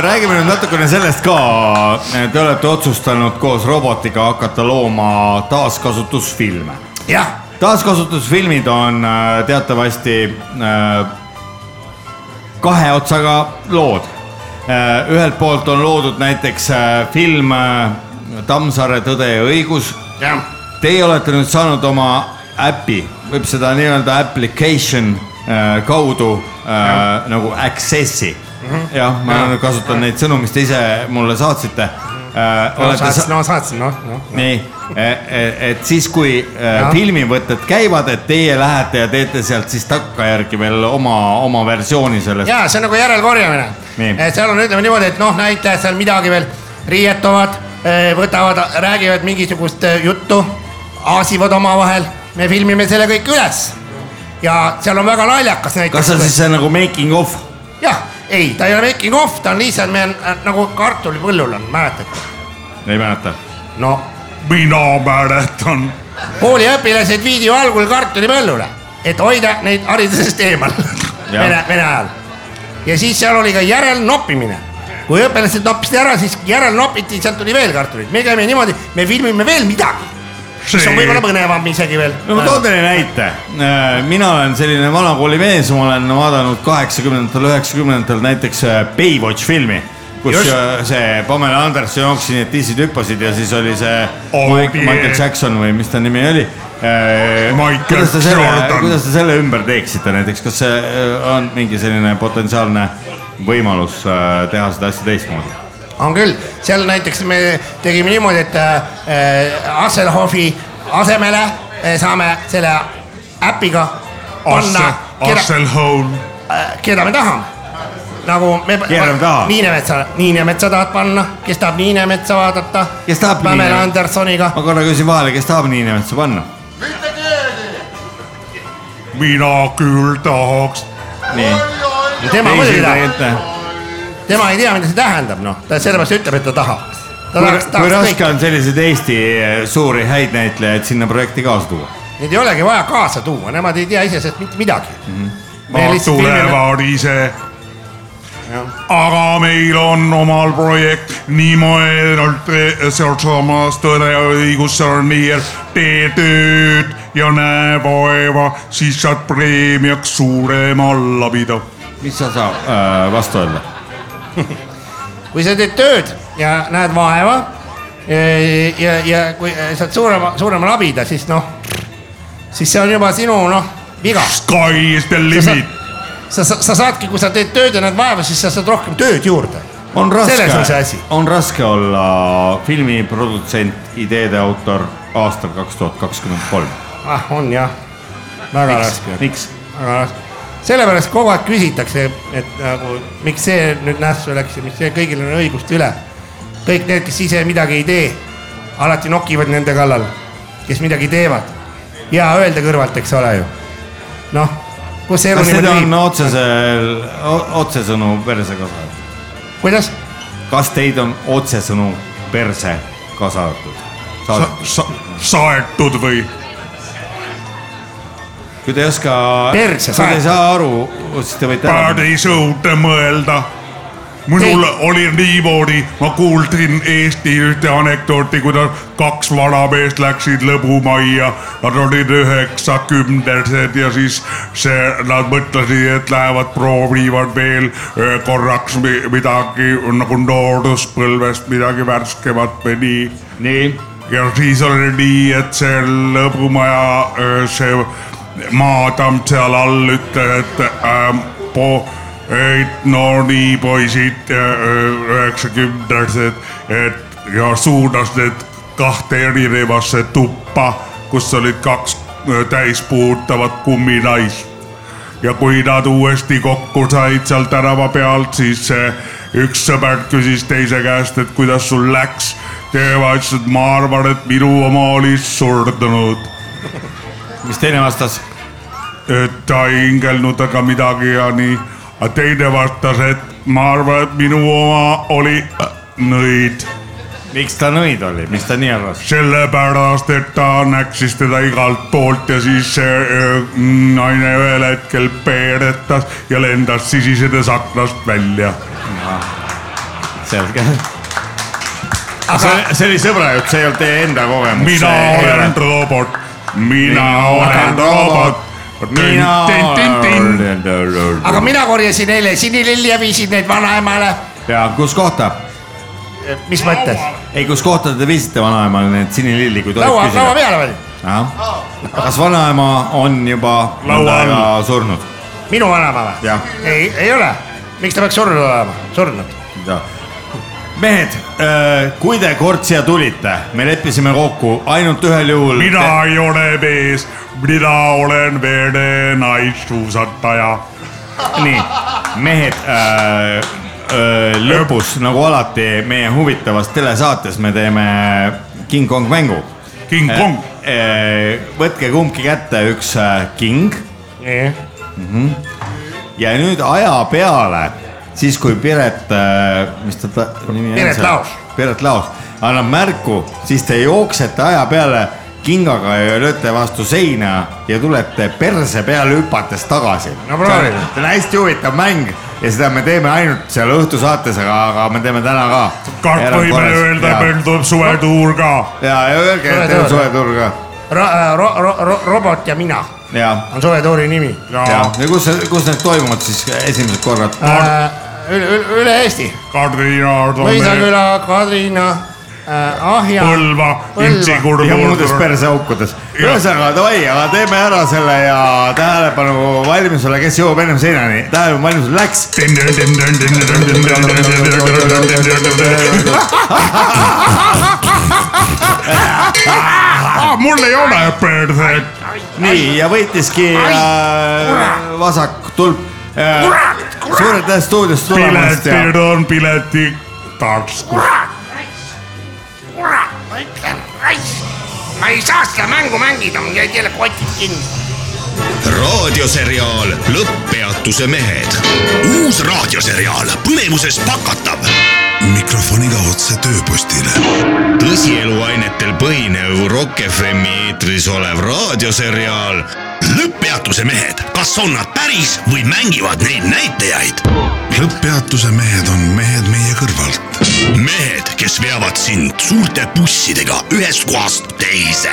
Speaker 4: räägime nüüd natukene sellest ka , te olete otsustanud koos robotiga hakata looma taaskasutusfilme
Speaker 10: jah ,
Speaker 4: taaskasutusfilmid on äh, teatavasti äh, kahe otsaga lood . ühelt poolt on loodud näiteks äh, film äh, Tammsaare Tõde ja õigus . Teie olete nüüd saanud oma äpi , võib seda nii-öelda application äh, kaudu äh, nagu access'i . jah , ma nüüd kasutan neid sõnu , mis te ise mulle saatsite äh, .
Speaker 10: no saatsin , no saatsin , noh , noh .
Speaker 4: nii , et siis , kui eh,
Speaker 10: Jah.
Speaker 4: filmivõtted käivad , et teie lähete ja teete sealt siis takkajärgi veel oma , oma versiooni sellest .
Speaker 10: ja see on nagu järelkorjamine .
Speaker 4: nii ,
Speaker 10: et Eh, seal on , ütleme niimoodi , et noh , näitlejad seal midagi veel riietuvad , võtavad , räägivad mingisugust eh, juttu , aasivad omavahel , me filmime selle kõik üles . ja seal on väga naljakas näiteks .
Speaker 4: kas see on siis see nagu making of ?
Speaker 10: jah , ei , ta ei ole making of , ta on lihtsalt , me on äh, nagu kartulipõllul on , mäletate ?
Speaker 4: ei mäleta .
Speaker 10: no
Speaker 6: mina mäletan .
Speaker 10: kooliõpilased viidi ju algul kartulipõllule , et hoida neid haridusest eemal
Speaker 6: Jah.
Speaker 10: vene , vene ajal . ja siis seal oli ka järelnoppimine . kui õpilased noppisid ära , siis järelnopiti , sealt tuli veel kartulit , me käime niimoodi , me filmime veel midagi , mis on võib-olla põnevam isegi veel .
Speaker 4: no ma toon teile näite . mina olen selline vanakooli mees , ma olen vaadanud kaheksakümnendatel , üheksakümnendatel näiteks eh, Baywatch filmi , kus
Speaker 6: Just.
Speaker 4: eh, see Pamela Anderson jooksis , need tissid hüppasid ja siis oli see
Speaker 6: Oh,
Speaker 4: Mike,
Speaker 6: yeah.
Speaker 4: Michael Jackson või mis ta nimi oli .
Speaker 6: Michael
Speaker 4: kuidas te selle
Speaker 6: Jordan. ,
Speaker 4: kuidas te selle ümber teeksite näiteks , kas see eh, on mingi selline potentsiaalne võimalus eh, teha seda asja teistmoodi ?
Speaker 10: on küll , seal näiteks me tegime niimoodi , et äh, Asselhofi asemele äh, saame selle äpiga panna , keda ,
Speaker 6: Asselholm .
Speaker 10: Äh, keda me tahame . nagu me .
Speaker 6: Keerame taha.
Speaker 10: Niinemetsa , Niinemetsa tahad panna , kes tahab Niinemetsa vaadata .
Speaker 4: kes tahab
Speaker 10: Pamela Andersoniga .
Speaker 4: ma korra küsin vahele , kes tahab nii nimetuse panna ?
Speaker 6: mina küll tahaks .
Speaker 4: nii .
Speaker 10: tema muidugi tahab ,
Speaker 4: tahab .
Speaker 10: tema ei tea , mida see tähendab , noh , ta sellepärast ütleb , et ta tahab . ta
Speaker 4: kui,
Speaker 10: tahaks ,
Speaker 4: kui
Speaker 10: tahaks kõik
Speaker 4: raske , on selliseid Eesti eh, suuri häid näitlejaid sinna projekti kaasa tuua
Speaker 10: neid ei olegi vaja kaasa tuua , nemad ei tea iseenesest mitte midagi .
Speaker 4: mm ? -hmm.
Speaker 10: Me
Speaker 6: Nad
Speaker 10: Mhm. lihtsalt
Speaker 6: tulevad ise . aga meil on omal projekt niimoodi , sealsamas Tõde ja õigus , seal on nii , et tee tööd ja näe vaeva , siis saad preemiaks suurema alla pida .
Speaker 4: mis sa saad äh, vastu öelda ?
Speaker 10: kui sa teed tööd ja näed vaeva ja , ja , ja kui e, saad suurema , suurema labida , siis noh , siis see on juba sinu noh , viga .
Speaker 6: Sky is the limit .
Speaker 10: sa , sa , sa saadki , kui sa teed tööd ja näed vaeva , siis sa saad rohkem tööd juurde .
Speaker 4: on
Speaker 10: selles on
Speaker 4: raske
Speaker 10: see asi .,
Speaker 4: on raske olla filmiprodutsent , ideede autor aastal kaks tuhat kakskümmend kolm .
Speaker 10: ah , on jah , väga
Speaker 4: Miks?
Speaker 10: raske .
Speaker 4: miks ?
Speaker 10: väga raske . sellepärast kogu aeg küsitakse , et nagu miks see nüüd nässu läks ja miks see , kõigil on õigust üle . kõik need , kes ise midagi ei tee , alati nokivad nende kallal , kes midagi teevad . hea öelda kõrvalt , eks ole ju . noh , kus see elu
Speaker 4: kas teil
Speaker 10: niimoodi
Speaker 4: on
Speaker 10: viib ?
Speaker 4: otsesel , otsesõnu perse kasatud ?
Speaker 10: kuidas ?
Speaker 4: kas teid on otsesõnu perse kasatud ? Saad.
Speaker 6: sa, saetud või ?
Speaker 4: kui te ei oska ,
Speaker 6: Perse
Speaker 4: kui te ei
Speaker 6: saed.
Speaker 4: saa aru , siis te võite
Speaker 6: Päät ei suuta mõelda . Minulla oli niimoodi, mä kuultiin Eestiin yhtä anekdootti, kun kaksi vanamiestä läksit lepumaan ja ne oli 90 ja siis se, ne mõtlesin, että lähevät prooviivat vielä ö, korraksi mi- nagu mitäkin no, kun nooduspõlvest mitäkin värskevät meni. Niin. Ja siis oli niin, että se lepumaja, ö, se maatam siellä all ütles, että ähm, po, et no nii poisid , üheksakümnendased , et ja suunas need kahte erinevasse tuppa , kus olid kaks öö, täis puhutavat kumminaist . ja kui nad uuesti kokku said seal tänava pealt , siis see üks sõber küsis teise käest , et kuidas sul läks . tema ütles , et ma arvan , et minu oma oli surdunud .
Speaker 4: mis teine vastas ?
Speaker 6: et ta ei hingelnud ega midagi ja nii . aga teine vastas , et ma arvan , et minu oma oli äh, nõid .
Speaker 4: miks ta nõid oli , mis ta nii arvas ?
Speaker 6: sellepärast , et ta näksis teda igalt poolt ja siis see öö, naine ühel hetkel peeretas ja lendas sisisedes aknast välja .
Speaker 4: selge . see , see oli sõbra jutt , see ei olnud teie enda kogemus .
Speaker 6: mina olen robot , mina olen robot .
Speaker 4: Mina
Speaker 10: aga mina korjasin eile sinililli ja viisin neid vanaemale .
Speaker 4: ja kus kohta ?
Speaker 10: mis mõttes ?
Speaker 4: ei , kus kohta te viisite vanaemale need sinililli , kui tohib
Speaker 10: laua ,
Speaker 4: küsida ?
Speaker 10: laua peale või ?
Speaker 4: ahah , kas vanaema on juba laua
Speaker 10: all.
Speaker 4: aega surnud ?
Speaker 10: minu vanaema või ?
Speaker 4: jah ,
Speaker 10: ei , ei ole . miks ta peaks surnud olema , surnud ?
Speaker 4: jah . mehed , kui te kord siia tulite , me leppisime kokku ainult ühel juhul .
Speaker 6: mina ei ole mees , mina olen vene naissuusataja .
Speaker 4: nii , mehed äh, , äh, lõpus nagu alati meie huvitavas telesaates me teeme King Kong mängu .
Speaker 6: King Kong.
Speaker 4: äh, . võtke kumbki kätte üks äh, king mm . -hmm. ja nüüd aja peale , siis kui Piret äh, , mis ta, ta nimi on ?
Speaker 10: Piret Laos. .
Speaker 4: Piret Laos annab märku , siis te jooksete aja peale kingaga ja lööte vastu seina ja tulete perse peale hüpates tagasi .
Speaker 10: No proovime.
Speaker 4: see on hästi huvitav mäng ja seda me teeme ainult seal õhtusaates , aga , aga me teeme täna ka .
Speaker 6: kart võime öelda , et meil tuleb suvetuur ka .
Speaker 4: ja , ja öelge , et teil on suvetuur ka .
Speaker 10: Ro- , ro- , ro- , ro- , robot ja mina
Speaker 4: ja ,
Speaker 10: on suvetuuri nimi .
Speaker 4: ja , ja kus , kus need toimuvad siis esimesed korrad ?
Speaker 10: üle , üle , Äh, üle Eesti .
Speaker 6: Kadrina ,
Speaker 10: Mõisaküla , Kadrina äh, , Ahja .
Speaker 4: ja muudes perseaukudes . ühesõnaga davai , aga teeme ära selle ja tähelepanu valmis ole , kes jõuab ennem seinani , tähelepanu valmis ole , läks .
Speaker 6: Ah, mul ei ole perset .
Speaker 4: nii ja võitiski äh, vasak tulp äh, . suur aitäh stuudiost tulemast ja
Speaker 6: piletid on pileti taskus .
Speaker 11: kurat , ma ütlen , raisk , ma ei saa seda mängu mängida , mul jäid jälle kotid kinni .
Speaker 7: raadioseriaal Lõpppeatuse mehed . uus raadioseriaal , põnevuses pakatav .
Speaker 15: mikrofoniga otse tööpostile .
Speaker 7: tõsieluainetel põhinev Rock FM-i eetris olev raadioseriaal Lõpppeatuse mehed , kas on nad päris või mängivad neid näitajaid ?
Speaker 15: lõpppeatuse mehed on mehed meie kõrvalt .
Speaker 7: mehed , kes veavad sind suurte bussidega ühest kohast teise .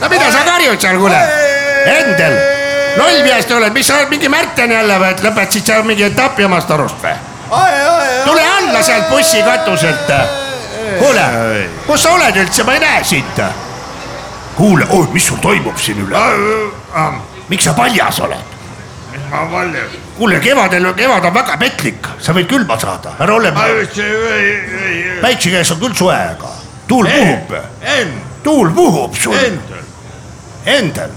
Speaker 10: no mida sa karjud seal , kuule ? Endel , loll mees sa oled , mis sa oled mingi Märten jälle või , et lõpetasid seal mingi etapi omast arust või ? tule alla sealt bussikatuselt . kuule , kus sa oled üldse , ma ei näe sind . kuule oh, , mis sul toimub siin üle ? miks sa paljas oled ?
Speaker 18: ma valjan .
Speaker 10: kuule , kevadel , kevad on väga petlik , sa võid külma saada , ära ole .
Speaker 18: ma ütlesin , ei , ei , ei ,
Speaker 10: päikse käes on küll soe , aga tuul puhub .
Speaker 18: ei ,
Speaker 10: tuul puhub sul . Endel . Endel .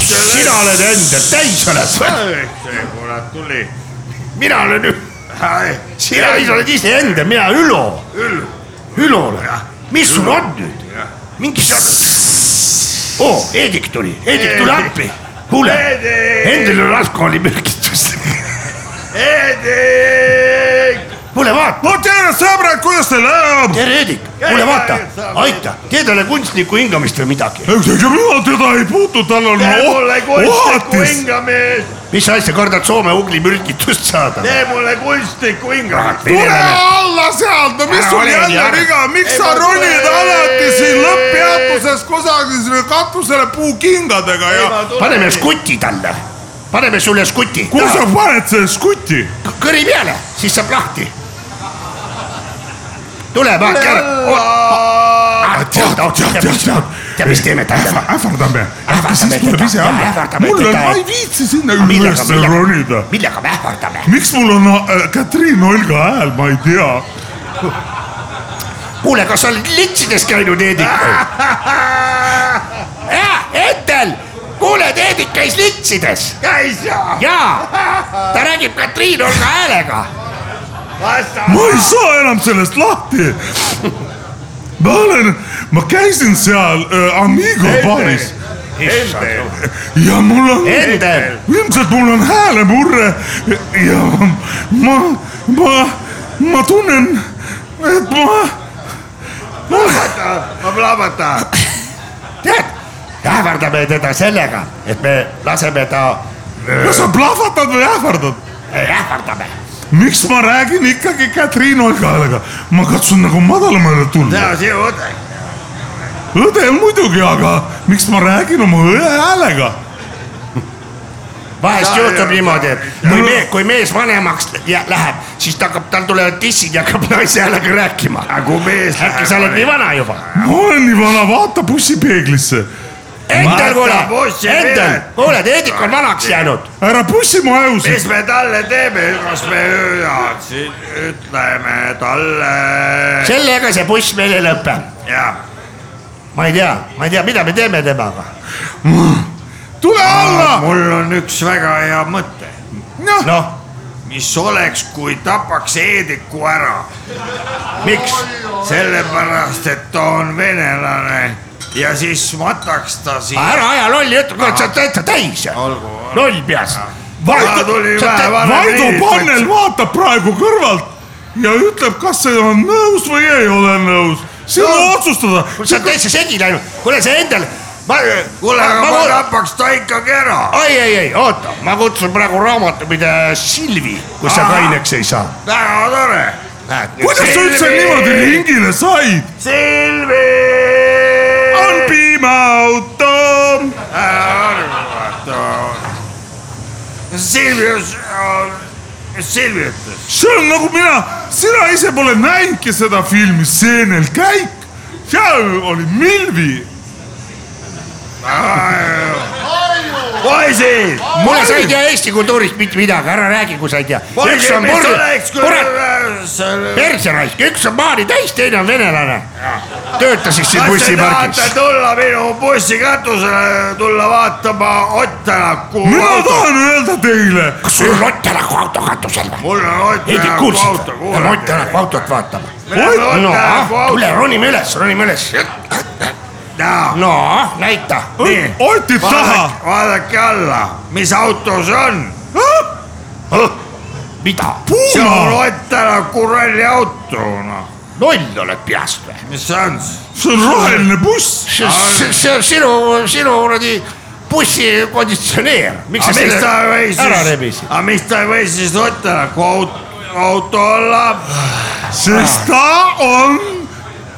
Speaker 10: sina oled Endel , täis oled või ?
Speaker 12: see kurat tuli .
Speaker 10: mina olen Ü- , sina ise oled ise Endel , mina Ülo . Ülo . Ülo olen . mis sul on nüüd ? mingi sa- oo , Heedik tuli , Heedik tuli appi . kuule , Endel on alkoholimürgitus . kuule vaata .
Speaker 9: no tere , sõbrad , kuidas teil läheb ?
Speaker 10: tere , Heedik , kuule vaata , aita , tee talle kunstlikku hingamist või midagi .
Speaker 9: mina teda ei puutu , tal on
Speaker 12: mulle kunstlikku
Speaker 10: ohatis.
Speaker 12: hingamees ,
Speaker 10: mis asja , kardad Soome uglimürgitust saada ?
Speaker 12: tee mulle kunstlikku hingamist .
Speaker 9: tule alla sealt , no mis
Speaker 12: Ära
Speaker 9: sul
Speaker 12: ole nii
Speaker 9: jälle
Speaker 12: ära.
Speaker 9: viga , miks
Speaker 12: Ei,
Speaker 9: sa
Speaker 12: ma
Speaker 9: ronid
Speaker 12: tulen.
Speaker 9: alati siin lõpppeatuses kusagil sinna katusele puukingadega ja .
Speaker 10: paneme skuti talle , paneme sulle skuti .
Speaker 9: kus sa paned selle skuti ?
Speaker 10: kõri peale , siis saab lahti . tule , vaata ära . tead , tead , tead , tead , mis teeme täna ?
Speaker 9: ähvardame ,
Speaker 10: ähvardame
Speaker 9: siis tuleb ise alla . mul on , ma ei viitsi sinna üles ronida .
Speaker 10: millega me ähvardame ?
Speaker 9: miks mul on äh, Katriin Olga hääl , ma ei tea .
Speaker 10: kuule , kas sa oled litsides käinud , Heedik ? Endel , kuule , Heedik käis litsides .
Speaker 12: käis ja .
Speaker 10: jaa , ta räägib Katriin Olga häälega .
Speaker 9: ma ei saa enam sellest lahti . ma olen , ma käisin seal äh, Amigo baaris ja mul on
Speaker 10: Endel. ,
Speaker 9: ilmselt mul on häälemurre ja ma , ma , ma tunnen , et ma ,
Speaker 12: plahvata , ma plahvatan .
Speaker 10: tead , ähvardame teda sellega , et me laseme ta .
Speaker 9: kas sa plahvatad või ähvardad ?
Speaker 10: ähvardame .
Speaker 9: miks ma räägin ikkagi Katriin Olgaga , ma katsun nagu madalamale tulla .
Speaker 12: see on õde .
Speaker 9: õde muidugi , aga miks ma räägin oma õe häälega ?
Speaker 10: vahest juhtub niimoodi , et kui mees , kui mees vanemaks jä- läheb , siis ta hakkab , tal tulevad tissid ja hakkab naise häälega rääkima . äkki sa oled nii vana juba ?
Speaker 9: ma olen nii vana , vaata bussipeeglisse .
Speaker 10: Endel , kuule , Endel , kuule , Heedik on vanaks jäänud .
Speaker 9: ära pussi mu ajusid .
Speaker 12: mis me talle teeme , kas me siin ütleme talle .
Speaker 10: sellega see buss meil ei lõpe .
Speaker 12: jah ,
Speaker 10: ma ei tea , ma ei tea , mida me teeme temaga .
Speaker 9: tule alla .
Speaker 12: mul on üks väga hea mõte .
Speaker 9: noh
Speaker 10: no. ,
Speaker 12: mis oleks , kui tapaks Heediku ära ?
Speaker 10: miks ?
Speaker 12: sellepärast , et ta on venelane ja siis mataks ta siia .
Speaker 10: ära aja lolli juttu , kurat , sa oled täitsa täis . loll peas .
Speaker 12: Mul tuli vähe varem
Speaker 9: Vaido
Speaker 12: meelde,
Speaker 9: Pannel vaatab praegu kõrvalt ja ütleb , kas see on nõus või ei ole nõus . sinu no. otsustada .
Speaker 10: sa oled täitsa segi läinud , kuule see Endel , ma .
Speaker 12: kuule , aga ma tapaks ta ikkagi ära .
Speaker 10: ei , ei , ei , oota , ma kutsun praegu raamatupidaja Silvi , kus sa
Speaker 12: Aa.
Speaker 10: kaineks ei saa .
Speaker 12: väga tore .
Speaker 9: kuidas sa üldse niimoodi ringile said ?
Speaker 12: Silvi .
Speaker 9: on piimaauto .
Speaker 12: Silvius , Silvi ütles .
Speaker 9: see on nagu mina , sina ise pole näinudki seda filmi Seenel käik . seal oli Milvi .
Speaker 12: poisid ,
Speaker 10: mulle sa ei tea Eesti kultuurist mitte midagi , ära räägi , kui sa ei tea . üks on purju , kurat , perse raisk , üks on maani täis , teine on venelane . tööta siis siin
Speaker 12: kas te tahate
Speaker 10: bussipargis .
Speaker 12: tulla minu bussikatusele , tulla vaatama Ott Tänaku
Speaker 9: mina tahan öelda teile .
Speaker 10: kas sul on Ott Tänaku auto katusel või ?
Speaker 12: mul on Ott
Speaker 10: Heidik ,
Speaker 12: Tänaku
Speaker 10: kuulsid
Speaker 12: auto ,
Speaker 10: me oleme Ott Tänaku autot vaatama .
Speaker 12: Lähme Ott
Speaker 10: no ah,
Speaker 12: Tänaku , auto-
Speaker 10: tule ronime üles , ronime üles . no ah, näita .
Speaker 12: Nii.
Speaker 9: Otit taha .
Speaker 12: Vaadake- vaadake alla , mis auto see on .
Speaker 10: mida ?
Speaker 12: see on Ott Tänaku ralliauto , noh .
Speaker 10: loll oled peast või ?
Speaker 12: mis see on siis ?
Speaker 9: see on roheline buss .
Speaker 10: see , see , see on sinu , sinu kuradi bussikonditsioneer . miks sa
Speaker 12: aga miks Ah, ta ei või
Speaker 10: selle ära
Speaker 12: siis
Speaker 10: rebisid ?,
Speaker 12: aga miks ta ei või siis Ott Tänaku auto , auto olla ?
Speaker 9: sest ta on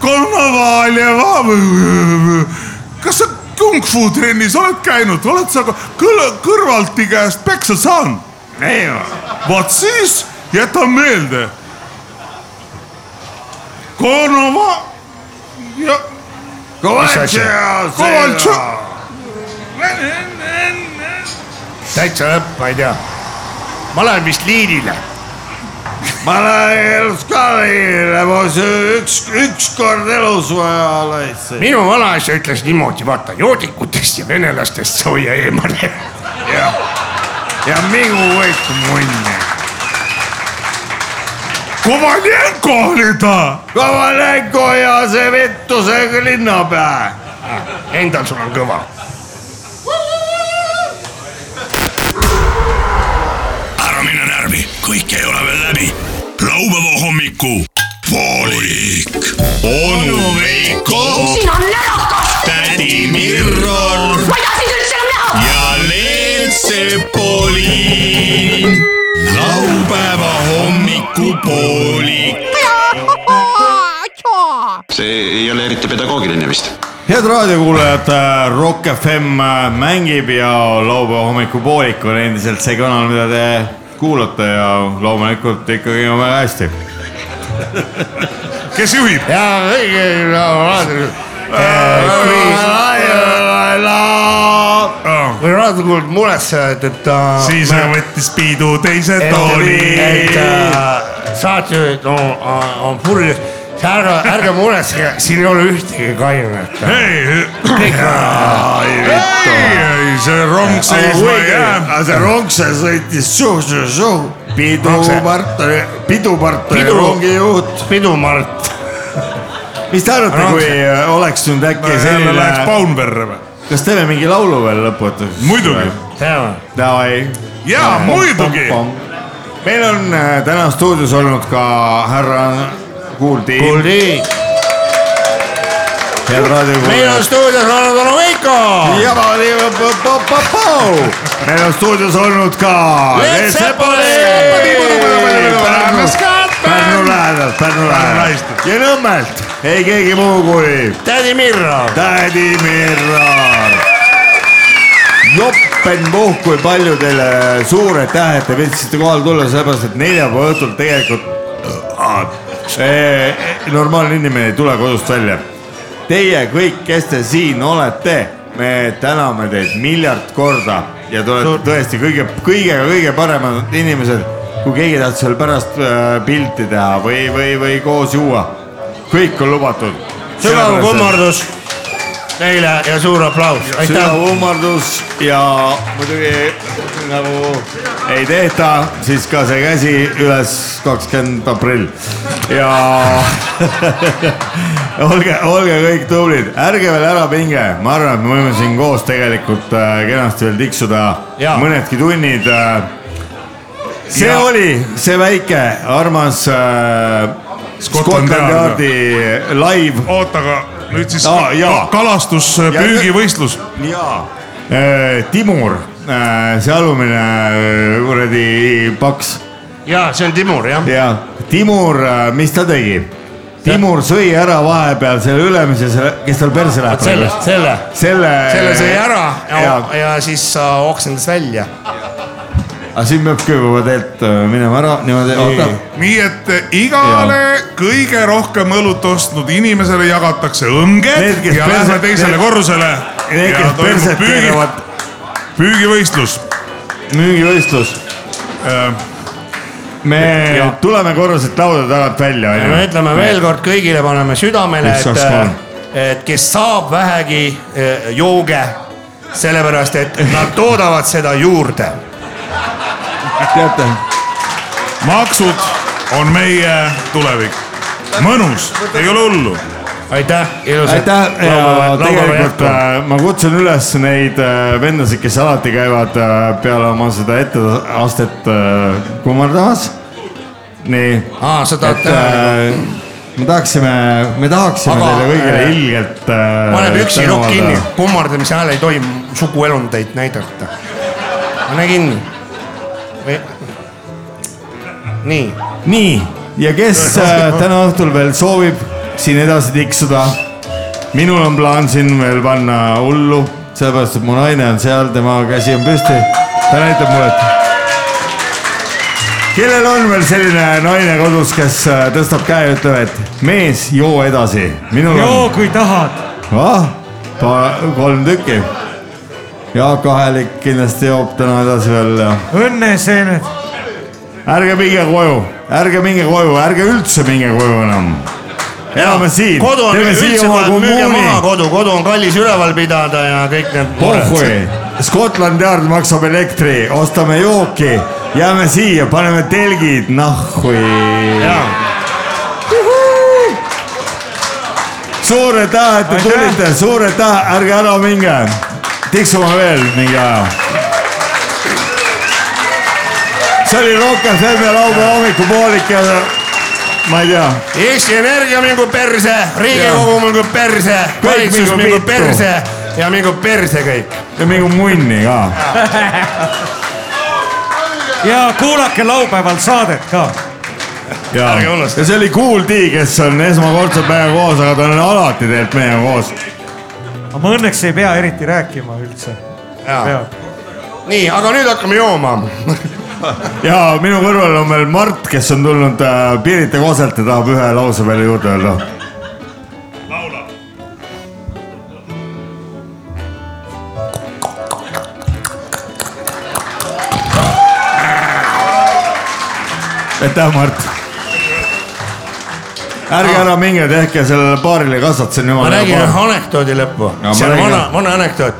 Speaker 9: Konovaljeva . kas sa kung-fu trennis oled käinud , oled sa kõl- , kõrvalti käest peksa saanud ?
Speaker 12: ei ,
Speaker 9: vot siis jäta meelde . Konova ja . Kovaltšov .
Speaker 10: täitsa lõpp , ma ei tea . ma lähen vist liinile .
Speaker 12: ma lähen elus ka neile , ma söön üks , ükskord elus vaja laitse .
Speaker 10: minu vanaisa ütles niimoodi , vaata joodikutest ja venelastest sa hoia eemale . ja , ja minu võit munni .
Speaker 12: Kovalenko oli ta . Kovalenko ja see vettusega linnapea .
Speaker 10: Ah, Endal sul on kõva .
Speaker 14: ära mine närvi , kõik ei ole veel läbi . laupäeva hommiku poolik . onu Veiko ,
Speaker 11: siin on närakas ,
Speaker 14: tädi Mirror
Speaker 11: ma ei taha sind üldse enam näha .
Speaker 14: ja Leet Sepolin . laupäeva hommikupoolik .
Speaker 3: see ei ole eriti pedagoogiline vist .
Speaker 4: head raadiokuulajad , Rock FM mängib ja laupäeva hommikupoolik on endiselt see kanal , mida te kuulate ja loomulikult ikkagi on väga hästi .
Speaker 6: kes juhib ?
Speaker 10: ja õige ,
Speaker 6: kui
Speaker 10: raadiokuld mures jääd , et ta .
Speaker 6: siis võttis Piidu teise
Speaker 10: et
Speaker 6: tooli .
Speaker 10: äh, saatejuhid on, on- äh, on purjus , ärge , ärge muretsege , siin ei ole ühtegi kainet .
Speaker 6: ei ,
Speaker 10: kõik
Speaker 6: ei , see rong seisma ei jää .
Speaker 12: aga see rong , see sõitis suh-suh-suh , pidu Mart , pidu Mart oli
Speaker 10: Pidu-
Speaker 12: rongijuht .
Speaker 10: pidu Mart .
Speaker 4: mis te arvate , kui äh, oleks nüüd äkki
Speaker 6: jälle
Speaker 4: selline
Speaker 6: läheks . Paunverre või ?
Speaker 4: kas teeme mingi laulu veel lõputuseks ?
Speaker 6: Muidugi.
Speaker 10: teeme .
Speaker 4: Davai .
Speaker 6: Jaa, muidugi.
Speaker 4: meil on äh, täna stuudios olnud ka härra Kuuldi .
Speaker 10: Kuuldi .
Speaker 4: head
Speaker 10: meil on
Speaker 4: raadiokuulajad .
Speaker 10: stuudios olnud onu Veiko .
Speaker 4: ja ma olin , pa-pa-pa-pau . meil on stuudios olnud ka .
Speaker 10: Leet Sepoli .
Speaker 4: Pärnu lähedalt , Pärnu lähedalt ja Nõmmelt ei keegi muu kui
Speaker 10: tädi Mirror .
Speaker 4: tädi Mirror . joppenmuhk , kui palju teile suured tähed , te võtsite kohale tulla , sellepärast et neljapäeva õhtul tegelikult eh, normaalne inimene ei tule kodust välja . Teie kõik , kes te siin olete , me täname teid miljard korda ja te olete tõesti kõige , kõige-kõige paremad inimesed , kui keegi tahtis seal pärast eh, pilti teha või , või , või koos juua . kõik on lubatud .
Speaker 10: sügav kummardus teile ja suur aplaus , aitäh .
Speaker 4: sügav kummardus ja muidugi nagu ei tehta , siis ka see käsi üles kakskümmend aprill ja olge , olge kõik tublid , ärge veel ära pinge , ma arvan , et me võime siin koos tegelikult äh, kenasti veel tiksuda ja. mõnedki tunnid äh, . see ja. oli see väike armas äh, Scotland Yardi live .
Speaker 6: oota , aga nüüd siis
Speaker 4: Aa,
Speaker 6: ka-
Speaker 4: Ah, jaa.
Speaker 6: ka- kalastus ,
Speaker 4: Ja-
Speaker 6: püügivõistlus .
Speaker 4: jaa . Äh, Timur , see alumine äh, kuradi paks .
Speaker 10: ja see on Timur jah .
Speaker 4: ja Timur , mis ta tegi ? Timur sõi ära vahepeal selle ülemise , selle , kes tal perse läheb .
Speaker 10: selle , selle ,
Speaker 4: selle .
Speaker 10: selle sõi ära ja,
Speaker 4: jaa ,
Speaker 10: ja siis äh, oksendas välja .
Speaker 4: aga Ah, siin peabki juba tegelikult äh, minema ära niimoodi , oota .
Speaker 6: nii et eh, igale kõige rohkem õlut ostnud inimesele jagatakse õnged
Speaker 4: Need, kes
Speaker 6: ja
Speaker 4: perse-
Speaker 6: lähme teisele
Speaker 4: need-
Speaker 6: korrusele .
Speaker 4: need, kes perset keeravad.
Speaker 6: püügivõistlus .
Speaker 4: müügivõistlus . me
Speaker 6: Äh, Jaa.
Speaker 4: tuleme korruselt lauda tagant välja .
Speaker 10: me ütleme veel kord kõigile , paneme südamele ,
Speaker 4: Üks, kaks, kolm.
Speaker 10: et , et kes saab vähegi , jooge , sellepärast et nad toodavad seda juurde .
Speaker 4: teate .
Speaker 6: maksud on meie tulevik . mõnus , ei ole hullu .
Speaker 10: aitäh ,
Speaker 4: aitäh ja tegelikult äh, ma kutsun üles neid äh, vendasid , kes alati käivad äh, peale oma seda etteastet äh, kummardamas . nii .
Speaker 10: aa , sa tahad
Speaker 4: äh, ? me tahaksime , me tahaksime
Speaker 10: Aga,
Speaker 4: teile kõigile
Speaker 10: äh,
Speaker 4: ilgelt .
Speaker 10: paneb
Speaker 4: Äh,
Speaker 10: üksi nokk kinni , kummardamise hääl ei tohi suguelundeid näidata . pane kinni . nii .
Speaker 4: nii , ja kes äh, täna õhtul veel soovib siin edasi tiksuda , minul on plaan siin veel panna hullu , sellepärast et mu naine on seal , tema käsi on püsti , ta näitab mulle , et kellel on veel selline naine kodus , kes äh, tõstab käe ja ütleb , et mees , joo edasi , minul
Speaker 2: joo
Speaker 4: on ,
Speaker 2: kui tahad .
Speaker 4: ah , kolm tükki . Jaak Ahelik kindlasti joob täna edasi veel ja
Speaker 2: õnneseened .
Speaker 4: ärge minge koju , ärge minge koju , ärge üldse minge koju enam . elame siin ,
Speaker 5: kodu on
Speaker 4: teeme siia
Speaker 5: üldse
Speaker 4: oma
Speaker 5: vaja , müüge maha
Speaker 4: kommuuni .
Speaker 5: kodu , kodu on kallis üleval pidada ja kõik need
Speaker 4: pohhui , Scotland Yard maksab elektri , ostame jooki , jääme siia , paneme telgid , nahhui . suur aitäh , et te tulite , suur aitäh , ärge ära minge , tiksume veel mingi aja . see oli Rock FM-i laupäeva hommikupoolik ja ma ei tea
Speaker 5: Eesti Energia mingu perse , Riigikogu mingu perse ,
Speaker 4: Kõik
Speaker 5: valitsus
Speaker 4: mingu
Speaker 5: mingu
Speaker 4: vittu.
Speaker 5: perse ja mingu perse kõik .
Speaker 4: ja mingu munni ka .
Speaker 2: ja kuulake laupäeval saadet ka .
Speaker 4: ja , ja see oli Kool D , kes on esmakordselt meiega koos , aga ta on alati tegelikult meiega koos .
Speaker 2: aga ma õnneks ei pea eriti rääkima üldse .
Speaker 5: nii , aga nüüd hakkame jooma .
Speaker 4: ja minu kõrval on veel Mart , kes on tulnud äh, Pirita koselt ja tahab ühe lause veel juurde öelda . aitäh , Mart . ärge ära minge , tehke sellele paarile kasvat , see on
Speaker 5: Ah. ma
Speaker 4: jumala
Speaker 5: räägin ühe anekdoodi lõppu
Speaker 4: No, ma
Speaker 5: see on
Speaker 4: räägin-
Speaker 5: vana , vana anekdoot .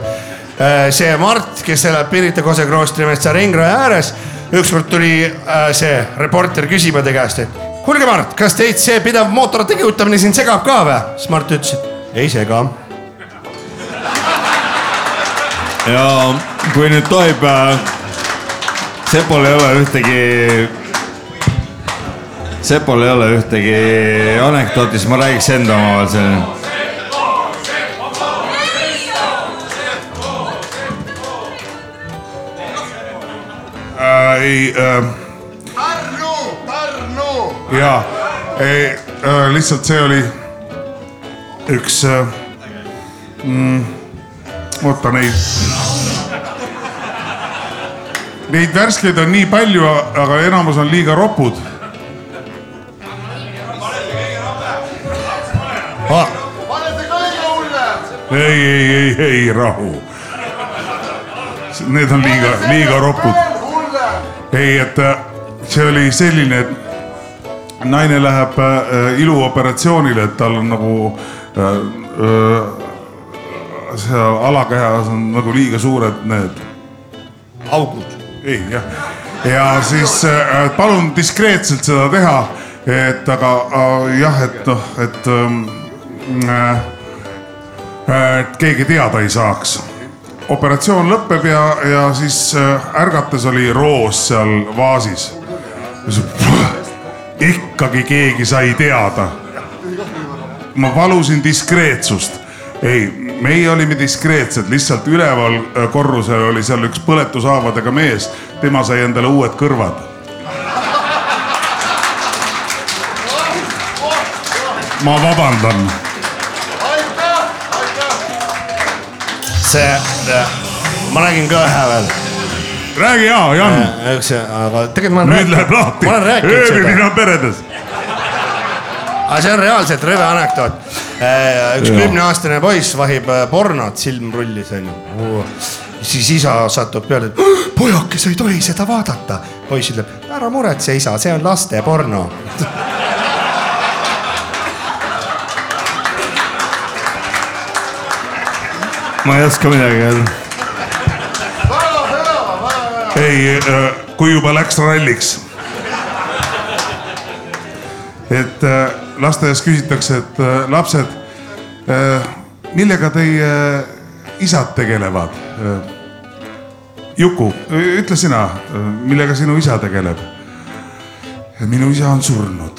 Speaker 5: see Mart , kes elab Pirita Kose kloostri metsa ringraja ääres , ükskord tuli äh, see reporter küsima ta käest , et kuulge , Mart , kas teid see pidev mootorite kihutamine siin segab ka või ? siis Mart ütles , et ei sega .
Speaker 4: ja kui nüüd tohib , Sepol ei ole ühtegi , Sepol ei ole ühtegi anekdooti , siis ma räägiks enda oma veel siin .
Speaker 6: äh, . ei äh, , jaa , ei äh, , lihtsalt see oli üks äh, . Mm, oota neid . Neid värskeid on nii palju , aga enamus on liiga ropud . Ah. ei , ei , ei , ei rahu . Need on liiga , liiga ropud . ei , et äh, see oli selline , et naine läheb äh, iluoperatsioonile , et tal on nagu äh, äh, seal alakehas on nagu liiga suured need . augud . ei jah , ja siis äh, et palun diskreetselt seda teha , et aga äh, jah , et noh , et ähm, äh, äh, et keegi teada ei saaks . operatsioon lõpeb ja , ja siis äh, ärgates oli roos seal vaasis . ikkagi keegi sai teada . ma palusin diskreetsust . ei , meie olime diskreetsed , lihtsalt üleval äh, korrusel oli seal üks põletushaavadega mees , tema sai endale uued kõrvad . ma vabandan
Speaker 5: see , ma räägin ka ühe veel .
Speaker 6: räägi ja , Jan .
Speaker 5: üks , aga tegelikult ma olen
Speaker 6: nüüd läheb lahti
Speaker 5: ma olen , rääkinud
Speaker 6: ööbimine
Speaker 5: seda
Speaker 6: on . peredes .
Speaker 5: aga see on reaalselt rõve anekdoot . üks
Speaker 6: Jaa.
Speaker 5: kümneaastane poiss vahib äh, pornot silmrullis onju . siis isa satub peale , et pojake , sa ei tohi seda vaadata . poiss ütleb , ära muretse isa , see on laste porno .
Speaker 4: ma ei oska midagi öelda .
Speaker 6: ei , kui juba läks ralliks . et äh, lasteaias küsitakse , et äh, lapsed , millega teie isad tegelevad ? Juku , ütle sina , millega sinu isa tegeleb ? minu isa on surnud .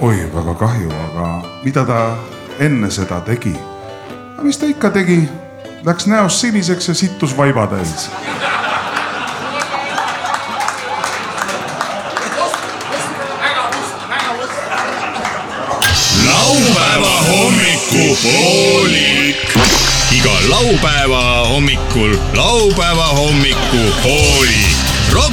Speaker 6: oi , väga kahju , aga mida ta enne seda tegi ? mis ta ikka tegi , läks näost siniseks ja sittus vaiba täis
Speaker 7: laupäeva hommikupoolik . iga laupäeva hommikul laupäeva hommikupoolik . Rock